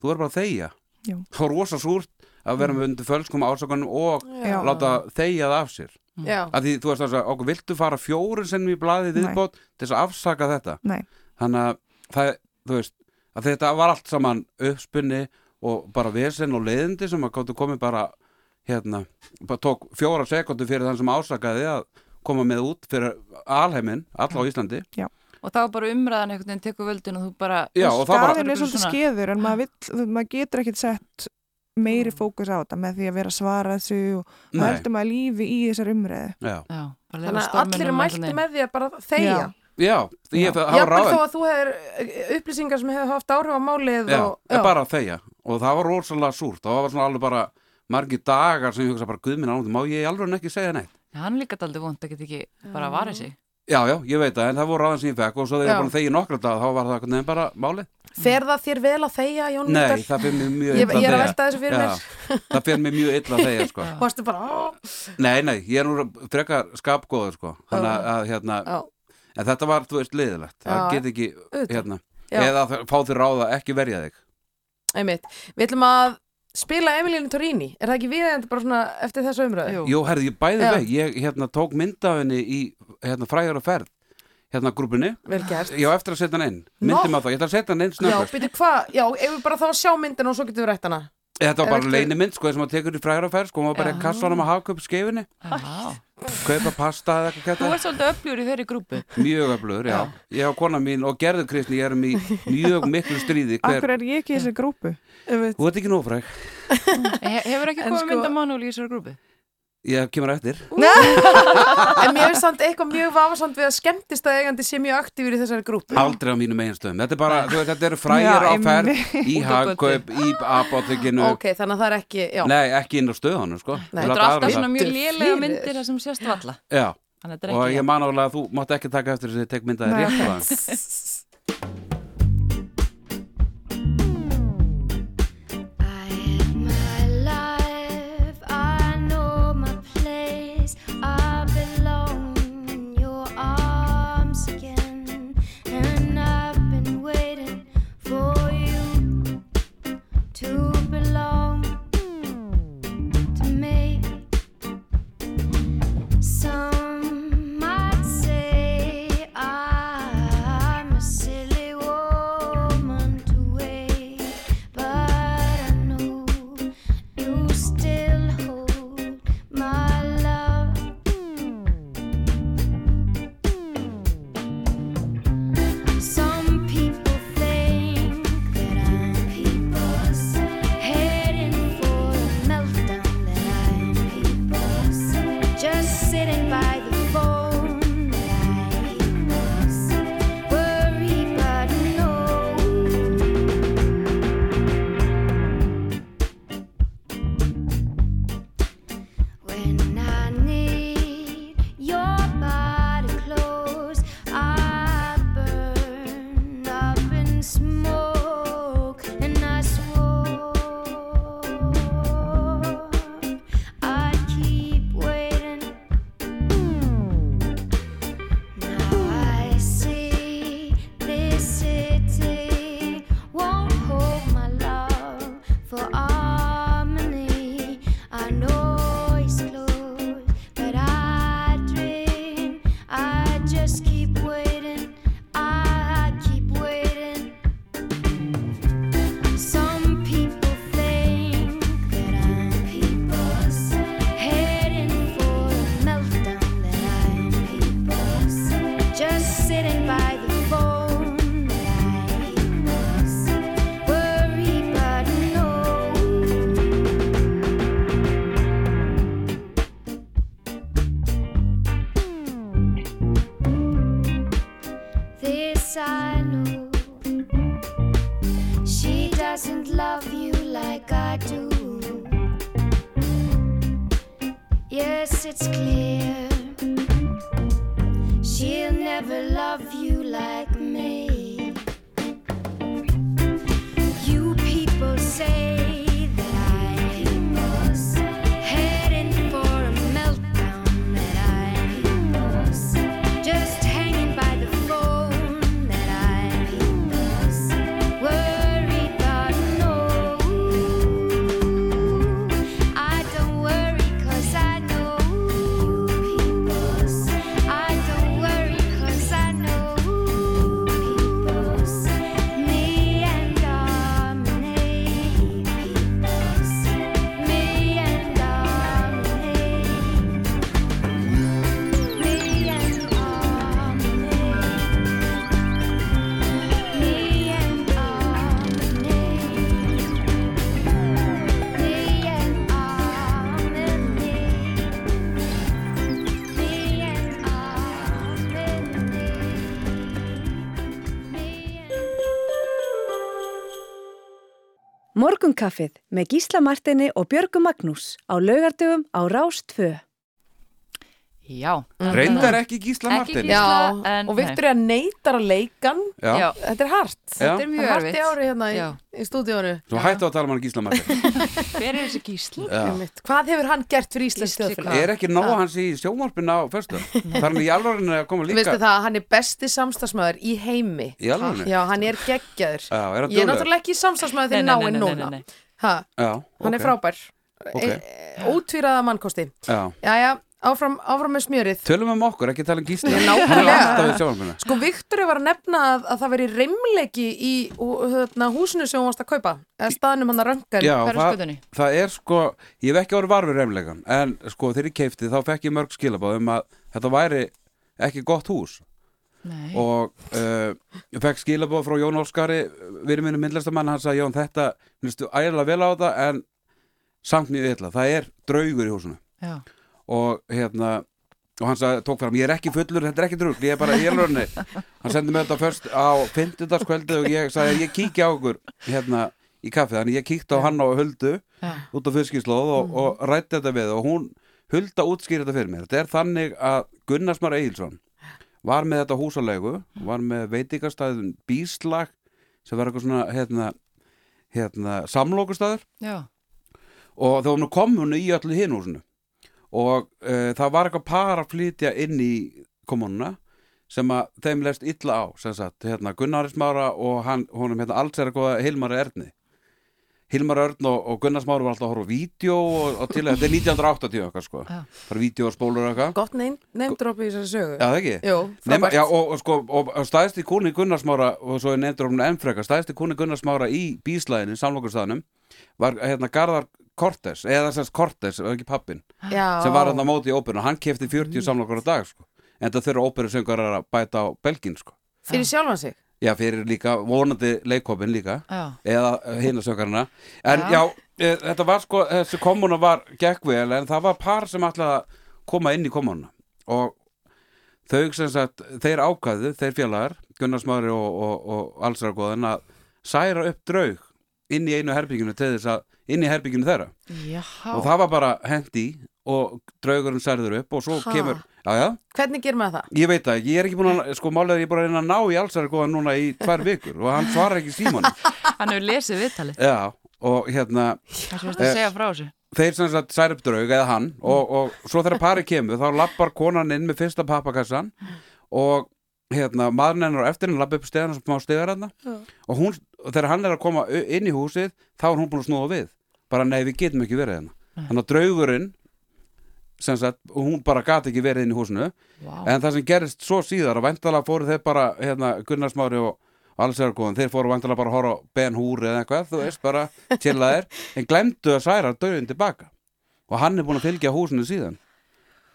þú er bara að þegja
Já.
þá er rosa súrt að vera með undir fölskum ásökunum og
Já.
láta þegja það af sér
Já.
að því þú veist þess að okkur viltu fara fjóru sem við blaðið
Nei.
viðbót til þess að afsaka þetta
Nei.
þannig að það, þú veist að þetta var allt saman uppspunni og bara vesen og leiðindi sem að gáttu komið bara hérna, bara tók fjóra sekundu fyrir þann sem ásakaði að koma með út fyrir alheimin, alla á Íslandi
Já,
og þá bara umræðan einhvern veginn tekur völdin og þú bara
Já, og þá bara-
staðin er svolítið skeður en maður, vill, þú- maður getur ekkert sett meiri fókus á þetta með því að vera að svara þessu og
Nei.
maður heldur maður lífi í þessar umræðu
Já,
Já, bara
Þannig að
hérna um
allir er mælti með því að bara þegja.
já, ég, það var
Jafnvel
ráðan
þó að þú hefur eh, upplýsingar sem hefur haft áhrif á málið
já,
og...
já. bara að þegja og það var rosalega súrt það var svona alveg bara margir dagar sem ég hugsa bara guðminn ánum, má ég alveg ekki segja neitt
hann er líka daldi vond að geta ekki bara varði sig
já, já, ég veit það, en það voru ráðan sem ég fekk og svo þegar
Já.
ég bara þegi nokkra dag, þá var það einhvern veginn bara málið
Fer það þér vel að þegja, Jón
nei,
Mjöndal?
það fyrir mér mjög
Ég-
illa
ég er að
þegja.
velta þessu fyrir mér.
já, það fyrir mér mjög illa að þegja sko.
Varstu bara... "Ó,
nei, nei, ég er nú frekar skapgóður sko. þannig að, að hérna
Já.
en þetta var, þú veist, leiðilegt það
Já.
get ekki,
Auðvitað.
hérna
Já.
eða þ- fá þér ráða ekki verja þig
Einmitt. Við ætlum að spila Emilínu Torini. Er það ekki við enda bara svona eftir þessu umröðu?
Jú, herði, ég bæði
Já.
veg, ég hérna tók mynd af henni í hérna fræjar og ferð hérna grúpunni,
Vel gert.
ég á eftir að setja hann inn myndum að það, ég ætla að setja hann inn
Já,
snöggast
byrju hvað? Já, ef við bara þá að sjá myndina og svo getum við rætt hana.
þetta var
Er
bara
ekki-
leini mynd, sko, sem að tekur í fræjar og ferð sko, hún var bara
Já.
í kassanum að haka upp skeifinni kaupa pasta eða eitthvað
þú
þetta.
ert svolítið öflugur í þeirri grúpu
mjög öflugur, já, ég og kona mín og gerður Kristni, ég erum í mjög miklu stríði
Akkur
hver,
er ég ekki í þessari grúpu?
þú ert ekki nófræk
He- hefur ekki
En
komið
sko-
mynda mannúli í þessari grúpu
ég kemur eftir
En mér er samt eitthvað mjög vafasamt við að skemmtist að eigandi sé mjög aktífur í þessari grúpu.
aldrei á mínum eigin stöðum, þetta er bara, þú veist, þetta eru fræjar á
Já,
ferð
einmitt.
í
Út á götu.
hagkaup, í apotekinu
Ok, þannig að það er ekki, já.
Nei, ekki inn á stöðunum sko. Ég
þetta
láta
er alltaf
aðra
svona
það.
mjög lélega
Fyrir.
myndir það sem sést valla
Já,
þannig að þetta er
og
ekki
ég man álega að þú mátt ekki taka eftir þess að ég tek myndaði
Nei.
rétt hvaðan
my life. I know my place. I belong in your arms again. And I've been waiting for you to belong to me. Some might say I'm a silly woman to wait, but I know you still hold my love. Some people think that I'm people's heading for a meltdown. That I'm people's just sitting by the phone. That I'm people's worry, but no. When I need your body close, I burn up in smoke, and I swore I'd keep waiting. Now I see this city won't hold my love for harmony. I know it's close, but I dream. I just keep waiting. I keep waiting. Some people think that I'm people's heading for a meltdown. That I'm people's just sitting by the phone. That I'm people's worry, but no. This I know. She doesn't love you like I do. Yes, it's clear. She'll never love you like me. You people say that I'm heading for a
Morgunkaffið með Gísla Martini og Björgu Magnús á laugardöfum á Rás 2.
Já.
Reyndar ekki Gísla
Ekki
Martin
Gísla,
Já,
en
og Viktoria neitar að leikan
Já. Já.
Þetta er hart
Já. Þetta er mjög
Það hart í
erfitt.
ári hérna í,
Já.
í stúdíónu
Svo hættu að tala um hann Gísla Martin
Hver er þessi gísla?
Já.
Hvað hefur hann gert fyrir Íslands þjóðfélag?
Er ekki nóg hans í sjómarpinu á föstu Það er hann í alvarinu að koma líka
Veistu það, hann er besti samstagsmaður í heimi
Í alvörunni?
Já, hann er geggjaður
Já, er hann
Ég er
duglegur?
náttúrulega ekki samstagsmaður þegar
Nei, nei,
náinn
nei, nei,
núna
nei, nei.
Ha,
Já,
Hann er
ok.
frábær Eh,
Ok.
okay. Ótvíraða mannkosti
Já.
Jæja, áfram, áfram með smjörið
Tölum um okkur, ekki tala um Gísla
Ég
Hann er
nákvæmlega.
alltaf í sjómarpinu
Sko, Viktor var að nefna að, að það veri reymleiki í hú- hérna, húsinu sem hún varst að kaupa eða staðnum hann að röngan
Já, það, það er sko, ég hef ekki orðið varfið reymlegan en sko þegar ég keifti þá fekk ég mörg skilabáð um að þetta væri ekki gott hús
Nei.
og uh, ég fekk skilabáð frá Jón Óskari við erum minnum myndlistamann, hann sagði Jón þetta minnstu ægilega vel á þetta en samt mjög illa, það er draugur í húsinu
Já.
og hérna og hann sagði, tók fram, ég er ekki fullur, þetta er ekki drugl ég er bara í elurni hann sendi mig þetta först á fimmtudagskvöldu og ég sagði, ég kíkja á okkur hérna í kaffið, þannig ég kíkti á hann á Huldu
Já.
út á fiskislóð og, og rætti þetta við og hún Hulda útskýri þetta fyrir mér þetta er þannig að Gunnarsmar Egilson var með þetta húsalegu var með veitingastæðum bíslag sem var eitthvað svona hérna, hérna, samlokustæður
Já.
og þá hún kom hún í öllu hinn húsinu og uh, það var eitthvað par að flytja inn í kommununa sem að þeim leist illa á sem sagt, hérna Gunnari Smára og hann, honum hérna alls er eitthvað Hilmar Erni Hilmar Örn og, og Gunnar Smára var alltaf að horfa á vídeo og, og til að þetta er 1980 eitthvað sko,
Já.
bara vídeo og spólur eitthvað
Gott neymdropi í þessari sögu
Já, það ekki?
Jú,
Nefn,
frábært
já, og, og, sko, og staðist í kúni Gunnarsmára og svo er nefndur um ennfreka staðist í kúni Gunnarsmára í bíslæðinu, samlokurstaðnum var hérna Garðar Cortes eða sérst Cortes, ekki pappin
Já.
sem var hann á móti í óperuna, hann kefti 40 samlokur á dag sko. en það þurfa óperusöngar að bæta á belgin sko.
Fyrir sjálfan sig
já, fyrir líka vonandi leikopin líka
Já.
eða hinasöngarna en
Já.
já, e, þetta var sko, þessi kommuna var gekk vel, en það var par sem ætlaði að koma inn í kommununa og þau sem sagt, þeir ákvæðu, þeir félagar Gunnar Smári og, og, og allsaragóðan að særa upp draug inn í einu herbygginu til þess að inn í herbygginu þeirra
Já.
og það var bara hendi og draugurinn særður upp og svo
Ha.
kemur, já já,
Hvernig gerum við það?
ég veit það ekki, ég er ekki búin að sko málega ég er búin að reyna að ná í allsaragóðan núna í tvær vikur og hann svarar ekki símanum
Hann hefur lesið viðtalið.
Já, og hérna
Það sem varst að
Eh,
segja frá þessu. Mm.
þeir sem sagt særi upp draug eða hann og, og svo þegar parið kemur þá lappar konan inn með fyrsta pappakassan og hérna maðurinn hennar á eftir henni lappa upp stegan sem má stegar hérna og hún, og þegar hann er að koma u- inn í húsið þá er hún búin að snúa við bara nei við getum ekki verið hérna
Mm.
þannig að draugurinn sem sagt, hún bara gat ekki verið inn í húsinu
Vá.
en það sem gerist svo síðar að væntalega fóru þeir bara hérna, Gunnar Smári og Allsjárgóðan, þeir fóru væntalega bara að horfa á Ben Húr eða eitthvað, þú veist, bara chillaðir, en glemdu að særa döðin tilbaka og hann er búin að fylgja húsinu síðan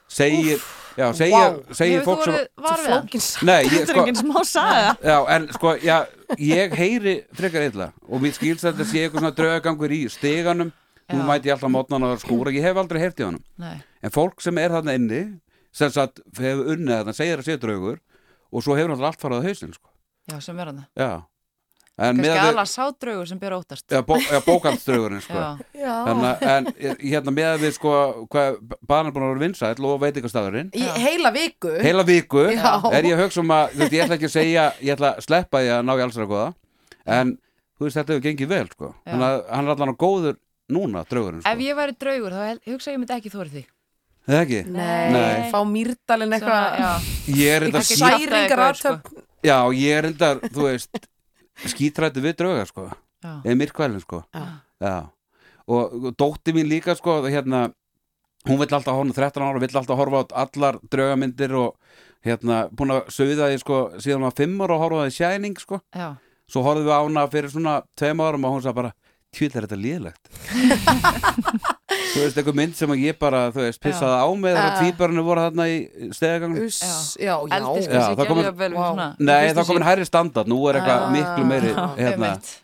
segir, já, segir, segir
Hefur
fólk
þú
sem
orðið var við hann?
Nei, ég,
Þetta er
sko,
enginn smá saga
já, en sko, já, ég heyri frekar illa og mér skilst að þetta sé eitthvað svona draugagangur í steganum nú
Já.
mæti ég alltaf mótnan að skúra, ég hef aldrei heyrt í honum
Nei.
en fólk sem er þarna inni sem sagt, hefur unnið þarna, segir að sé draugur og svo hefur náttúrulega allt farið á hausinn sko.
Já, sem er hann.
já en
Kannski
með
alla sádraugur sem ber óttast.
að bó, eða bókaldsdraugurinn sko.
Já. Já.
Þannig, að- en hérna með að við sko hvað barn er búin að vera vinsæll og veitingastæðurinn
Í heila viku
heila viku
Já.
er ég að hugsa um að, þú veist, ég ætla ekki að segja ég ætla að sleppa því að ná í allsra góða en þú veist, þetta hefur gengið vel sko.
Já.
þannig að hann er allan á góður núna, draugurinn sko.
Ef ég væri draugur, þá hel- hugsa ég myndi ekki þóri því.
eða ekki? Nei.
Fá mýrdalinn
Svona, já.
eitthvað
ég er þetta
Ekki
síðan
Særingar
Eitthvað,
aðtöp
Já, ég er endar, þú veist skítrættu við drauga, sko
Já.
eða myrkvælin, sko Já. Og, og dótti mín líka, sko hérna, hún vill alltaf horfa hún er 13 ára, vill alltaf horfa á allar draugamyndir og hérna, búin að sögða því, sko, síðan hún var 5 ára og horfa á því Shining, sko
Já.
Svo horfðum við á hana fyrir svona 2 árum og hún sagði bara, tvill er þetta liðlegt Þú veist, einhver mynd sem ég bara, þú veist, pissaði á mig þegar
Ah.
tvíbarinu voru þarna í stegagangnum
Uss, já, já
Eldist
Já,
kannski
það kom-
ekki alveg vel við svona.
Nei,
fyrstu
það komin
sín.
hærri standard, nú er eitthvað
Ah,
miklu meiri
já,
hérna,
einmitt.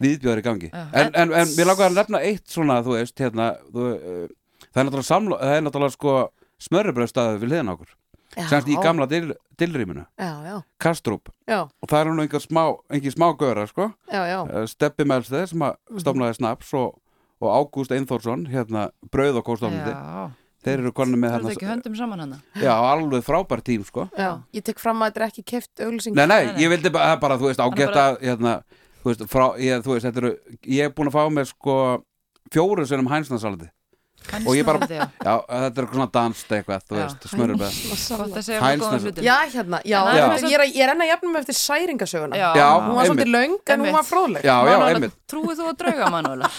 viðbjóður í gangi en, en, en mér langar að nefna eitt svona, þú eh, veist hérna, þú, uh, það er náttúrulega, samlo, það er náttúrulega sko, smörrebröðstæðu við hliðin á okkur
Já.
semst í gamla dil, dilrýminu
Já, já,
Kastrup
já,
og það eru nú einhver smá, einhver smá göra sko.
já, já. Mhm.
Eh, Stebbi Melsteð sem að stofnaði Snaps og, og Ágúst Einþórsson hérna brauð og kóstofnandi
Já.
þeir eru konum með
Það er ekki
hérna
höndum saman hana
já, alveg frábær tím sko.
Já, ég tek fram að þetta er ekki keft auglýsing
nei, nei, ég vildi bara, það er bara þú veist,
Hann er
ágætt að hérna, þú veist, frá, ég, þú veist, þetta eru ég er búin að fá með sko fjóru sinum hænsnasaldi og ég bara,
Hænsnasalati, já.
já, þetta er svona danst eitthvað, þú veist, smörur
Já, hérna, já,
En það
já.
er svona-
Ég, er að, ég er enn að jafna mig eftir særingasöguna
Já, Já,
Hún var svolítið
einmitt.
löng en hún var fróðleg
Já, já, Manuela, einmitt.
Trúið þú að drauga Manuela?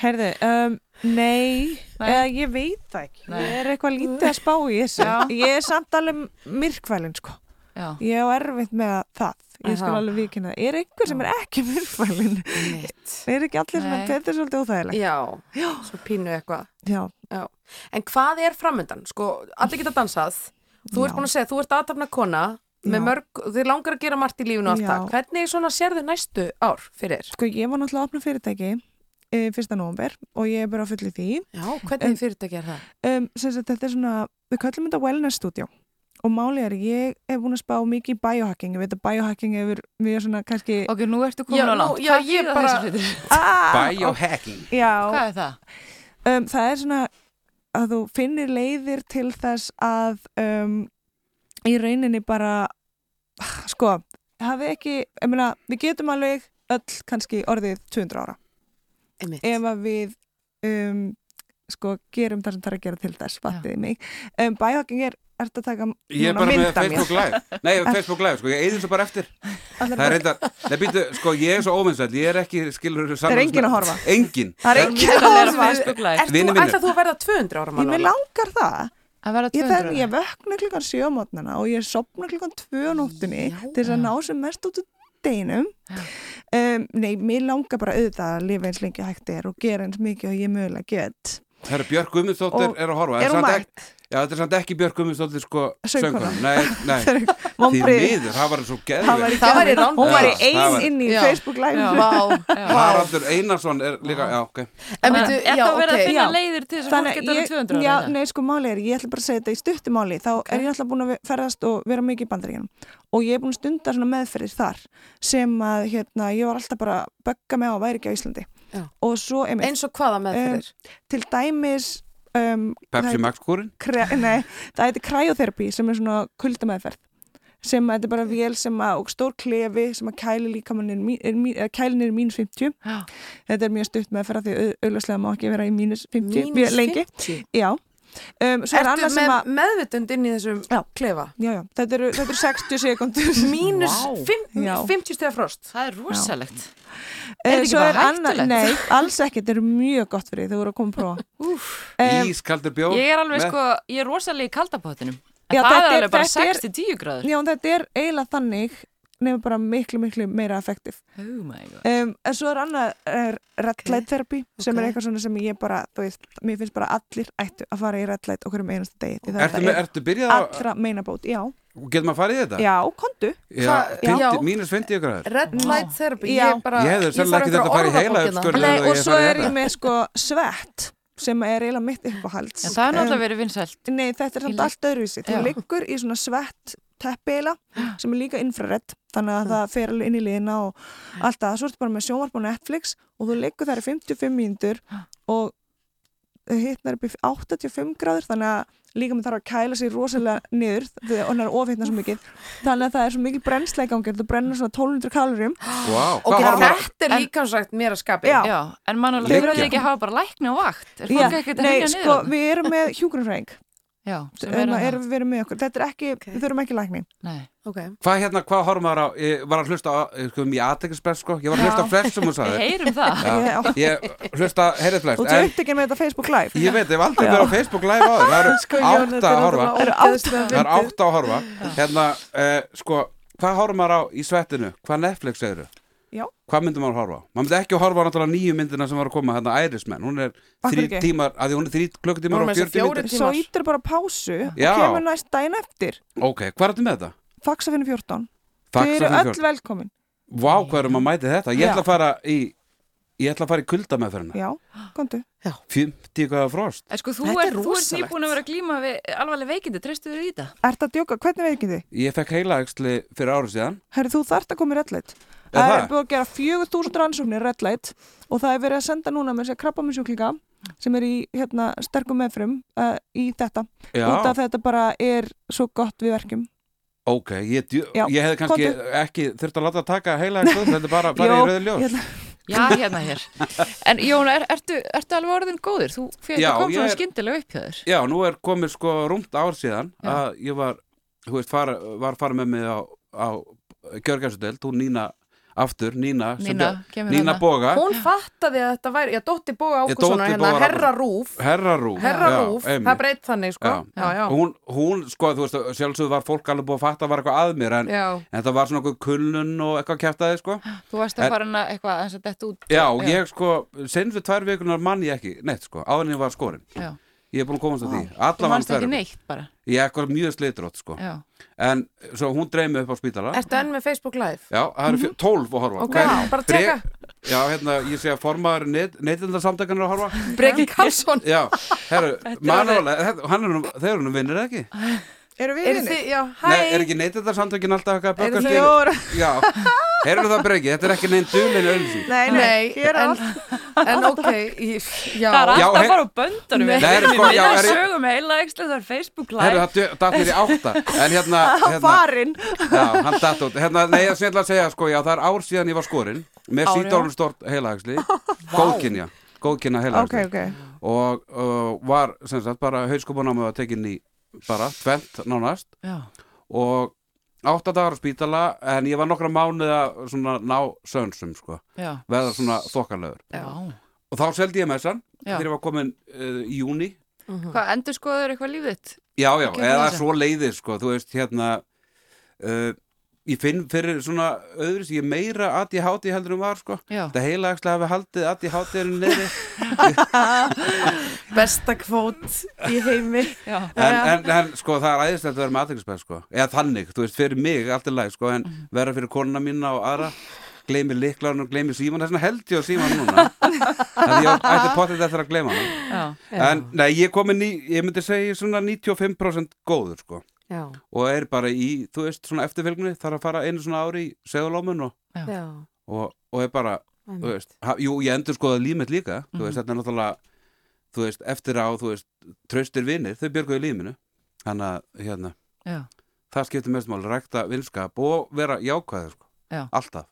Herði, um, nei, eða ég veit það ekki, ég er eitthvað lítið að spá í þessu,
Já.
ég er samt alveg myrkvælin sko,
Já.
ég á erfitt með það, ég skal
Aha.
alveg vikina, er einhver sem er ekki myrkvælin, er ekki allir sem
Nei.
þetta er svolítið óþægilegt.
Já, svo pínu eitthvað
Já.
Já. En hvað er framöndan? Sko, allir geta dansað Þú ert
Já.
búin að segja, þú ert aðtapna kona
Já.
með mörg, þið langar að gera margt í lífinu og allt
Já.
það. Hvernig svona sérðu næstu ár fyrir þér?
Sko, ég var náttúrulega að opna fyrirtæki eh, 1. november og ég er bara á fulli því.
Já, hvernig fyrirtæki er það?
um, sem sagt, þetta er svona, við kallum þetta wellness studio og málið er, ég hef búin að spá mikið í biohacking, ég veit að biohacking hefur mjög svona kannski
Ok, nú ertu
komin Já, á nú- langt. já, Hvað ég þýða bara- Ah! þessar hlutir?
Biohacking
Já
Hvað er það?
Um, það er svona að þú finnir leiðir til þess að um, í rauninni bara sko, hafi ekki ég meina, við getum alveg öll kannski orðið 200 ára
Einmitt.
ef að við um, sko, gerum það sem það er að gera til þess fattiði mig um, bæhokking er, ertu að taka
Ég er
núna
bara með
mynd af mér?
Facebook Live Nei, Facebook Live, sko, ég eyði þessu bara eftir
Allir
Það er reyndar, nei, býttu, sko, ég er svo óvinnsæll Ég er ekki, skilur
Það er enginn að horfa.
Engin
Það er enginn að horfa.
Ert þú, ætlað þú að verða 200 ára
Ég
mann?
með langar það.
Að vera
200
200 ára? Ég vökna klukkan 7 á mótnana og ég sopna klukkan 2 á nóttunni til þess að ná sem mest út úr deginum. Um, nei, mér langar bara auðvitað að lifa eins lengi og hægt er og gera eins mikið og ég mögulega get.
Það eru Björk Guðmundsdóttir
Og-
er að horfa
Er
En
hún
samt ekki- Já, þetta er samt ekki Björk Guðmundsdóttir sko
Söngkona.
söngkona Nei, nei,
Það er
því
vonbrigði.
miður, það var svo geðvig
Það væri Það væri gaman. ránk. Hún væri ein inn í Facebook Live. Vá, já.
Haraldur Einarsson er líka, já, ok
En veitu,
er
já,
það verið að
ok.
finna
Já.
leiðir til þess að fólk geta verið 200
Já,
ára? eða?
nei, sko máli er, ég ætla bara að segja þetta í stuttumáli þá er ég alltaf búin að ve- ferðast og vera mikið í bandaríkjanum og ég er búin að stunda svona meðferðir þar sem að, hérna, ég var alltaf bara að bögga með á að væri ekki á Íslandi
Já.
og svo, einmitt um,
Eins og hvaða meðferðir?
til dæmis um, það
Pepsi
heitir-
Max kúrin
kre, nei, það heitir cryotherapy sem er svona kuldameðferð sem að þetta er bara vél sem að, og stór klefi sem að kæli líkamann kælin er í mínus 50 þetta er mjög stutt meðferð af því au- auðlagslega má ekki vera í mínus 50
Mínus
mjög lengi
50?
Já. Um, svo er
Ertu
annað sem
með,
að
meðvitund inn í þessum
já.
klefa?
Já, já, þetta eru, þetta eru 60 sekundur
Mínus fimm- 50 stegar frost
Það er rosalegt
Eh, Er
þetta ekki bara hættulegt?
Nei, alls ekki, þetta eru mjög gott fyrir því, þau voru að koma að prófa um,
Ískaldur bjór
Ég er alveg
með-
sko, ég er rosalega í kaldapottinum En
Já,
það er
þetta
alveg bara
þetta er-
6-10 gráður
Já, en þetta er eiginlega þannig nefnir bara miklu, miklu meira effektiv
Oh my god
um, En svo er annað er red light therapy sem er eitthvað svona sem ég bara, þú veist mér finnst bara allir ættu að fara í red light okkur um einasta degi því
Ertu
þetta
með-
er
ertu byrjað á-
allra meinabót, já
Getum að fara í þetta?
Já, kondu
Já, 50, mínus 50 gráður
Red light therapy,
Já.
ég er bara
Ég hefði sennilega
þarf
ekki þurft að fara í
einhverja
heila
orðabókina.
uppskurð.
Nei,
Ég
og
er
svo
farið í
er ég
þetta.
með sko svett sem er eiginlega mitt uppáhalds
En það er náttúrulega
Em,
verið vinsælt
Nei, þetta er
Ég
samt
legg-
allt öðruvísi þú
Já.
liggur í svona svett teppiðila sem er líka infrared þannig að það fer alveg inn í liðina og allt það, svo ertu bara með sjónvarp á Netflix og þú liggur þar í 55 mínútur og hittnar upp í 85 gráður þannig að líka með þarf að kæla sig rosalega niður þegar hann er ofhittna svo mikið þannig að það er svo mikil brennsla í gangi þú brennur svona 1200 kalorum
Vá,
Ok,
Hvað horfum að-
þetta er líka sagt mér að skapi
Já.
En Manuela,
Liggja.
þú verður ekki að hafa bara lækni á vakt Er fólk ekkert að
nei,
hengja
sko,
niður?
við erum með hjúgrunfræðing
Já, sem verður
erum,
það.
erum, við erum með okkur, þetta er ekki, við þurfum ekki lækni
Nei.
Ok.
Hvað hérna, hvað horfum maður á? Ég var að hlusta á, eh, sko, um í aðtekispress, sko Ég var að hlusta á
Já.
flest sem hún sagði
Við heyrum það.
Já,
Já.
Ég hlusta, heyrið
og
flest
þú
en-
ert ekki með þetta Facebook Live
Ég veit, ég hef aldrei
Já.
verið á Facebook live á þér Það eru
Sko, Jón, þetta
átta
er
að horfa
náttúrulega Það eru átta. ógeðslega
Það eru
fyndið.
átta að horfa Hérna, uh, sko, hvað horfum maður á í svettinu? Hvað Netflix eru?
Já.
Hvað myndum maður horfa á? Maður myndi ekki horfa á náttúrulega nýju myndina sem var að koma Hérna, Irisman, hún er
Af hverju
þrý
ekki?
tímar að Því hún er þrý klukkutímar og 40 myndir
svo ítur bara á pásu
Já.
og kemur næst daginn eftir
Ok, hvað er þetta með þetta?
Faxafinu 14
Faxafinu
þau eru
14.
öll velkomin
um Vá, hvað erum að mæti þetta? Ég
Já.
ætla að fara í ég ætla að fara í kuldameðferðina
Já, komdu
50 gráða frost
En sko, þú
Þetta
ert
er
er er
rosalegt.
nýbúin að vera að glíma við alvarlega veikindi, treystu þér í þetta?
Ert að djóka, hvernig veikindi?
Ég fekk heilaæxli fyrir árið síðan
Herri, þú þart að koma í reddleitt.
Er
Það
það?
er búið að gera 4000 rannsóknir reddleitt og það er verið að senda núna með sér krabbaminsjúklinga sem er í hérna, sterkum meðfrum uh, í þetta.
Já.
Út af þetta bara er svo gott við verkjum.
Ok, ég, djö,
Já,
ég hefði kannski
komdu.
ekki þurft að láta taka heilaæxli þetta er bara að fara
Jó,
í rauði ljós
hérna.
Já, hérna hér. En Jón, er, ertu, ertu alveg orðin góður? Þú fyrir
Já,
að koma
ég
svona
er-
skyndilega upp hjá þér.
Já, nú er komið sko rúmt ár síðan að ég var, þú veist, fara, var fara með mig á, á Gjörgæsudeld, hún Nína aftur, Nína, sem
Nína,
bjó-
kemur
Nína
þarna.
Boga
Hún fattaði að þetta væri, já, Dótti Boga
Ég,
Ákussonar,
Dóti
hérna,
Boga
Herra
Ágústsson.
Rúf,
Herra Rúf,
Herra
já,
Rúf,
einmitt.
það breytt þannig, sko. Já, já.
Og Hún, hún, sko, þú veist, sjálfsögðu var fólk alveg búið að fatta að var eitthvað að mér en,
Já.
en það var svona eitthvað kulnun og eitthvað kæftaði, sko
Þú varst
En-
að fara hana eitthvað aðeins að detta út.
Já, ég sko, senstu tvær vikunar mann ég ekki, neitt, sko, áður en ég var skorinn
Já.
Ég er búin að komast að því,
Þú
alla
mannst ekki neitt bara.
Ég er eitthvað mjög slitrótt, sko
Já.
En svo hún dreymið upp á spítala
Ertu enn með Facebook Live?
Já, það
Mhm.
eru fjö- 12 að horfa
Ok,
Hver-
bara
bre-
tjekka.
Já, hérna, ég sé að formaður neytindarsamtökan er að horfa
Breki Karlsson
Já, herru,
Þetta er
mannálega, hann er nú, þeir eru nú vinnir eða ekki?
Eru
við vinir? Já, hæ
Nei, er ekki neytindarsamtökin alltaf eitthvað
Eru
að
þau-
bökast Já, heyrðu það breki, þetta er ekki neinn dulin auðvísi
Nei, nei,
en,
gera
en ok, í- já.
Það er
Já,
alltaf
hei-
bara á böndunum.
Nei,
Við
er
erum í
sko- já,
minna
er-
sögum heila ekstra, það er Facebook live.
Herru, það datt mér í átta En hérna, hérna
farinn.
Já, hann datt út Hérna, nei, ég sem ég ætla að segja, sko, já, það er ár síðan ég var skorinn Með
Ár, já.
sídálum stort heilagsli Góðkynja, góðkynja
Ok,
heilagsli
ok.
og uh, var sem sagt bara hauskopunámið að tekin í bara tvent nánast
Já.
og átta dagar á spítala en ég var nokkra mánuð að svona ná sönsum sko,
Já.
verða svona þokkalöður
Já.
og þá seldi ég messan
Já.
þegar ég var komin uh, í júni
Hvað, endur skoður eitthvað lífið þitt?
já já,
Kemur
eða
þessa?
svo leiðis sko, þú veist hérna uh, ég finn fyrir svona öðru ég er meira að ég háti heldur um var sko.
Já.
þetta heila ekki hafi haldið að ég háti heldur um leiði
Besta kvót í heimi Eh,
Já,
en, en, en sko það er æðislegt að vera með aðeinsbæð sko. eða þannig, þú veist, fyrir mig allt er læg sko, en
Mhm.
vera fyrir konuna mína og aðra gleymi liklarinn og gleymi síman þess vegna held ég að síman núna þannig að ég ætti potið þetta að gleyma hann
Já.
en nei, ég er komin í, ég myndi segja svona 95% góður sko
Já.
og er bara í, þú veist, svona eftirfylgni þarf að fara einu svona ári í segulómun og,
Já.
og, og er bara
Einmitt. Mhm.
þú veist, ha, jú, ég endur skoða límit líka þú veist, þetta er náttúrulega þú veist, eftir á, þú veist, traustir vinir þau björguðu líminu þannig að, hérna,
Já.
það skiptir mest mál rækta vinskap og vera jákvæður sko.
Já.
alltaf,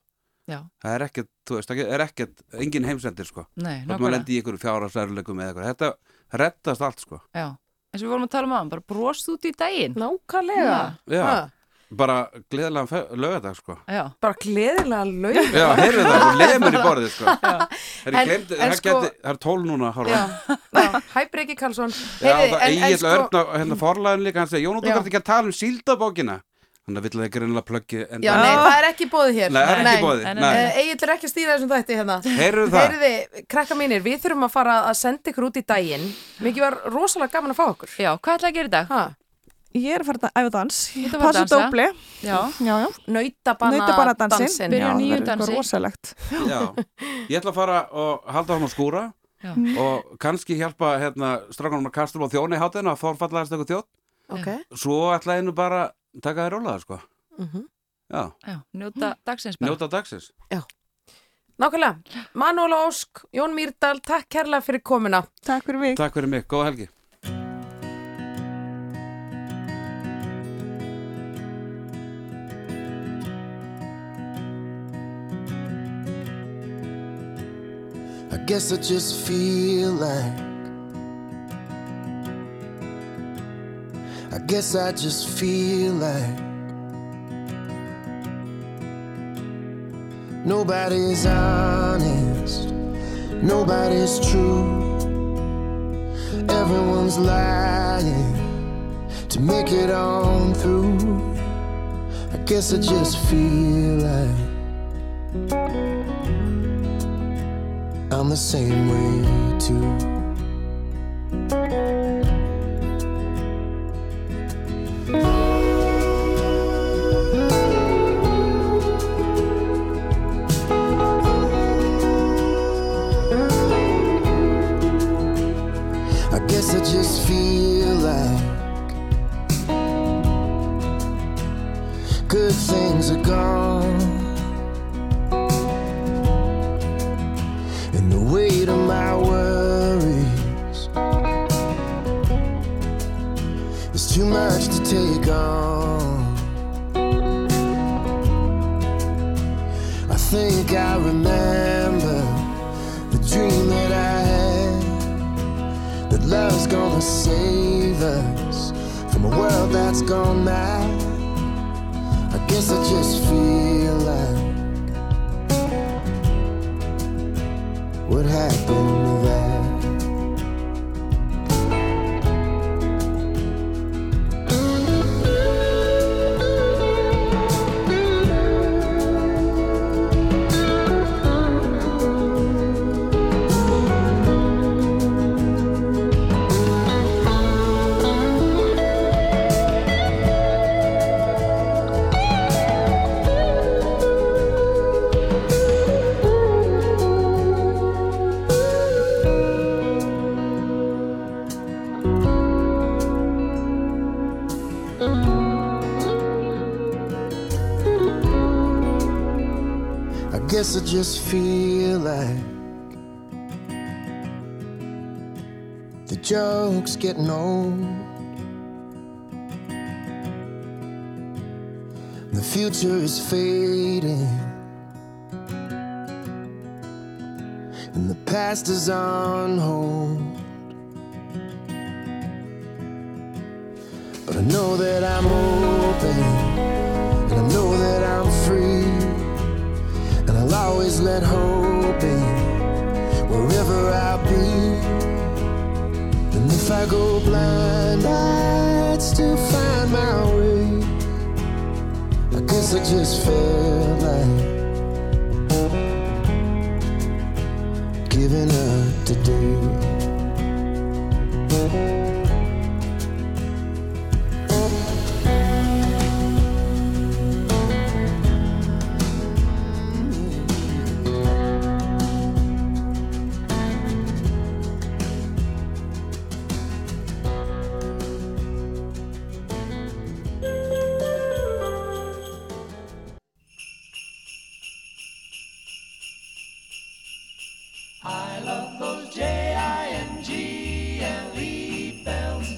Já.
það er ekkert þú veist, það er ekkert, engin heimsendir sko.
Nei,
Þótt
nákvæmlega.
maður lendi í ykkur fjárasærleikum eða eitthvað, þetta rettast allt sko.
Já. Eins og við vorum að tala um aðan, bara brost út í daginn.
Nákvæmlega.
Já.
Ha.
bara gleðilega lögadag sko.
Já.
Bara gleðilega laug
Já, heyrðu það, þú lemur í borðið sko. Herri,
En-
gleymdi-
en
það
sko-
gæti- það er tól núna hálfa.
Já, já. Hæ Breki Karlsson
Já,
Heyrðu,
það
en- en
eigið
sko-
örn og hérna forlæðin líka, hann segi, Jón, þú
Já.
kannski ekki að tala um síldabókina. Þannig að vill það ekki reynilega plöggið.
Já, nei, það er ekki bóðið hér
Nei, það er ekki í boði, nei.
Egil er ekki að stýra þessum þætti hérna
Heyrðu það.
Heyrðu, krakka mínir, við þurfum að fara að senda ykkur út í daginn Mikið var rosalega gaman að fá okkur
Já, hvað ætlaði að gera í dag?
Ha?
Ég er að fara að æfa dans.
ert að fara að
Passa
dansa.
dópli.
Já.
já, já.
Nautabana
Nautabanadansin.
dansinn.
Byrja
Já,
á nýju
það er
dansi.
eitthvað
rosalegt
Já, ég ætla að fara og halda hann á skúra
Já.
og kannski hjálpa hérna strákanum að kastur á þjóni hátinn að forfallaðast eitthvað þjótt.
Ok.
Svo ætla ég nú bara að taka þér rólaða, sko.
Mhm.
Já,
Já, njóta dagsins bara.
njóta dagsins.
Nákvæmlega, Manúl Ósk, Jón Mýrdal, takk kærlega fyrir komuna
Takk fyrir mig
Takk fyrir mig, góða helgi.
I guess I just feel like. I guess I just feel like. Nobody's honest. Nobody's true. Everyone's lying to make it on through. I guess I just feel like. I'm the same way too.
guess I just feel like good things are gone. And the weight of my worries is too much to take on. I think I remember the dream that I had that love's gonna save us from a world that's gone mad. I guess I just feel like what happened to that. I guess I just feel like the joke's getting old. The future is fading, and the past is on hold. But I know that I'm open, and I know that I'm free. And I'll always let hope in wherever I be. And if I go blind, I'd still find my way. I guess I just feel like giving up today.
I love those J-I-N-G-L-E bells.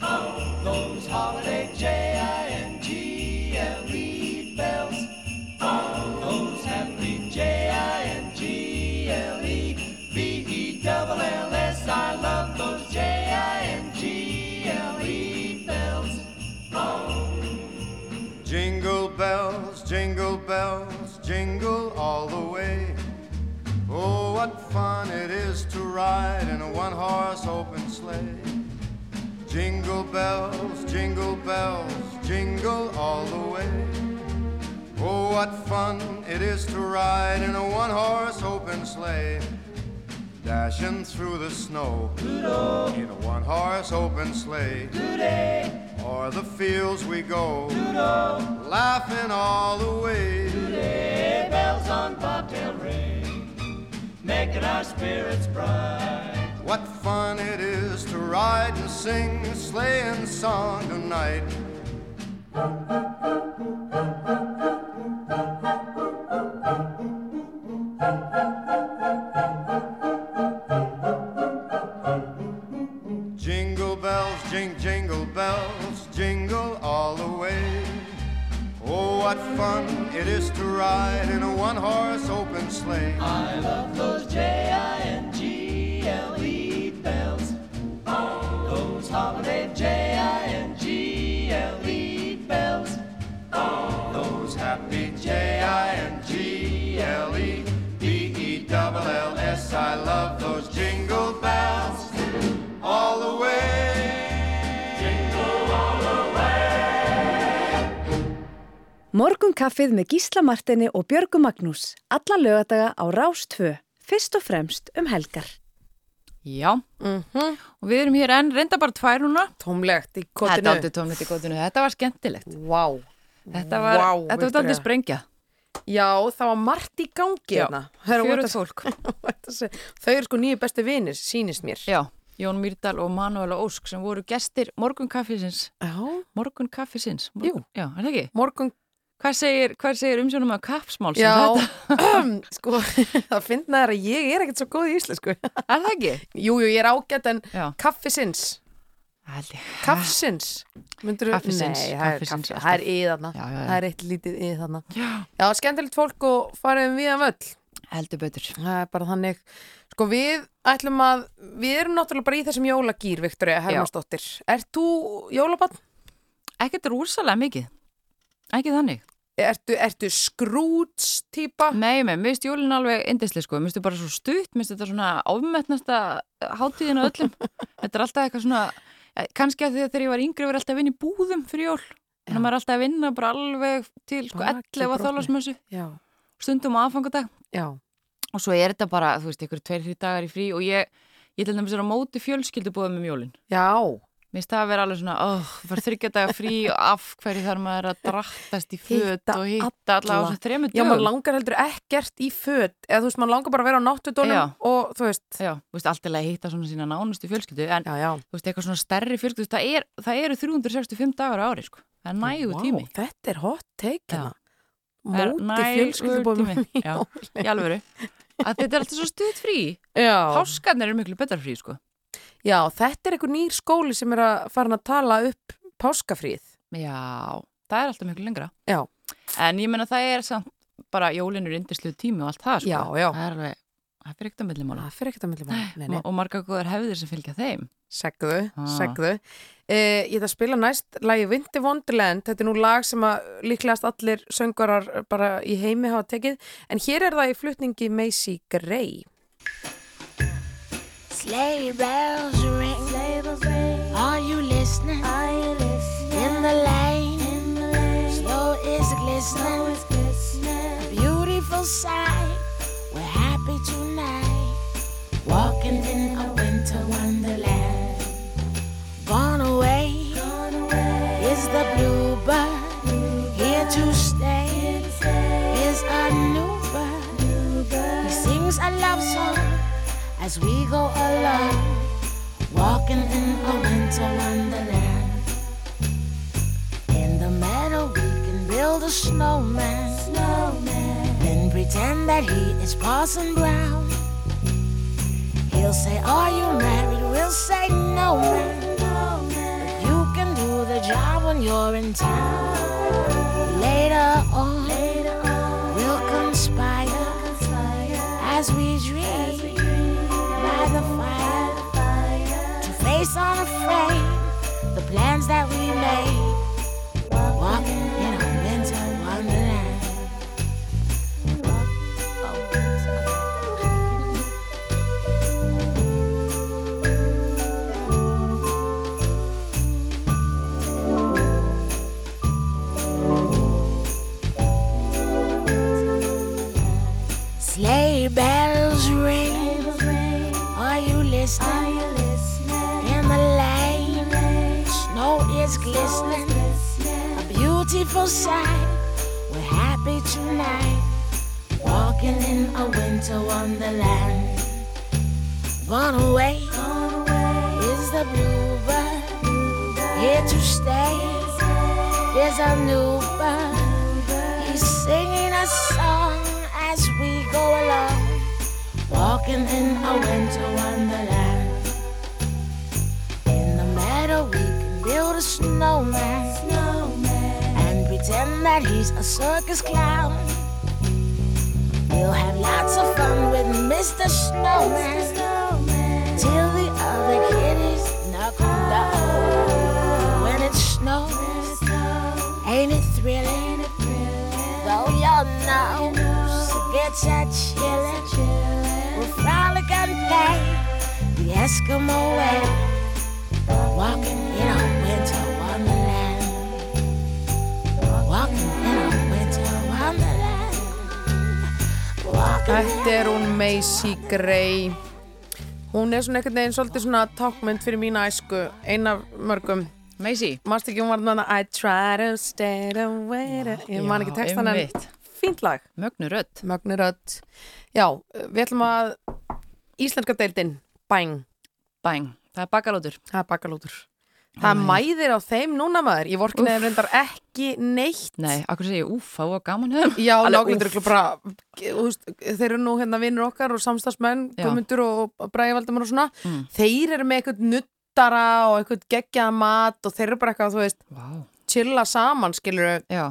Oh, those holiday E J-I-N-G-L-E bells. Oh, those happy J-I-N-G-L-E E B-E-double-L-S. I love those E J-I-N-G-L-E bells.
Jingle bells, jingle bells, jingle all the way. Oh, what fun it is to ride in a one horse open sleigh. Jingle bells, jingle bells, jingle all the way. Oh, what fun it is to ride in a one horse open sleigh. Dashing through the snow in a one horse open sleigh. O'er the fields we go, laughing all the way.
Sleigh bells on bobtail ring, making our spirits bright.
What fun it is to ride and sing a sleighing song tonight. Jingle bells, jing, jingle bells, jingle all the way. Oh, what fun it is to ride in a one-horse open sleigh.
I love those J-I-N-G-L-E E bells. Oh, those holiday J-I-N-G-L-E E bells.
Oh, those happy J-I-N-G-L-E E B-E-double-L-S. I love those jingle bells all the way.
Morgunkaffið með Gísla Martini og Björgu Magnús. Alla lögadaga á Rás 2. Fyrst og fremst um helgar.
Já, og við erum hér enn, reynda bara tvær núna.
Mhm. Tómlegt í
Þetta
kotinu.
er aldrei tómlegt í kotinu, þetta var skemmtilegt.
Vá. Wow.
Þetta var,
Vá,
þetta var
virkilega.
aldrei sprengja.
Já, það var margt í gangi
Já,
hérna. Herra,
fjörugt
what the- what the- Þau eru sko nýju besti vinir, sýnist mér.
Já. Jón Mýrdal og Manuela Ósk sem voru gestir morgunkaffisins
Já
Morgunkaffisins Jú Já, er það ekki?
Morgun
Hvað segir, hvað segir umsjónum að kappsmál sem
Já,
þetta?
sko, það finna er að ég er ekkert svo góð í íslensku. Er
það ekki?
Jú, jú, ég er ágætt en
Já.
kaffisins.
Haldi.
Kaffsins. Myndirðu-
Kaffisins,
Nei, það er
kaffisins,
kaffisins.
alltaf.
Það er í þarna.
Já, já, já.
Það er eitt lítið í þarna. Já. skemmtilegt fólk og farið við að völl.
Heldur betur.
Það er bara þannig. Sko, við ætlum að, við erum náttúrulega bara í þessum jólagýr, Viktoria Hermansdóttir. Ert þú jólabann?
Ekkert rúsalega mikið. Ekki þannig.
Ertu, ertu skrúts típa?
Nei, með, mér finnst jólin alveg indisli sko, mér finnst þetta bara svo stutt, mér finnst þetta svona ofmetnasta hátíðin að öllum. þetta er alltaf eitthvað svona, ja, kannski að því að þegar ég var yngri var alltaf að vinna í búðum fyrir jól. Þannig að maður er alltaf að vinna bara alveg til sko
Baki
11
brotnu.
þólasmössu,
Já.
stundum á aðfangadag.
Já.
Og svo er þetta bara, þú veist, ykkur tveir, þrjir dagar í frí og ég, ég til dæmis er á móti fjölskyldubúðum um jólin.
Já.
Mér finnst það að vera alveg svona, oh, var þryggja daga frí og af hverju þarf maður að drattast í föt og hitta alla á þessum þremur
Já,
dögum.
maður langar heldur ekkert í föt eða þú veist, maður langar bara að vera á
Já.
náttudónum og þú veist,
já, þú veist, alltaf að hitta svona sína nánustu fjölskyldu en
já, já.
þú veist, eitthvað svona stærri fjölskyldu þú veist, það, er, það eru 365 dagar á ári sko. það er nægur
Vá,
tími
þetta er hot take hérna.
Það er
móti um
nægur
fjölskyldubóðum
tími. Já, í alvöru að þetta er alltaf svo stuðt frí
Já.
páskarnir eru miklu betra frí sko.
Já, þetta er einhver nýr skóli sem er að fara að tala upp páskafríð
já, það er alltaf miklu lengra
Já.
en ég menna það er samt bara jólinur indislu tími og allt það sko.
Já, já.
það er alveg, það fyrir ekkert að millimála
það fyrir ekkert að millimála, nei, nei.
og marga góðar hefðir sem fylgja þeim
Segðu,
Ah.
segðu eh, Ég ætla að spila næst lagi Windy Wonderland Þetta er nú lag sem að líklegast allir söngvarar bara í heimi hafa tekið En hér er það í flutningi Macy Gray
Sleigh bells ring. Sleigh bells ring. Are you listening? Are you listening? In the lane. In the lane. Snow is glistening. Snow is glistening. A beautiful sight. We're happy tonight. Walking in a winter wonderland. Gone away. Gone away. Is the bluebird. Here to stay. Is a new bird. He sings a love song as we go along, walking in a winter wonderland. In the meadow, we can build a snowman, snowman. then pretend that he is Parson Brown. He'll say, Are you married? We'll say, No, man. But you can do the job when you're in town. Later on, we'll conspire, as we dream by the fire, to face unafraid the plans that we made. Walking in a winter wonderland. Sleigh bells ring. Are you listening? In the lane, snow is glistening. A beautiful sight. We're happy tonight. Walking in a winter wonderland. Gone away is the bluebird. Here to stay is a new bird. He's singing a song as we go along, walking in a winter wonderland. In the meadow, we can build a snowman, and pretend that he's a circus clown. We'll have lots of fun with Mr. Snowman, till the other kitties knock on the door. When it snows, ain't it thrilling? Though your nose gets a chillin', we'll frolic and play the Eskimo way, walking in a winter wonderland. Walking in a winter wonderland.
Þetta er hún Macy Gray Hún er svona einhvern veginn svolítið svona tákmynd fyrir mína æsku einn af mörgum
Macy
Mást ekki hún var þarna I try to stay away Ég man ekki
Já,
textan en
einmitt.
fínt lag
Mögnu rödd
Mögnu rödd Já, við ætlum að Íslenska deildin Bang
Bang, Það er bakalótur.
Það er bakalótur. Það mæðir á þeim núna maður. Ég vorknaði reyndar ekki neitt.
Nei, akkur segi ég, úf, það var gaman höfum.
Já, nákvæmdur ykkur bara, þú veist, þeir eru nú hérna vinnur okkar og samstagsmenn,
Já.
komundur og bræðivaldamar og svona.
Mm.
Þeir eru með eitthvað nuttara og eitthvað geggjaða mat og þeir eru bara eitthvað, þú veist,
wow.
chilla saman, skilur
Já.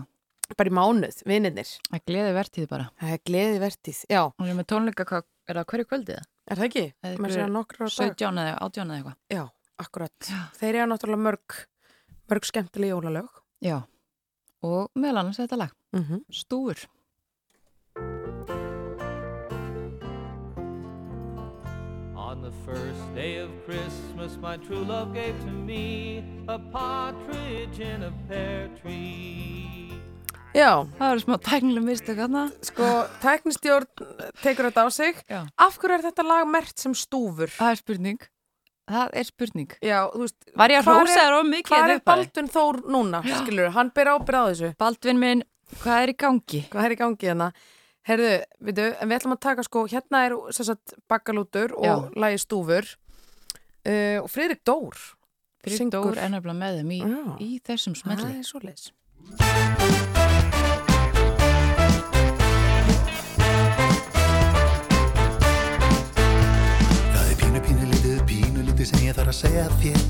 bara í mánuð, vinninir.
Það er gleði vertíð bara.
Það er gleði vertíð, já.
Hún er með tónleika, hvað- er það hverju kvöldið?
Er það ekki? Maður sér hann nokkra á dag.
17 eða 18 eða eitthvað.
Já, akkurat. Þeir eru náttúrulega mörg, mörg skemmtileg jólalög.
Já. Og meðal annars þetta lag.
Mhm.
Stúfur.
On the first day of Christmas, my true love gave to me a partridge in a pear tree.
Já.
Það eru smá tæknileg mistök aðna.
Sko, tæknistjórn tekur þetta á sig.
Já.
Af hverju er þetta lag mert sem stúfur?
Það er spurning. Það er spurning.
Já, þú veist.
Var ég að
hvar
hrósa
er-
þér of mikið?
Hvar
hérna
er
uppaði?
Baldvin Þór núna, skilur, hann ber ábyrð á þessu.
Baldvin minn, hvað er í gangi?
Hvað er í gangi hérna? Herðu, veitu, en við ætlum að taka sko, hérna er sem sagt bakkalútur og
Já.
lagi stúfur uh, og Friðrik Dór.
Friðrik
syngur.
Dór er nefnilega með þeim í, í þessum smelli.
Það er svoleiðis.
Það er pínu, pínu, lítið, pínu, lítið sem ég þarf að segja þér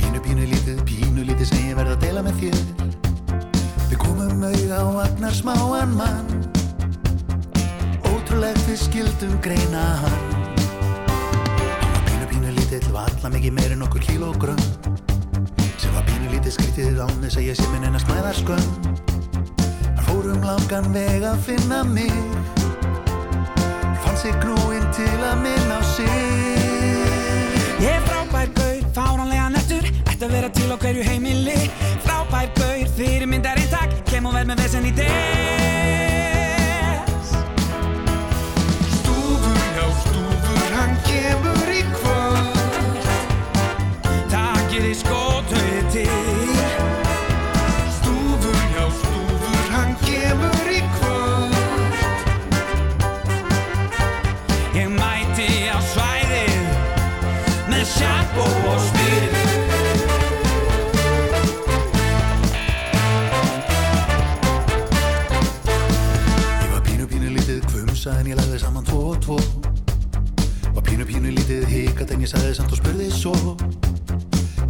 Pínu, pínu, lítið, pínu, lítið sem ég verð að deila með þér Við komum auða á agnar smáan mann Ótrúlegt við skildum greina hann Hann var pínu, pínu, lítið, valla mikið meir en okkur kílógrömm Sem var pínu, lítið skrítið án þess að ég sé minn en að smæðar skömm Hann fór um langan veg að finna mig fann sér grúinn til að minna á sig
Ég er frábær gaur, fáránlega nettur Ætti að vera til á hverju heimili Frábær gaur, fyrirmyndar eintak Kem og verð með vesen í des Stúfur, já stúfur, hann kemur í kvöld Takir í skótöði til Stúfur, já stúfur, hann kemur í kvöld Ég mæti á svæðið með sjampó og spil
Ég var pínu pínu lítið kvumsa en ég lagði saman tvo og tvo Var pínu pínu lítið hikat en ég sagði samt og spurði svo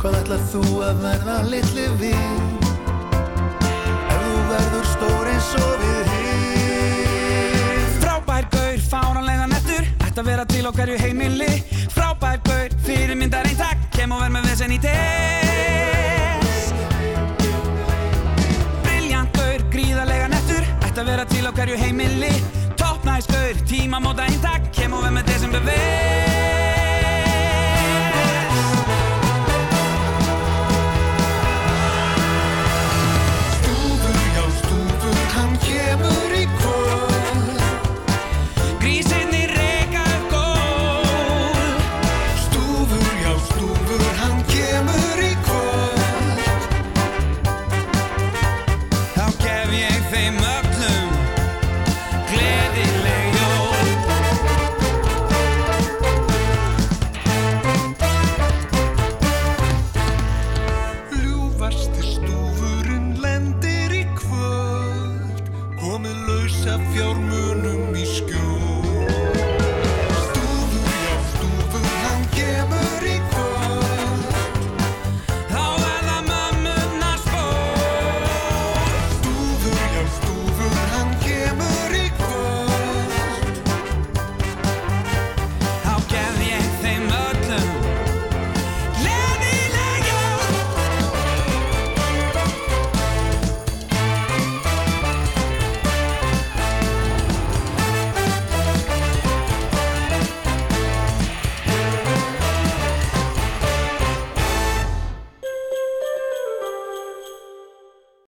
Hvað ætlað þú að verða litli við? Ef þú verður stór eins og við hin
Frábær gaur, fáránlega nettur Ætti að vera til á hverju heimili Frábær gaur, fyrirmyndar einn takk Kem og verð með vesen í des Briljant gaur, gríðarlega nettur Ætti að vera til á hverju heimili Toppnæs gaur, tímamóta einn takk Kem og verð með desember vel